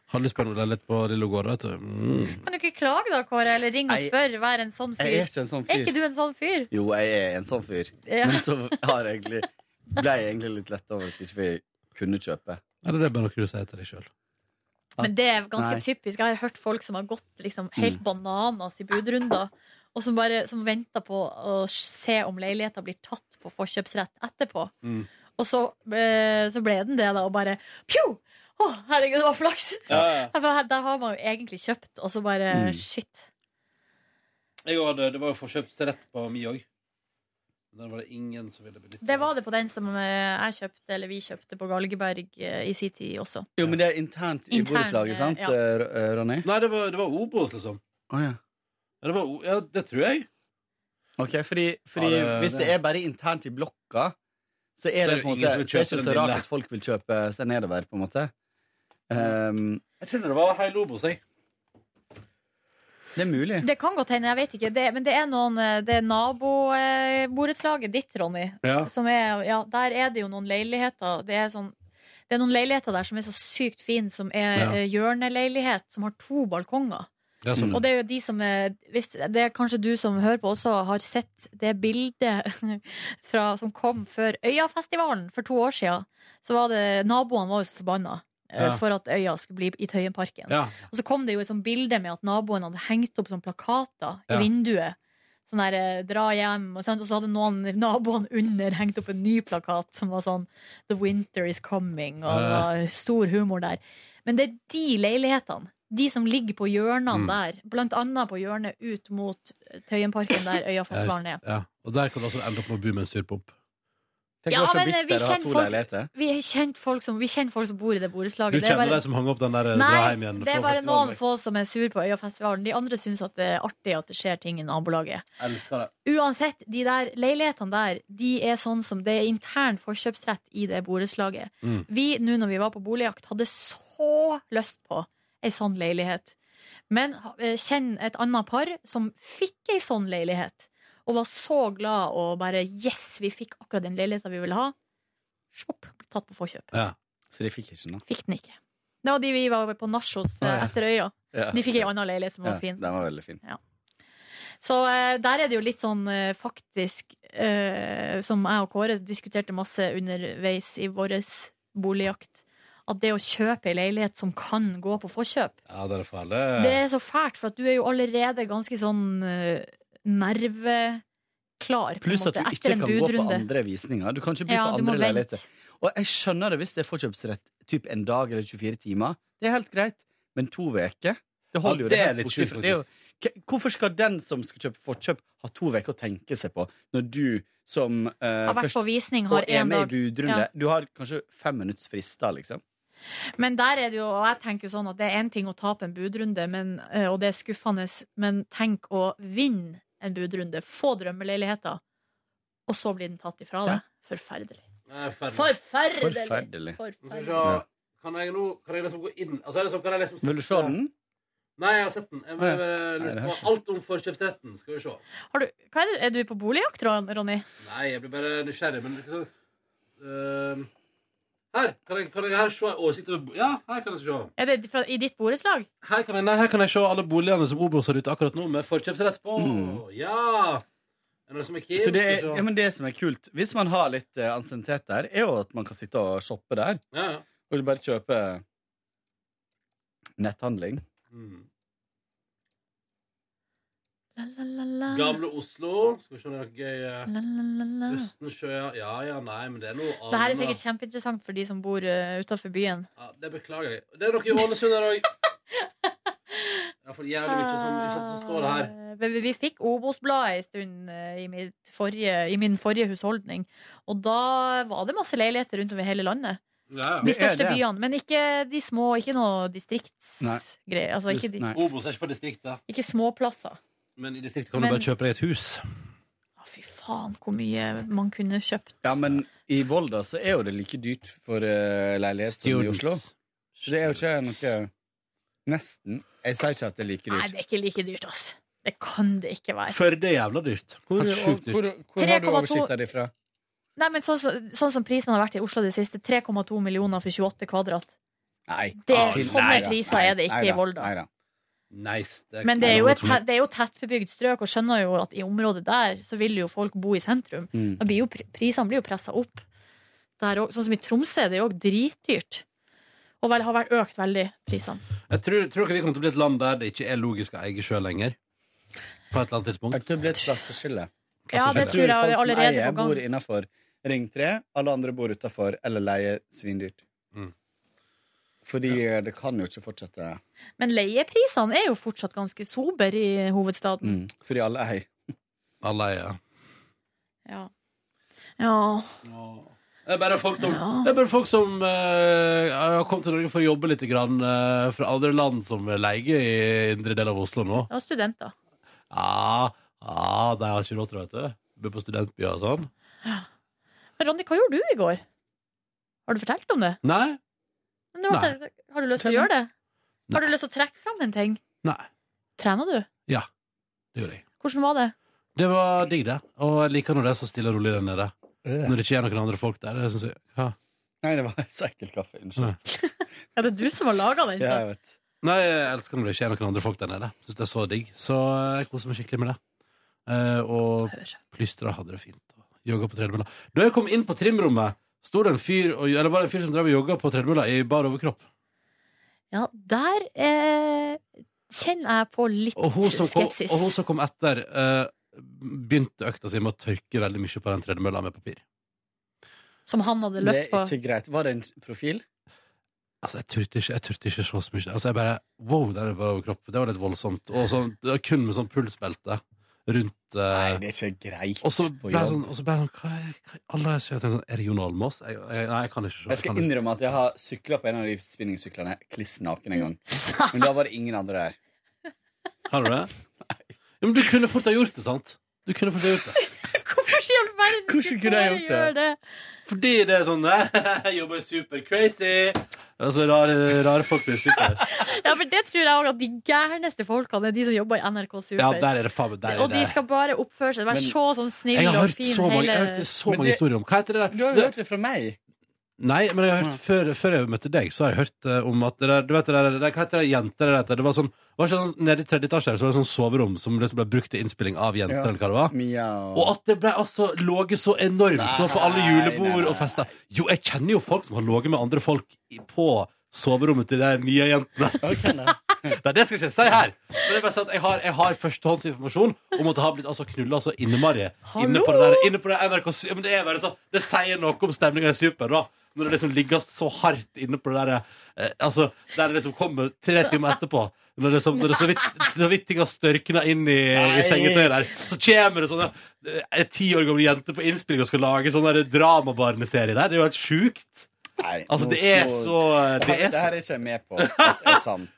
Har lyst på en leilighet på Lille Gård, vet du. Mm.
Kan du ikke klage, da, Kåre? Eller ring og
Nei.
spør. Vær en sånn
Jeg er
fyr.
ikke en sånn
Er
fyr.
ikke du en sånn fyr?
Jo, jeg er en sånn fyr.
Ja.
Men så har jeg egentlig, ble jeg egentlig litt letta over at ikke vi kunne kjøpe.
Eller det er bare noe du sier til deg sjøl.
Men det er ganske
Nei. Mm.
typisk. Jeg har hørt folk som har gått liksom, helt bananas i budrunder, og som, bare, som venter på å se om leiligheta blir tatt på forkjøpsrett etterpå.
Mm.
Og så, eh, så ble den det, da, og bare pjo! Å, herregud, det var flaks! Ja, for her- Der har man jo egentlig kjøpt, og så bare
Mm.
shit.
Jeg hadde, det var jo forkjøpsrett på mi òg. Der var det ingen som ville benytte
Det var det på den som eh, jeg kjøpte, eller vi kjøpte på Galgeberg eh, i sin tid også.
Jo, men det er internt i
Intern,
borettslaget, sant,
ja.
eh, Ro- eh, Ronny?
Nei, det var, det var Obos, liksom.
Å ja.
Ja, det, var, O- ja, det tror jeg.
Ok, fordi, fordi
Ja, det-
hvis det er bare internt i blokka, så er det
jo
på
ingen
en måte
som vil
så er det
kjøpe
ikke
den
så rart
lille.
at folk vil kjøpe seg nedover, på en måte. Ehm,
Jeg tror det var hele Obos, jeg.
det er mulig.
Det kan godt hende, jeg vet ikke. Det, men det er noen eh, Det er naboborettslaget ditt, Ronny.
Ja.
Som er, ja, der er det jo noen leiligheter. Det er, sånn, det er noen leiligheter der som er så sykt fine, som er
Ja.
eh, hjørneleilighet, som har to balkonger.
Ja,
Mm.
sånn.
Og det er jo de som er, hvis, Det er kanskje du som hører på også har sett det bildet [laughs] fra, som kom før Øyafestivalen for to år siden. Så var det, Naboene var jo så forbanna. eh,
Ja.
For at øya skulle bli i Tøyenparken.
Ja.
Og så kom det jo et sånt bilde med at naboen hadde hengt opp sånne plakater
Ja.
i vinduet. Sånn der eh, 'dra hjem', og, sånn, og så hadde noen [laughs] naboen under hengt opp en ny plakat som var sånn 'The winter is coming', og det var
Eh.
stor humor der. Men det er de leilighetene. De som ligger på hjørnene
Mm.
der, blant annet på hjørnet ut mot eh,
[laughs]
Tøyenparken, der Øyafestivalen er.
Ja. Og der kan du altså ende opp med å bo med en surpomp.
Tenk
Ja,
å være så
men, eh, vi
bitter og ha
kjenner
to
folk-
leiligheter.
Vi kjenner folk som, vi kjenner folk som bor i det
Du
borettslaget. Det er
kjenner
bare-
de som hang opp den der eh, dra
Nei,
hjem igjen?
det er
fra
bare
festivalen.
noen få som er sur på Øyafestivalen. De andre syns at det er artig at det skjer ting i nabolaget.
Elsker det.
Uansett, de der leilighetene der De er sånn som det er intern forkjøpsrett i det borettslaget.
Mm.
Vi, nå når vi var på boligjakt, hadde så lyst på ei sånn leilighet. Men eh, kjenn et annet par som fikk ei sånn leilighet, og var så glad og bare Yes, vi fikk akkurat den leiligheta vi ville ha. Svopp, ble tatt på forkjøp.
Ja.
Så de fikk ikke noe.
Fikk den ikke. Det var de vi var på nach hos eh, etter øya.
Ja.
De fikk ei anna leilighet som var
Ja,
fin.
Den var veldig fin.
Så eh, der er det jo litt sånn eh, faktisk eh, Som jeg og Kåre diskuterte masse underveis i vår boligjakt. At det å kjøpe ei leilighet som kan gå på forkjøp,
ja, det er farlig.
det er så fælt, for at du er jo allerede ganske sånn eh, nerveklar. på en
Pluss at
måte,
du
etter
ikke
en
kan gå på
budrunde.
andre visninger. Du kan ikke bli
Ja,
på
du må
andre
vente.
leiligheter. Og jeg skjønner det hvis det er forkjøpsrett typ en dag eller 24 timer. Det er helt greit. Men to uker Det
Ja,
holder jo
det er
helt
litt
borte
sjukt,
fra- det er jo- K- Hvorfor skal den som skal kjøpe forkjøp, ha to uker å tenke seg på, når du som eh,
Har vært
først
på visning,
og
har
er
én
med i
dag.
budrunde
Ja.
Du har kanskje fem minutts frister, liksom.
Men der er det jo, og jeg tenker jo sånn at det er én ting å tape en budrunde, men, eh, og det er skuffende, men tenk å vinne en budrunde, få drømmeleiligheter, og så blir den tatt ifra deg. Forferdelig.
Nei, ferdig.
Forferdelig!
Nå
Forferdelig.
skal vi
Forferdelig.
se. Kan jeg nå Kan jeg liksom gå inn Altså, er det sånn, kan jeg liksom
Vil du se den?
Nei, jeg har sett den. Jeg bare, bare
Nei, det
lurte
har
på
ikke.
alt om forkjøpsretten. Skal vi se.
Har du, hva er, det, er du på boligjakt, Ron- Ronny?
Nei, jeg blir bare nysgjerrig, men liksom Ehm, Her! Kan jeg, kan jeg her se en oversikt over bo- Ja, her kan jeg se.
Er det fra, i ditt borettslag?
Her kan jeg, nei, her kan jeg se alle boligene som Obos har ute akkurat nå, med forkjøpsrett på.
Mm.
Ja! Er det noen som er liksom- keen?
Så det, er,
Skal vi
ja,
se.
men det som er kult, hvis man har litt uh, ansiennitet der, er jo at man kan sitte og shoppe der.
ja, ja.
Og bare kjøpe netthandling.
Mm.
La, la, la, la.
Gamle Oslo. Skal vi se om det er noe gøy. eh,
La, la, la, la.
Østensjøa Ja ja, nei, men det er noe annet.
Det her er sikkert kjempeinteressant for de som bor uh, utafor byen.
ja, Det beklager jeg. Det er noe i Ålesund her òg. Ja, for jævlig mye som ikke sant, som står det her.
Eh, Vi, vi fikk Obos-bladet en stund eh, i, mitt forrige, i min forrige husholdning. Og da var det masse leiligheter rundt over hele landet.
Ja, ja.
De
Det er
største
det.
byene, men ikke de små. Ikke noe
Nei.
distriktsgreier. Altså, ikke, de,
Nei.
Obos er ikke for distriktet,
ikke småplasser.
men i distriktet kan
Men-
du bare kjøpe deg et hus.
Å, fy faen, hvor mye man kunne kjøpt.
Ja, men i Volda så er jo det like dyrt for eh, leilighet som i Oslo. Så det er jo ikke noe Nesten. Jeg sier ikke at det er like
Nei,
dyrt.
det er ikke like dyrt, ass. Det kan det ikke være.
Førde er jævla dyrt.
Hvor,
Helt sjukt
og, hvor,
dyrt.
hvor har du
3,2
oversikta di fra?
Nei, men sånn, som- sånn som prisen har vært i Oslo det siste, 3,2 millioner for 28 kvadrat.
Nei.
Det-
Ah,
sånne
neida,
priser er det ikke
neida,
i Volda.
neida.
Nice.
Men det er jo et, te- det er jo tettbebygd strøk, og skjønner jo at i området der så vil jo folk bo i sentrum.
Mm.
Da blir jo pri- Prisene blir jo pressa opp. Der også, sånn som i Tromsø, det er jo også dritdyrt. Og vel, har vært økt veldig, prisene.
Jeg tror, tror dere vi kommer til å bli et land der det ikke er logisk å eie sjøl lenger? På et eller annet
Jeg
tidspunkt.
tror det blir et klasseskille.
Ja, det tror
tror
jeg
folk
er
som
allerede
eier,
på gang.
bor innafor Ring 3. Alle andre bor utafor eller leier svindyrt.
Mm.
Fordi eh, det kan jo ikke fortsette
Men leieprisene er jo fortsatt ganske sober i hovedstaden.
Mm.
fordi alle eier.
Alle eier.
Ja. ja.
Det er bare folk som, det er bare folk som eh, har kommet til Norge for å jobbe litt grann, eh, fra andre land, som leier i indre del av Oslo nå.
Det var studenter.
Ja, ja de har ikke råd til det, vet du. Bor på studentbyer og sånn.
Men Ronny, hva gjorde du i går? Har du fortalt om det?
Nei.
Men det var, har du lyst til å gjøre det? Har du lyst til å trekke fram en ting?
Nei.
Trener du?
Det gjorde jeg.
Hvordan var det?
Det var digg, det. Og jeg liker når det er så stille og rolig der nede. Når det ikke er noen andre folk der. Det synes jeg, ja.
Nei, det var [laughs] så ekkel kaffe. Unnskyld.
Nei.
Ja, det er du som har laga den.
Ja,
så.
jeg vet.
Nei, jeg elsker når det ikke er noen andre folk der nede. Syns det er så digg. Så jeg koser meg skikkelig med det. Eh, og plystra hadde det fint. og Jogga på tredemølla. Da jeg kom inn på trimrommet, sto det en fyr og, eller var det en fyr som drev og jogga på tredemølla i bar overkropp.
Ja, der eh, kjenner jeg på litt
Og hun som kom,
skepsis.
og hun som kom etter, eh, begynte økta si med å tørke veldig mye på den tredemølla med papir.
Som han hadde
Det
løpt
er
på.
ikke greit. Var det en profil?
Altså, jeg turte ikke, jeg turte ikke så mye. Altså, jeg bare, wow, der er bar overkropp. Det var litt voldsomt. Og sånn, det var kun med sånn pulsbelte rundt eh,
Nei, det er ikke greit.
Og så
på
ble jeg
jobb.
sånn, og så ble jeg sånn hva er, hva er, alle jeg ser, jeg tenker sånn, Er det Jon Almaas? Jeg, jeg, nei, jeg kan ikke se.
Jeg skal
kan ikke.
innrømme at jeg har sykla på en av de spinningsyklene kliss naken
[laughs]
en gang. Men da var det ingen andre der.
Har du
[laughs]
det? Jo, men du kunne fort ha gjort det, sant? Du kunne fort ha gjort det.
Hvorfor i all verden
Hvordan
skulle
kunne jeg
Kåre
gjort det?
gjøre det?
Fordi det er sånn Jeg jobber super-crazy. Altså, rare, rare folk blir super.
Ja, men det tror jeg òg at de gærneste folkene er de som jobber i NRK Super.
Ja, der er det faen meg der
og
er
de
det.
skal bare oppføre seg, være
Men-
så sånn snill
Jeg har
og
hørt
fin
så mange, jeg
hele
har hørt så
Men
mange
det-
historier om Hva heter det
Du har
der?
jo
Det,
hørt det fra meg.
nei, men jeg har hørt før, før jeg møtte deg, så har jeg hørt eh, om at det der, du vet det der, det, Hva heter det jenter der heter? Det var sånn, var ikke sånn Nede i tredje etasje her, så var det sånn soverom som liksom ble brukt til innspilling av jenter,
Ja.
eller hva det var.
Mia
Og at det ble altså låget så enormt Det var på alle
Nei, nei,
julebord
nei.
og fester. Jo, jeg kjenner jo folk som har låget med andre folk i- på soverommet til de nye jentene.
[laughs] Ok, da.
Nei, det skal jeg ikke si her. Men det er bare sånn at jeg har, jeg har førstehåndsinformasjon om at det har blitt altså knulla så innmari inne på det der, inne på det NRK sy- Men det er bare sånn Det sier noe om stemninga i Super, da. Når det liksom ligges så hardt inne på det der eh, Altså, der det liksom kommer tre timer etterpå. Når det, som, når det så vidt, så vidt ting har størkna inn i, i sengetøyet der, så kommer det sånne eh, ei ti år gamle jenter på innspilling og skal lage sånn der dramabarneserie der. Det er jo helt sjukt.
Nei,
[laughs] Altså,
nå-
det er
nå-
så
Det
Det
her,
er så,
det her er ikke jeg med på at det er
[laughs]
sant.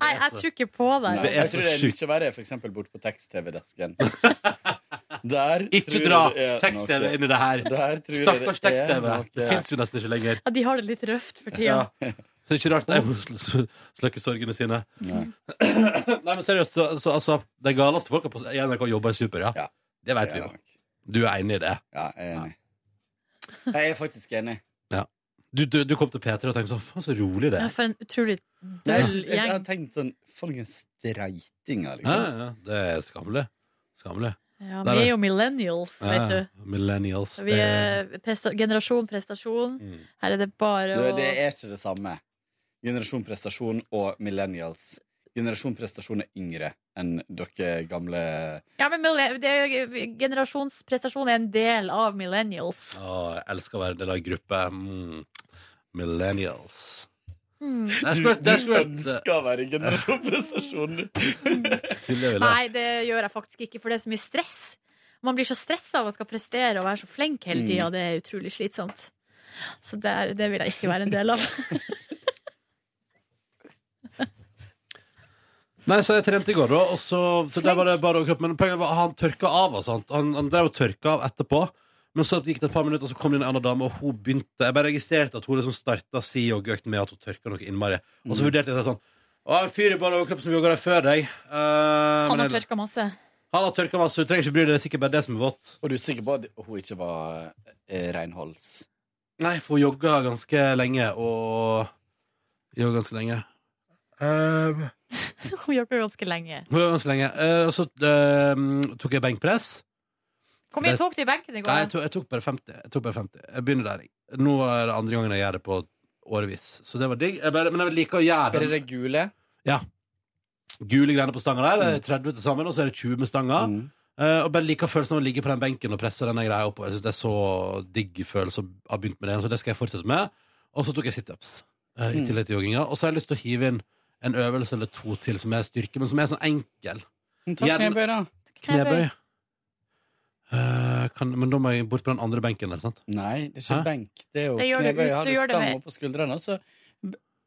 Nei, jeg
altså.
tror ikke på det.
Nei,
Det er
jeg
så
tror det er
sjukt.
mye verre for eksempel borte på
[laughs]
tekst-TV-desken. Der
ikke
tror
dra
jeg det er
tekst-TV
noe.
inn i det her.
Der tror jeg
Stakkars
det er
tekst-TV.
noe.
Det fins jo nesten ikke lenger.
Ja, de har det litt røft for tida.
Ja. Så det er ikke rart de må sl- sl- slukke sorgene sine. Nei, [clears throat]
Nei.
men seriøst, så, så altså De galeste folka på i NRK jobber i Super, ja.
Ja.
Det veit
Ja,
vi jo. Du er enig i det.
ja, jeg er enig. Jeg er faktisk enig.
Du, du, du kom til P3 og tenkte sånn Faen, så rolig det
Ja,
er.
for en utrolig
Nei, Jeg,
døll
synes- jeg, jeg har
gjeng.
tenkt sånn For noen streitinger,
Ja,
liksom.
ja, det er skammelig. Skammelig. Nei,
Ja, vi
nei.
er jo millennials,
Ja,
vet du.
Millennials.
Vi eh,
det-
er presta generasjon prestasjon.
Mm.
Her er det bare
Du,
å
det er ikke det samme. Generasjon prestasjon og millennials. Generasjon prestasjon er yngre enn dere gamle
Ja, men mille- det er, generasjonsprestasjon er en del av millennials.
Å, jeg elsker å være en del av en gruppe. Mm. Millennials.
Mm.
Der skulle vært- der skulle vært
ønsker å være generasjon prestasjon.
Silje ville
Nei, det gjør jeg faktisk ikke, for det er så mye stress. Man blir så stressa av å skal prestere og være så flink hele tida.
Mm.
Det er utrolig slitsomt. Så det, er, det vil jeg ikke være en
[laughs]
del av.
Nei, så jeg trente i går, da. Og så, så der var det bare overkropp. Men poenget var han tørka av. Altså. Han, han, han drev og tørka av etterpå. Men så gikk det et par minutter, og så kom det en annen dame, og hun
Mm.
begynte Jeg bare registrerte at hun liksom starta si og gøkten med at hun tørka noe innmari. Og så vurderte jeg sånn Og en fyr i bare overkropp som jogga der før deg. Eh,
Han
men
har
ellers-
tørka masse. [laughs]
han har tørka masse, du trenger ikke bry deg. Det er sikkert bare det som er vått.
[laughs] Og du er sikker på at hun ikke var eh, renholds?
Nei, for hun jogga ganske lenge, og Jogga ganske lenge. Um,
Hun jobber jo ganske lenge.
ganske lenge. Eh, og så eh, tok jeg benkpress.
Hvor mye tok du i benken i
Nei, jeg
går?
tok, jeg tok bare 50. Jeg tok bare 50. Jeg begynner der. jeg. Nå er det andre gangen jeg gjør det på årevis. Så det var digg. Jeg bare, men jeg liker å gjøre
Er det
den
det gule?
gule greiene på stanga der. Det er 30 til sammen, og så er det 20 med stanga.
Mm.
Eh, og bare liker følelsen av å ligge på den benken og presse denne greia oppover. Jeg synes det er så digg følelse å ha begynt med det, så det skal jeg fortsette med. Og så tok jeg situps uh, i
Mm.
tillegg til jogginga. Og så har jeg lyst til å hive inn en øvelse eller to til som er styrke, men som er sånn enkel.
Ta
Gjerne-
Mm, knebøy, da.
Knebøy. Eh, kan, men da må jeg bort på den andre benken der, sant?
Nei, det er ikke
Hæ?
benk. Det er jo
Det gjør du
knebøy.
ut-
Har
du
du
gjør det
stang
ved-
opp på skuldrene, og så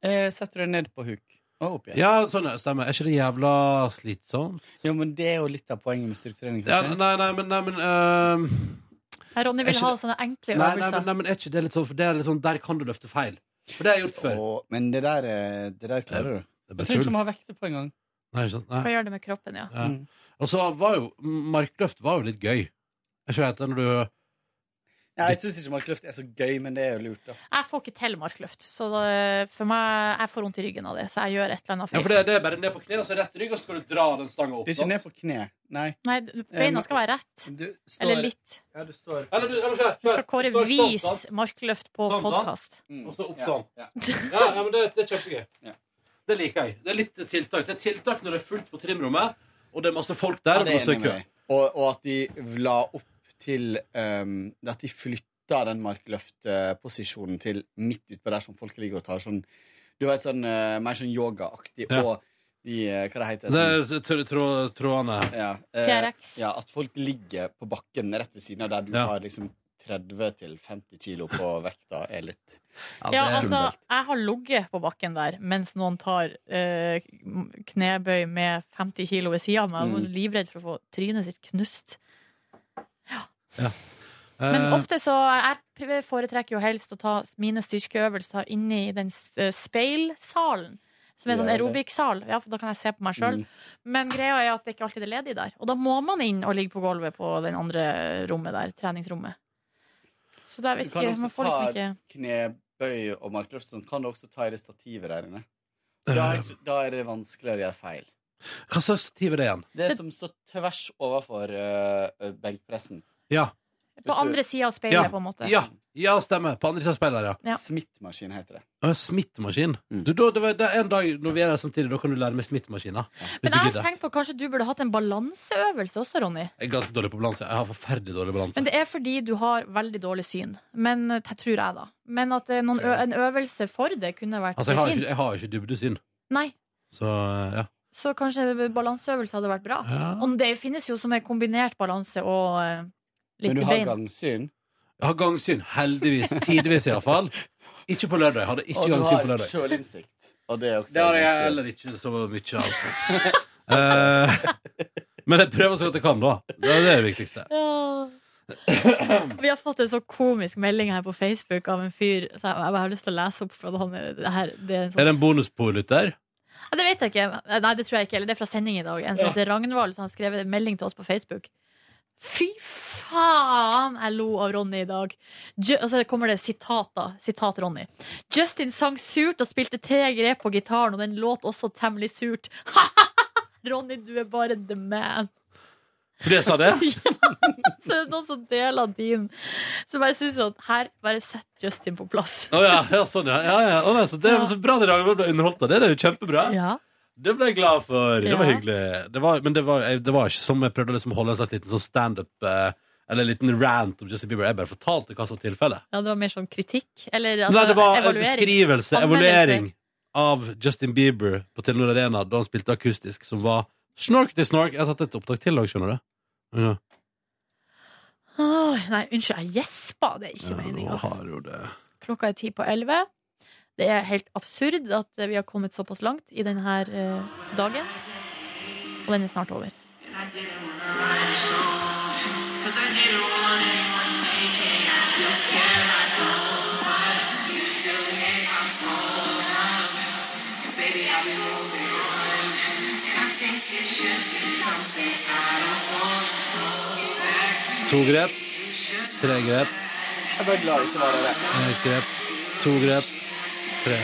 eh, setter du deg ned på huk og opp igjen.
Ja, sånn ja, stemmer. Er ikke det jævla slitsomt?
Jo, men det er jo litt av poenget med styrketrening,
Ja,
kanskje.
nei, nei, men, nei, men ehm,
Nei, Ronny
er
vil
ikke
ha sånne enkle
nei, nei, men,
øvelser.
nei, men er ikke det litt sånn For det er litt sånn, der kan du løfte feil. For det har jeg gjort før.
Å, men det der, eh, det der klarer du.
Det er
Jeg
bare
tror ikke
tull.
du må ha vekter på engang.
Nei, ikke sant?
Hva
Nei.
gjør det med kroppen, ja?
Ja.
Mm.
Og så var jo markløft var jo litt gøy. Jeg ikke vet det, når du
Nei, Jeg syns ikke markløft er så gøy, men det er jo lurt, da.
Jeg får ikke til markløft, så det, for meg Jeg får vondt i ryggen av det, så jeg gjør et eller
Ja,
annet feil.
for det, det er bare ned på kne, og så rett rygg, og så skal du dra den stanga opp.
Ikke
sant?
ned på kne. Nei.
Nei, du- beina skal være rett.
Du står
Eller litt.
Ja, du står
Eller du, eller, kjør,
Du
kjør.
skal kåre
Du står sånn,
vis
sant?
markløft på
Sånn, sant?
podkast.
Mm.
Og så opp
Ja,
sånn.
ja.
Ja, ja, men det, det er kjempegøy.
Ja.
Det liker jeg. Det er litt tiltak. Det er tiltak når det er fullt på trimrommet, og det er masse folk der,
Ja,
og du
det
må stå
er
i
enig
kø.
med deg. Og, og at de la opp til ehm, At de flytta den markløftposisjonen til midt utpå der som folk ligger og tar sånn Du vet, sånn eh, mer sånn yogaaktig
Ja.
og de eh, Hva det
Det
heter sånn,
er tr- tråd- trådene her.
ja, eh,
TRX.
ja, at folk ligger på bakken rett ved siden av der du
Ja.
har liksom 30 til 50 kilo på vekta, er litt
Ja,
det er
altså,
skummelt.
jeg har ligget på bakken der mens noen tar eh, knebøy med 50 kilo ved sida av meg. Jeg var
Mm.
livredd for å få trynet sitt knust. Men
Eh,
ofte så Jeg foretrekker jo helst å ta mine styrkeøvelser inni den s- eh, speilsalen. Som er en sånn
Ja, det- Mm.
aerobic-sal. Ja, for da kan jeg se på meg sjøl. Men greia er at det ikke alltid er ledig der. Og da må man inn og ligge på gulvet på den andre rommet der. Treningsrommet. Så der vet
Du kan
ikke,
også
man får liksom
ta-
ikke
knebøy og markløft. Sånn kan du også ta i det stativet der inne.
Eh.
Da er, da er det vanskeligere å gjøre feil.
Hva slags stativ er det igjen?
Det som står tvers overfor eh, benkpressen.
Ja.
På
Hvis du-
andre sida av speilet,
Ja.
på en måte.
ja, ja, stemmer. På andre siden av speilet, ja.
Ja.
Smittmaskin heter det.
Å, Smittmaskin.
Mm.
Du, da, det var, det er en dag når vi er her samtidig, da kan du lære meg smittemaskiner. Hvis du
Men jeg har
gidder.
tenkt på kanskje du burde hatt en balanseøvelse også, Ronny.
Jeg er ganske dårlig på balanse. Jeg har forferdelig dårlig balanse.
Men det er fordi du har veldig dårlig syn. Men eh, det tror jeg, da. Men at det er noen ø en øvelse for det kunne vært
Altså, jeg har jo ikke,
fint.
jeg har jo ikke dybdesyn.
Nei.
Så eh, ja.
Så kanskje balanseøvelse hadde vært bra.
ja.
Og det finnes jo som en kombinert balanse og eh, litt
Men du har
bein.
gangsyn.
Jeg har gangsyn. Heldigvis. Tidvis, iallfall. Ikke på lørdag. Jeg hadde ikke
og du
gangsyn på
har
lørdag.
sjølinnsikt. Og det er også
Det har jeg
ganske-
heller ikke så mye
[laughs]
av. Eh, men jeg prøver så godt jeg kan, da. Det er det viktigste.
Ja. [clears throat] Vi har fått en så komisk melding her på Facebook av en fyr. Så jeg, jeg har lyst til å lese opp. For at han, er- det, her, det, er en sånn,
Er det en bonusbolytter?
Ja, det vet jeg ikke. Nei, det tror jeg ikke. Eller det er fra sending i dag. En som heter Ragnvald, som har skrevet en melding til oss på Facebook. Fy faen, jeg lo av Ronny i dag. Ju og så kommer det sitat, da. Sitat Ronny. Justin sang surt og spilte tre grep på gitaren, og den låt også temmelig surt. [laughs] Ronny, du er bare the man.
Fordi jeg sa det?
Så det er noen som deler din. Så bare synes jeg at her, bare sett Justin på plass.
Å ja, ja, sånn, ja. ja, ja. Å, nei, så det var så bra dere ble underholdt av det. Det er jo kjempebra.
Ja.
Det ble jeg glad for. Det var
Ja.
hyggelig. Det var, men det var, jeg- det var ikke som jeg prøvde å liksom holde en slags liten sånn standup eh, eller en liten rant om Justin Bieber. Jeg bare fortalte hva som var tilfellet.
ja, det var mer sånn kritikk. Eller
Nei,
altså,
det var eh, en
evaluering.
beskrivelse,
Anmeldelse.
evaluering av Justin Bieber på Telenor Arena da han spilte akustisk, som var snork til snork. Jeg har tatt et opptak til òg, skjønner du. Ja.
Åh, nei, unnskyld, jeg gjespa. Det er ikke
Ja, nå
meninga.
har jo det.
Klokka er ti på elleve. Det er helt absurd at vi har kommet såpass langt i denne her, eh, dagen. Og den er snart over.
To grep. Tre grep.
Jeg bare glad det ikke var det.
Ett grep. To grep. Tre.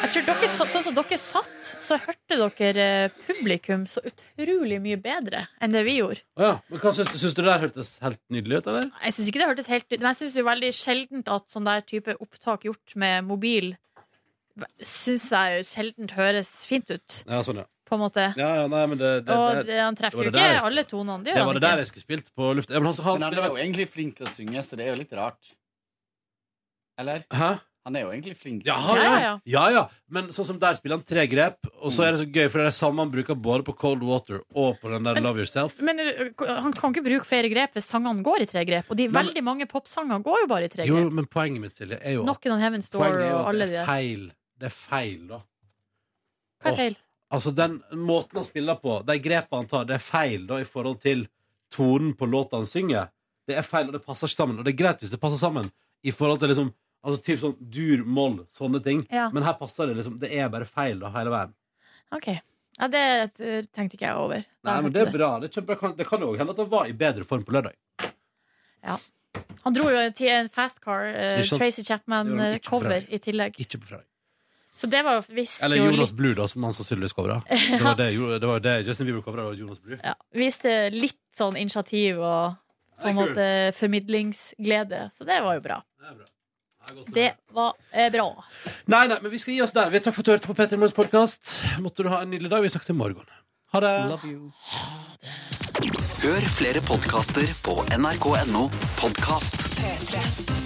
Jeg tror dere, sa- Sånn som dere satt, så hørte dere eh, publikum så utrolig mye bedre enn det vi gjorde.
Å ja. Men hva syns du, syns du det der hørtes helt nydelig ut, eller?
Jeg syns ikke det hørtes helt Men jeg syns veldig sjeldent at sånn der type opptak gjort med mobil Syns jeg sjeldent høres fint ut,
Ja, sånn, ja.
på en måte.
Ja, ja, nei, men det, det,
Og
det,
det, han treffer
det
jo
var det der jeg
ikke
skulle-
alle tonene. Det
det
gjør
var det
han
der
ikke.
jeg skulle spilt på lufta. Ja, men han, han,
Men han
spiller
er jo
vel-
egentlig flink til å synge, så det er jo litt rart. Eller?
Hæ?
Han er jo egentlig flink. til
Ja, ja,
å synge.
ja.
Ja, ja.
Men sånn som der spiller han tre grep, og så er det så gøy, for det er det samme han bruker både på Cold Water og på den der
Men-
Love Yourself.
Men eh, han kan ikke bruke flere grep hvis sangene går i tre grep. Og de
Nei, men-
veldig mange popsanger går jo bare i tre
Jo,
grep.
men poenget mitt, Silje, er jo at,
Knock on Heaven's Door
poenget er jo
og
at
alle
det
de
er
der.
feil. Det er feil, da.
Hva
Åh.
er feil?
Altså, den måten han spiller på, de grepene han tar, det er feil da i forhold til tonen på låta han synger. Det er feil, og det passer ikke sammen. Og det er greit hvis det passer sammen i forhold til liksom Altså typ sånn dur, moll, sånne ting.
Ja.
Men her passer det liksom. Det er bare feil da, hele veien.
Ok. Ja, det eh, tenkte ikke jeg over. Da
Nei,
jeg
men
hørte
Det er bra. Det, er kjempebra. det kan jo også hende at han var i bedre form på lørdag.
Han dro jo til en fast car, eh,
Ikke sant?
Tracy
Gjorde han ikke
Chapman-cover
bra.
i tillegg.
Ikke på fredag.
Så det var jo visst
Eller
jo
Jonas
litt-
Blue, da, som han sannsynligvis
[laughs]
covra. Det var det, jo- det var det Justin Bieber covra, og Jonas Blue.
Ja, viste litt sånn initiativ og på en
Det er kult.
måte formidlingsglede. Så det var jo bra.
Det er bra. Det er godt å
Det
høre.
var eh, bra.
Nei, nei, men vi skal gi oss der. Vi- Takk for at du hørte på Petter Morgens podkast. Måtte du ha en nydelig dag. Vi snakkes i morgen. Ha det.
Love you.
Hør flere podkaster på nrk.no podkast.
P3.